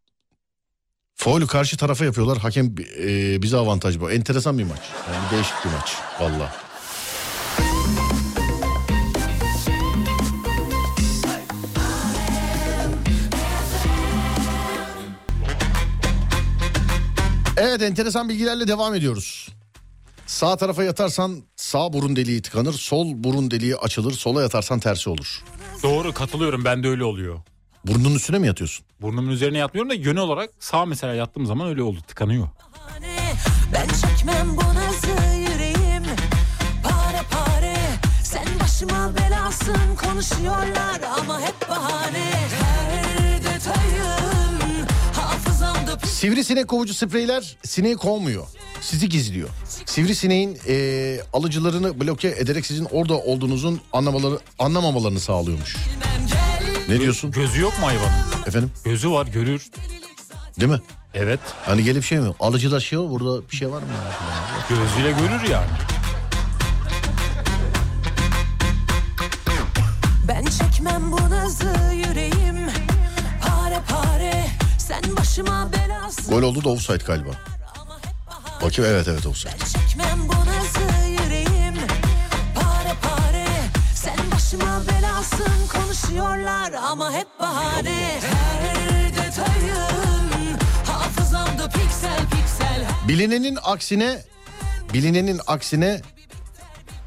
[SPEAKER 1] Faulü karşı tarafa yapıyorlar. Hakem e, bize avantaj bu. Enteresan bir maç. Yani değişik bir maç. Valla. Evet enteresan bilgilerle devam ediyoruz. Sağ tarafa yatarsan sağ burun deliği tıkanır, sol burun deliği açılır, sola yatarsan tersi olur.
[SPEAKER 2] Doğru katılıyorum ben de öyle oluyor.
[SPEAKER 1] Burnunun üstüne mi yatıyorsun?
[SPEAKER 2] Burnumun üzerine yatmıyorum da yönü olarak sağ mesela yattığım zaman öyle oldu tıkanıyor.
[SPEAKER 3] Ben çekmem bu nazı yüreğim Pare pare Sen başıma belasın Konuşuyorlar ama hep bahane Her detayım Hafızamda pis
[SPEAKER 1] Sivrisinek kovucu spreyler sineği kovmuyor. Sizi gizliyor. Sivrisineğin eee alıcılarını bloke ederek sizin orada olduğunuzun anlamaları, anlamamalarını sağlıyormuş. Ne diyorsun
[SPEAKER 2] Gözü yok mu hayvanın?
[SPEAKER 1] efendim?
[SPEAKER 2] Gözü var görür.
[SPEAKER 1] Değil mi?
[SPEAKER 2] Evet
[SPEAKER 1] Hani gelip şey mi? Alıcılaşıyor burada bir şey var mı? ya?
[SPEAKER 2] gözüyle görür yani.
[SPEAKER 3] Ben çekmem bu nazı yüreğim Pare pare Sen başıma belasın
[SPEAKER 1] Gol oldu da offside galiba.
[SPEAKER 3] ama hep bahane
[SPEAKER 1] Bakayım evet evet offside.
[SPEAKER 3] Çekmem bu nazı yüreğim Pare pare Sen başıma belasın Konuşuyorlar ama hep bahane Her detayım Hafızamda piksel piksel
[SPEAKER 1] Bilinenin aksine bilinenin aksine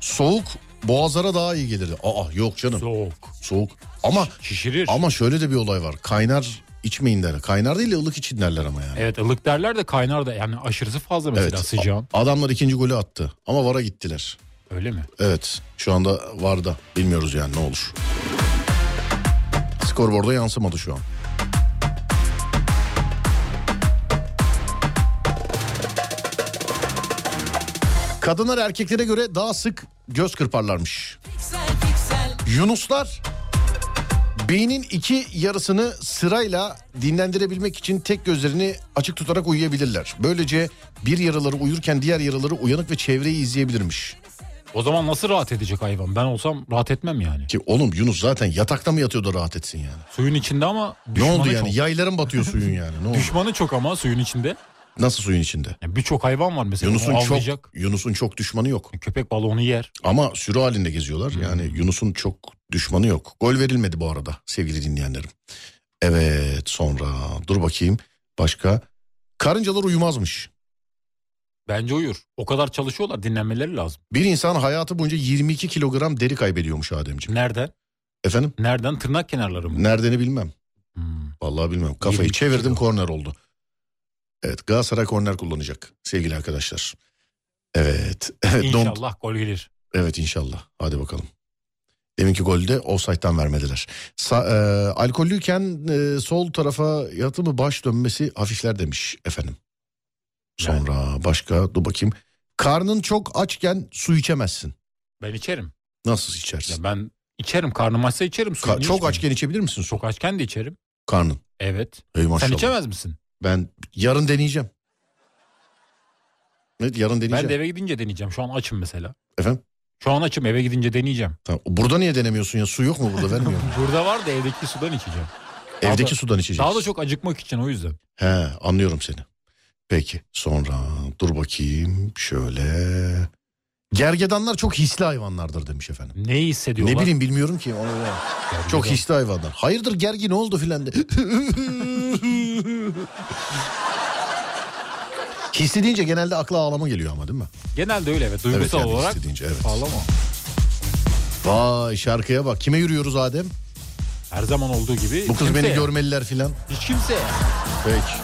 [SPEAKER 1] soğuk boğazlara daha iyi gelirdi. Aa yok canım.
[SPEAKER 2] Soğuk.
[SPEAKER 1] Soğuk. Ama
[SPEAKER 2] Şişirir.
[SPEAKER 1] ama şöyle de bir olay var. Kaynar içmeyin derler. Kaynar değil de ılık için derler ama yani.
[SPEAKER 2] Evet ılık derler de kaynar da yani aşırısı fazla mesela sıcağın.
[SPEAKER 1] a- Adamlar ikinci golü attı ama vara gittiler.
[SPEAKER 2] Öyle mi?
[SPEAKER 1] Evet. Şu anda varda. Bilmiyoruz yani ne olur. Skorboarda yansımadı şu an. Kadınlar erkeklere göre daha sık göz kırparlarmış.
[SPEAKER 3] piksel piksel
[SPEAKER 1] Yunuslar beynin iki yarısını sırayla dinlendirebilmek için tek gözlerini açık tutarak uyuyabilirler. Böylece bir yaraları uyurken diğer yaraları uyanık ve çevreyi izleyebilirmiş.
[SPEAKER 2] O zaman nasıl rahat edecek hayvan? Ben olsam rahat etmem yani.
[SPEAKER 1] Ki oğlum Yunus zaten yatakta mı yatıyor da rahat etsin yani?
[SPEAKER 2] Suyun içinde ama
[SPEAKER 1] Ne
[SPEAKER 2] düşmanı
[SPEAKER 1] oldu yani?
[SPEAKER 2] çok.
[SPEAKER 1] Yayların batıyor suyun yani. Ne oldu?
[SPEAKER 2] Düşmanı çok ama suyun içinde.
[SPEAKER 1] Nasıl suyun içinde?
[SPEAKER 2] Yani Birçok hayvan var mesela.
[SPEAKER 1] Yunus'un
[SPEAKER 2] onu
[SPEAKER 1] çok
[SPEAKER 2] avlayacak.
[SPEAKER 1] Yunus'un çok düşmanı yok.
[SPEAKER 2] Köpek balığı onu yer.
[SPEAKER 1] Ama sürü halinde geziyorlar. Yani Yunus'un çok düşmanı yok. Gol verilmedi bu arada sevgili dinleyenlerim. Evet sonra dur bakayım başka. Karıncalar uyumazmış.
[SPEAKER 2] Bence uyur. O kadar çalışıyorlar dinlenmeleri lazım.
[SPEAKER 1] Bir insan hayatı boyunca 22 kilogram deri kaybediyormuş Ademciğim.
[SPEAKER 2] Nereden?
[SPEAKER 1] Efendim?
[SPEAKER 2] Nereden? Tırnak kenarları mı?
[SPEAKER 1] Neredeni bilmem.
[SPEAKER 2] Hmm.
[SPEAKER 1] Vallahi bilmem. Kafayı
[SPEAKER 2] 22
[SPEAKER 1] çevirdim
[SPEAKER 2] kilo.
[SPEAKER 1] korner oldu. Evet Galatasaray korner kullanacak sevgili arkadaşlar. Evet. (laughs) evet Don-
[SPEAKER 2] İnşallah gol gelir.
[SPEAKER 1] Evet inşallah. Hadi bakalım. Deminki golde offside'dan vermediler. Sa- e, alkollüyken e, sol tarafa yatı mı baş dönmesi hafifler demiş efendim. Sonra başka dur bakayım. Karnın çok açken su içemezsin.
[SPEAKER 2] Ben içerim.
[SPEAKER 1] Nasıl
[SPEAKER 2] Ya
[SPEAKER 1] içersin?
[SPEAKER 2] ben içerim. Karnım açsa içerim.
[SPEAKER 1] Ka-
[SPEAKER 2] Suyunu
[SPEAKER 1] çok
[SPEAKER 2] içmeyeyim.
[SPEAKER 1] açken içebilir misin su?
[SPEAKER 2] Çok açken de içerim.
[SPEAKER 1] Karnın.
[SPEAKER 2] Evet.
[SPEAKER 1] Ey maşallah.
[SPEAKER 2] Sen içemez misin?
[SPEAKER 1] Ben yarın deneyeceğim. Evet yarın deneyeceğim.
[SPEAKER 2] Ben de eve gidince deneyeceğim. Şu an açım mesela.
[SPEAKER 1] Efendim?
[SPEAKER 2] Şu an açım eve gidince deneyeceğim.
[SPEAKER 1] Tamam. Burada niye denemiyorsun ya? Su yok mu burada? Vermiyor mu?
[SPEAKER 2] Burada var da evdeki sudan içeceğim. (laughs) Daha da-
[SPEAKER 1] Evdeki sudan içeceksin.
[SPEAKER 2] Daha da çok acıkmak için o yüzden.
[SPEAKER 1] He anlıyorum seni. Peki sonra dur bakayım şöyle. Gergedanlar çok hisli hayvanlardır demiş efendim.
[SPEAKER 2] Neyi hissediyorlar?
[SPEAKER 1] Ne bileyim bilmiyorum ki. Onu da-
[SPEAKER 2] Gergedan.
[SPEAKER 1] çok hisli hayvanlar. Hayırdır gergi ne oldu filan de. (laughs) hisli deyince genelde akla ağlama geliyor ama değil mi?
[SPEAKER 2] Genelde öyle evet. Duygusal
[SPEAKER 1] yani şey.
[SPEAKER 2] olarak
[SPEAKER 1] hissediğince, evet.
[SPEAKER 2] ağlama.
[SPEAKER 1] Vay şarkıya bak. Kime yürüyoruz Adem?
[SPEAKER 2] Her zaman olduğu gibi.
[SPEAKER 1] Bu kız
[SPEAKER 2] kimseye.
[SPEAKER 1] beni görmeliler filan.
[SPEAKER 2] Hiç kimse.
[SPEAKER 1] Peki.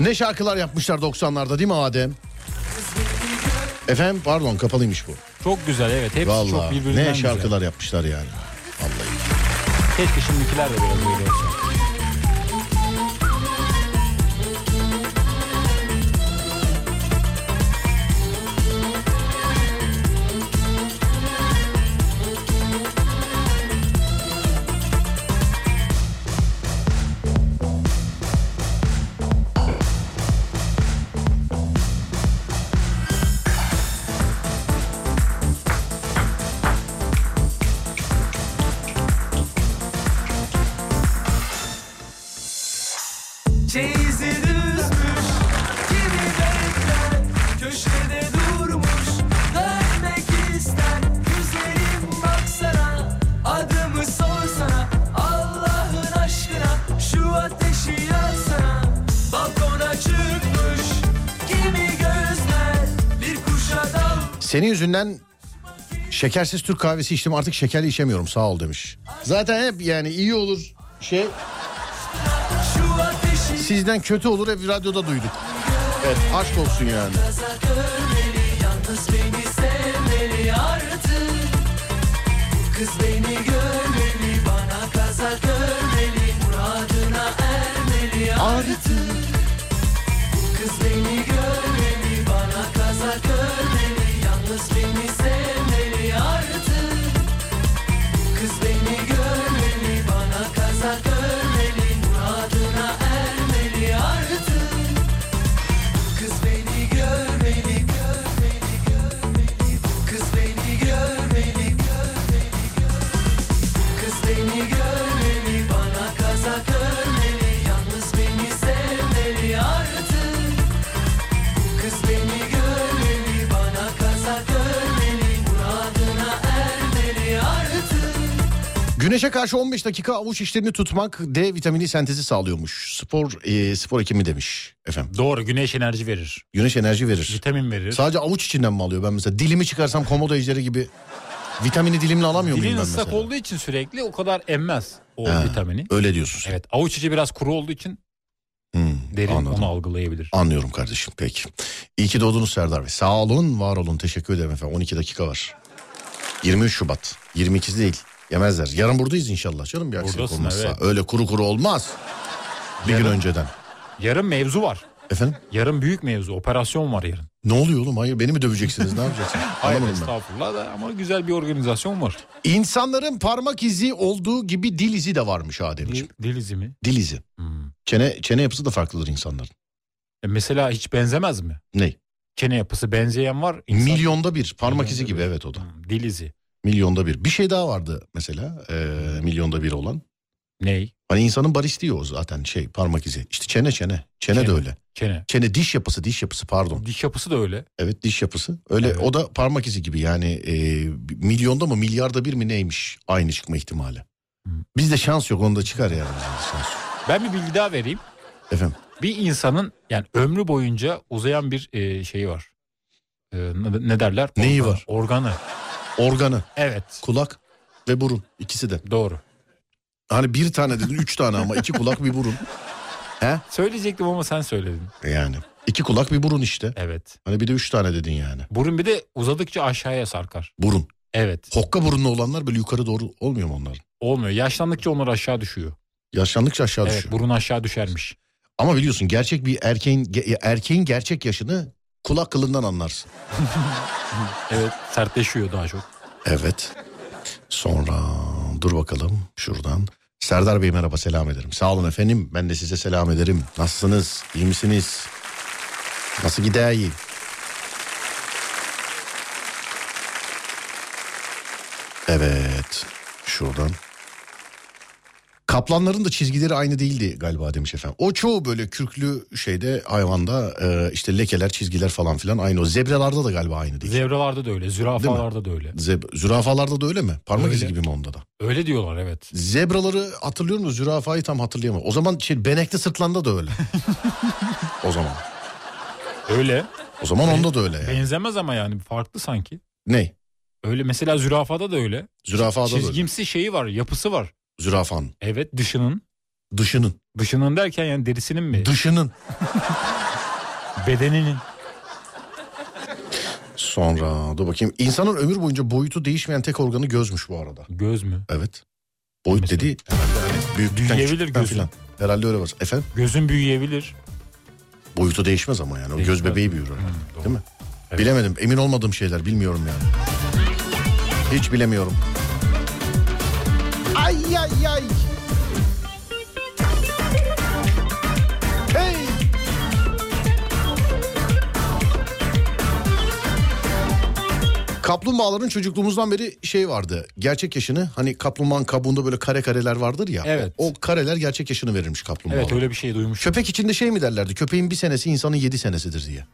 [SPEAKER 1] Ne şarkılar yapmışlar 90'larda değil mi Adem? Efendim pardon kapalıymış bu.
[SPEAKER 2] Çok güzel evet. Hepsi çok
[SPEAKER 1] Vallahi
[SPEAKER 2] birbirinden
[SPEAKER 1] ne
[SPEAKER 2] güzel.
[SPEAKER 1] şarkılar yapmışlar yani. Vallahi.
[SPEAKER 2] Keşke şimdikiler de biraz böyle olsa.
[SPEAKER 7] Çeyizi düzmüş Kimi bekler Köşede durmuş Dönmek ister Güzelim baksana Adımı sorsana Allah'ın aşkına Şu ateşi yaksana Balkona çıkmış Kimi gözler Bir kuşa dal
[SPEAKER 1] Senin yüzünden şekersiz Türk kahvesi içtim artık şekerli içemiyorum sağ ol demiş. Zaten hep yani iyi olur şey
[SPEAKER 7] Şu ateşi
[SPEAKER 1] sizden kötü olur hep radyoda duyduk. Evet aşk olsun yani.
[SPEAKER 7] yaza görmeli Yalnız beni sevmeli artık Bu kız beni görmeli Bana kaza görmeli Muradına ermeli artık Bu kız beni görmeli Bana kaza görmeli Yalnız beni sevmeli artık Bu kız beni görmeli Bana kaza görmeli Muradına ermeli artık Kız beni görmeli, görmeli, görmeli. Kız beni görmeli, görmeli, görmeli. Kız beni görmeli, bana kaza görmeli. Yalnız beni sevmeli artık. Kız beni görmeli, bana kaza görmeli. Muradına ermeli artık.
[SPEAKER 1] Güneşe karşı 15 dakika avuç içlerini tutmak D vitamini sentezi sağlıyormuş. Spor e, spor hekimi demiş efendim.
[SPEAKER 2] Doğru güneş enerji verir.
[SPEAKER 1] Güneş enerji verir.
[SPEAKER 2] Vitamin verir.
[SPEAKER 1] Sadece avuç içinden mi alıyor ben mesela? Dilimi çıkarsam komodo ejderi gibi vitamini dilimle alamıyor
[SPEAKER 2] Dilin
[SPEAKER 1] muyum ben
[SPEAKER 2] ıslak
[SPEAKER 1] mesela?
[SPEAKER 2] olduğu için sürekli o kadar emmez o
[SPEAKER 1] Ha,
[SPEAKER 2] vitamini.
[SPEAKER 1] Öyle diyorsun sen.
[SPEAKER 2] Evet avuç içi biraz kuru olduğu için
[SPEAKER 1] Hmm,
[SPEAKER 2] derin
[SPEAKER 1] anladım.
[SPEAKER 2] onu algılayabilir.
[SPEAKER 1] Anlıyorum kardeşim peki. İyi ki doğdunuz Serdar Bey. Sağ olun var olun teşekkür ederim efendim. 12 dakika var. 23 Şubat 22 değil yemezler. Yarın buradayız inşallah canım bir aksilik
[SPEAKER 2] Buradasın,
[SPEAKER 1] olmazsa.
[SPEAKER 2] evet.
[SPEAKER 1] Öyle kuru kuru olmaz. Bir gün önceden.
[SPEAKER 2] Yarın mevzu var.
[SPEAKER 1] Efendim?
[SPEAKER 2] Yarın büyük mevzu operasyon var yarın.
[SPEAKER 1] Ne oluyor oğlum? Hayır beni mi döveceksiniz? Ne yapacaksınız?
[SPEAKER 2] (laughs) Hayır
[SPEAKER 1] Anlamadım ben.
[SPEAKER 2] estağfurullah da ama güzel bir organizasyon var.
[SPEAKER 1] İnsanların parmak izi olduğu gibi dil izi de varmış Ademciğim.
[SPEAKER 2] Dil, dil izi mi?
[SPEAKER 1] Dil izi.
[SPEAKER 2] Hmm.
[SPEAKER 1] Çene çene yapısı da farklıdır insanların.
[SPEAKER 2] E mesela hiç benzemez mi?
[SPEAKER 1] Ne?
[SPEAKER 2] Çene yapısı benzeyen var. insan-
[SPEAKER 1] Milyonda bir. Parmak
[SPEAKER 2] Milyonda
[SPEAKER 1] izi gibi
[SPEAKER 2] bir.
[SPEAKER 1] evet o da.
[SPEAKER 2] Hmm, Dil izi.
[SPEAKER 1] Milyonda bir. Bir şey daha vardı mesela. eee, milyonda bir olan.
[SPEAKER 2] Ney?
[SPEAKER 1] Hani insanın baristiği o zaten şey parmak izi. İşte çene çene. Çene, de
[SPEAKER 2] Çene.
[SPEAKER 1] öyle.
[SPEAKER 2] Çene.
[SPEAKER 1] Çene diş yapısı diş yapısı pardon.
[SPEAKER 2] Diş yapısı da öyle.
[SPEAKER 1] Evet diş yapısı. Öyle
[SPEAKER 2] Evet.
[SPEAKER 1] o da parmak izi gibi yani eee, milyonda mı milyarda bir mi neymiş aynı çıkma ihtimali.
[SPEAKER 2] Hmm.
[SPEAKER 1] Bizde şans yok onda çıkar yani bizde de şans yok.
[SPEAKER 2] Ben bir bilgi daha vereyim.
[SPEAKER 1] Efendim
[SPEAKER 2] Bir insanın yani ömrü boyunca uzayan bir e, şeyi var. E, ne ne derler?
[SPEAKER 1] Neyi var?
[SPEAKER 2] Organı.
[SPEAKER 1] organı
[SPEAKER 2] Evet.
[SPEAKER 1] kulak ve burun ikisi de.
[SPEAKER 2] Doğru.
[SPEAKER 1] Hani bir tane dedin üç tane ama iki kulak bir burun.
[SPEAKER 2] Söyleyecektim ama sen söyledin.
[SPEAKER 1] Yani iki kulak bir burun işte.
[SPEAKER 2] Evet.
[SPEAKER 1] Hani bir de üç tane dedin yani.
[SPEAKER 2] Burun bir de uzadıkça aşağıya sarkar.
[SPEAKER 1] Burun.
[SPEAKER 2] Evet.
[SPEAKER 1] Hokka burunlu olanlar böyle yukarı doğru olmuyor mu onlar?
[SPEAKER 2] Olmuyor. Yaşlandıkça onlar aşağı düşüyor.
[SPEAKER 1] Yaşlandıkça aşağı
[SPEAKER 2] evet,
[SPEAKER 1] düşüyor.
[SPEAKER 2] burun aşağı düşermiş.
[SPEAKER 1] Ama biliyorsun gerçek bir erkeğin ge- erkeğin gerçek yaşını kulak kılından anlarsın.
[SPEAKER 2] Evet, sertleşiyor daha çok.
[SPEAKER 1] Evet. Sonra dur bakalım şuradan. Serdar Bey merhaba selam ederim. Sağ olun efendim ben de size selam ederim. Nasılsınız? İyi misiniz? Nasıl gider iyi? Evet şuradan. Kaplanların da çizgileri aynı değildi galiba demiş efendim. O çoğu böyle kürklü şeyde hayvanda e, işte lekeler çizgiler falan filan aynı o. Zebralarda da galiba aynı değil.
[SPEAKER 2] Zebralarda da öyle, zürafalarda da öyle.
[SPEAKER 1] Zeb- zürafalarda da öyle mi? Parmak
[SPEAKER 2] Öyle.
[SPEAKER 1] izi gibi mi onda da?
[SPEAKER 2] Öyle diyorlar evet.
[SPEAKER 1] Zebraları hatırlıyor musunuz? Zürafayı tam hatırlayamam. O zaman şey, benekli sırtlanda da
[SPEAKER 2] (laughs)
[SPEAKER 1] öyle. o zaman.
[SPEAKER 2] Öyle.
[SPEAKER 1] O zaman onda da öyle yani.
[SPEAKER 2] Benzemez ama yani farklı sanki.
[SPEAKER 1] Ne?
[SPEAKER 2] Öyle mesela zürafada da öyle.
[SPEAKER 1] Zürafada da öyle.
[SPEAKER 2] Çizgimsi şeyi var, yapısı var.
[SPEAKER 1] Zürafan.
[SPEAKER 2] Evet, dışının.
[SPEAKER 1] Dışının.
[SPEAKER 2] Dışının derken yani derisinin mi?
[SPEAKER 1] Dışının.
[SPEAKER 2] Bedeninin.
[SPEAKER 1] Sonra dur bakayım. İnsanın ömür boyunca boyutu değişmeyen tek organı gözmüş bu arada.
[SPEAKER 2] Göz mü?
[SPEAKER 1] Evet. Boyut
[SPEAKER 2] Mesela?
[SPEAKER 1] dediği herhalde hani büyüklükten
[SPEAKER 2] Büyüyebilir
[SPEAKER 1] küçüklükten
[SPEAKER 2] gözün.
[SPEAKER 1] filan. Herhalde öyle var. Efendim
[SPEAKER 2] Gözün büyüyebilir.
[SPEAKER 1] boyutu değişmez ama yani. O göz
[SPEAKER 2] Değişmez.
[SPEAKER 1] bebeği büyür herhalde.
[SPEAKER 2] Hmm, doğru.
[SPEAKER 1] Değil mi? Bilemedim. Emin olmadığım şeyler bilmiyorum yani. Hiç bilemiyorum. Ay ay ay. Hey. Kaplumbağaların çocukluğumuzdan beri şey vardı. Gerçek yaşını hani kaplumbağanın kabuğunda böyle kare kareler vardır ya.
[SPEAKER 2] Evet.
[SPEAKER 1] O kareler gerçek yaşını verirmiş kaplumbağalara.
[SPEAKER 2] Evet öyle bir şey duymuştum.
[SPEAKER 1] Köpek içinde şey mi derlerdi? Köpeğin bir senesi insanın yedi senesidir diye.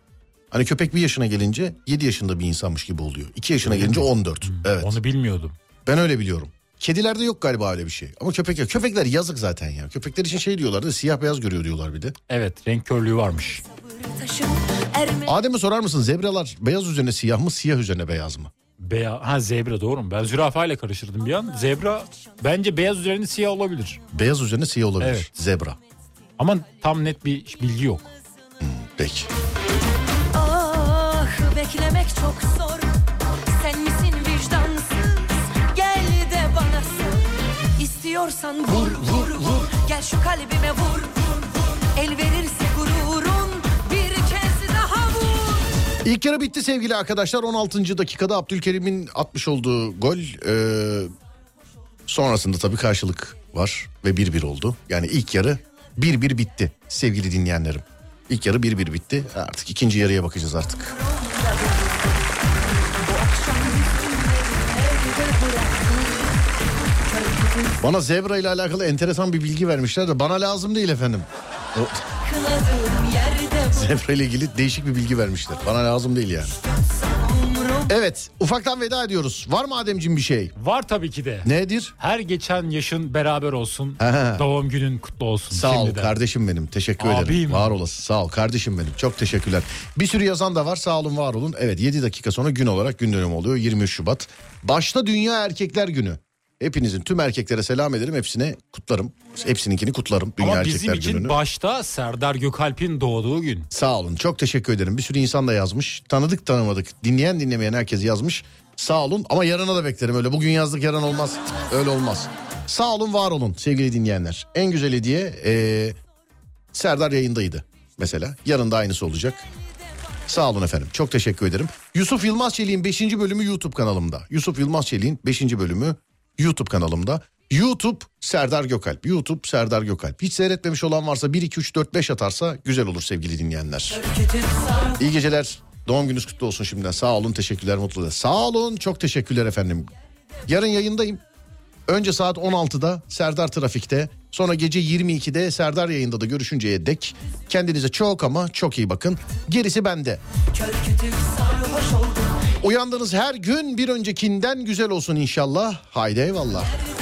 [SPEAKER 1] Hani köpek bir yaşına gelince yedi yaşında bir insanmış gibi oluyor. İki yaşına gelince on dört. Evet.
[SPEAKER 2] Hmm. Onu bilmiyordum.
[SPEAKER 1] Ben öyle biliyorum. Kedilerde yok galiba öyle bir şey. Ama köpek yok. Köpekler yazık zaten ya. Köpekler için şey diyorlardı siyah beyaz görüyor diyorlar bir de.
[SPEAKER 2] Evet renk körlüğü varmış.
[SPEAKER 5] Taşım erme
[SPEAKER 1] Adem'e sorar mısın zebralar beyaz üzerine siyah mı siyah üzerine beyaz mı?
[SPEAKER 2] Beya ha zebra doğru mu? Ben zürafayla karıştırdım bir an. Zebra bence beyaz üzerine siyah olabilir.
[SPEAKER 1] Beyaz üzerine siyah olabilir.
[SPEAKER 2] Evet.
[SPEAKER 1] Zebra.
[SPEAKER 2] Ama tam net bir bilgi yok.
[SPEAKER 1] Peki.
[SPEAKER 5] Ah beklemek çok zor Sen misin vicdansız Gel de bana sor İstiyorsan vur vur vur Gel şu kalbime vur vur vur El verirse gururun Bir kez daha vur
[SPEAKER 1] İlk yarı bitti sevgili arkadaşlar. 16. dakikada Abdülkerim'in atmış olduğu gol. eee, sonrasında tabii karşılık var ve 1-1 oldu. Yani ilk yarı 1-1 bitti sevgili dinleyenlerim. İlk yarı 1-1 bitti. Artık ikinci yarıya bakacağız artık. Bana zebra ile alakalı enteresan bir bilgi vermişler de bana lazım değil efendim. O-
[SPEAKER 5] Kıladığım yerde
[SPEAKER 1] (laughs) Zebra ile ilgili değişik bir bilgi vermişler. Bana lazım değil yani. Evet ufaktan veda ediyoruz. Var mı Ademciğim bir şey?
[SPEAKER 2] Var tabii ki de.
[SPEAKER 1] Nedir?
[SPEAKER 2] Her geçen yaşın beraber olsun.
[SPEAKER 1] Aha.
[SPEAKER 2] Doğum günün kutlu olsun.
[SPEAKER 1] Sağ ol
[SPEAKER 2] şimdiden.
[SPEAKER 1] kardeşim benim. Teşekkür ederim.
[SPEAKER 2] Abim.
[SPEAKER 1] Var olasın. Sağ ol kardeşim benim. Çok teşekkürler. Bir sürü yazan da var. Sağ olun var olun. Evet 7 dakika sonra gün olarak gün dönümü oluyor. 23 Şubat. Başta Dünya Erkekler Günü. Hepinizin tüm erkeklere selam ederim. Hepsine kutlarım. Hepsininkini kutlarım. Dünya
[SPEAKER 2] Ama
[SPEAKER 1] Erkekler
[SPEAKER 2] bizim için
[SPEAKER 1] Günü'nü.
[SPEAKER 2] başta Serdar Gökalp'in doğduğu gün.
[SPEAKER 1] Sağ olun çok teşekkür ederim. Bir sürü insan da yazmış. Tanıdık tanımadık. Dinleyen dinlemeyen herkes yazmış. Sağ olun ama yarına da beklerim öyle. Bugün yazdık yarın olmaz. Öyle olmaz. Sağ olun var olun sevgili dinleyenler. En güzel hediye eee, Serdar yayındaydı mesela. Yarın da aynısı olacak. Sağ olun efendim. Çok teşekkür ederim. Yusuf Yılmaz Çelik'in 5. bölümü YouTube kanalımda. Yusuf Yılmaz Çelik'in 5. bölümü YouTube kanalımda. YouTube Serdar Gökalp. YouTube Serdar Gökalp. Hiç seyretmemiş olan varsa 1 2 3 4 5 atarsa güzel olur sevgili dinleyenler. İyi geceler. Doğum gününüz kutlu olsun şimdiden. Sağ olun. Teşekkürler. Mutluluğu. Sağ olun. Çok teşekkürler efendim. Yarın yayındayım. Önce saat 16'da Serdar Trafik'te, sonra gece 22'de Serdar yayında da görüşünceye dek kendinize çok ama çok iyi bakın. Gerisi bende. Uyandığınız her gün bir öncekinden güzel olsun inşallah. Haydi eyvallah.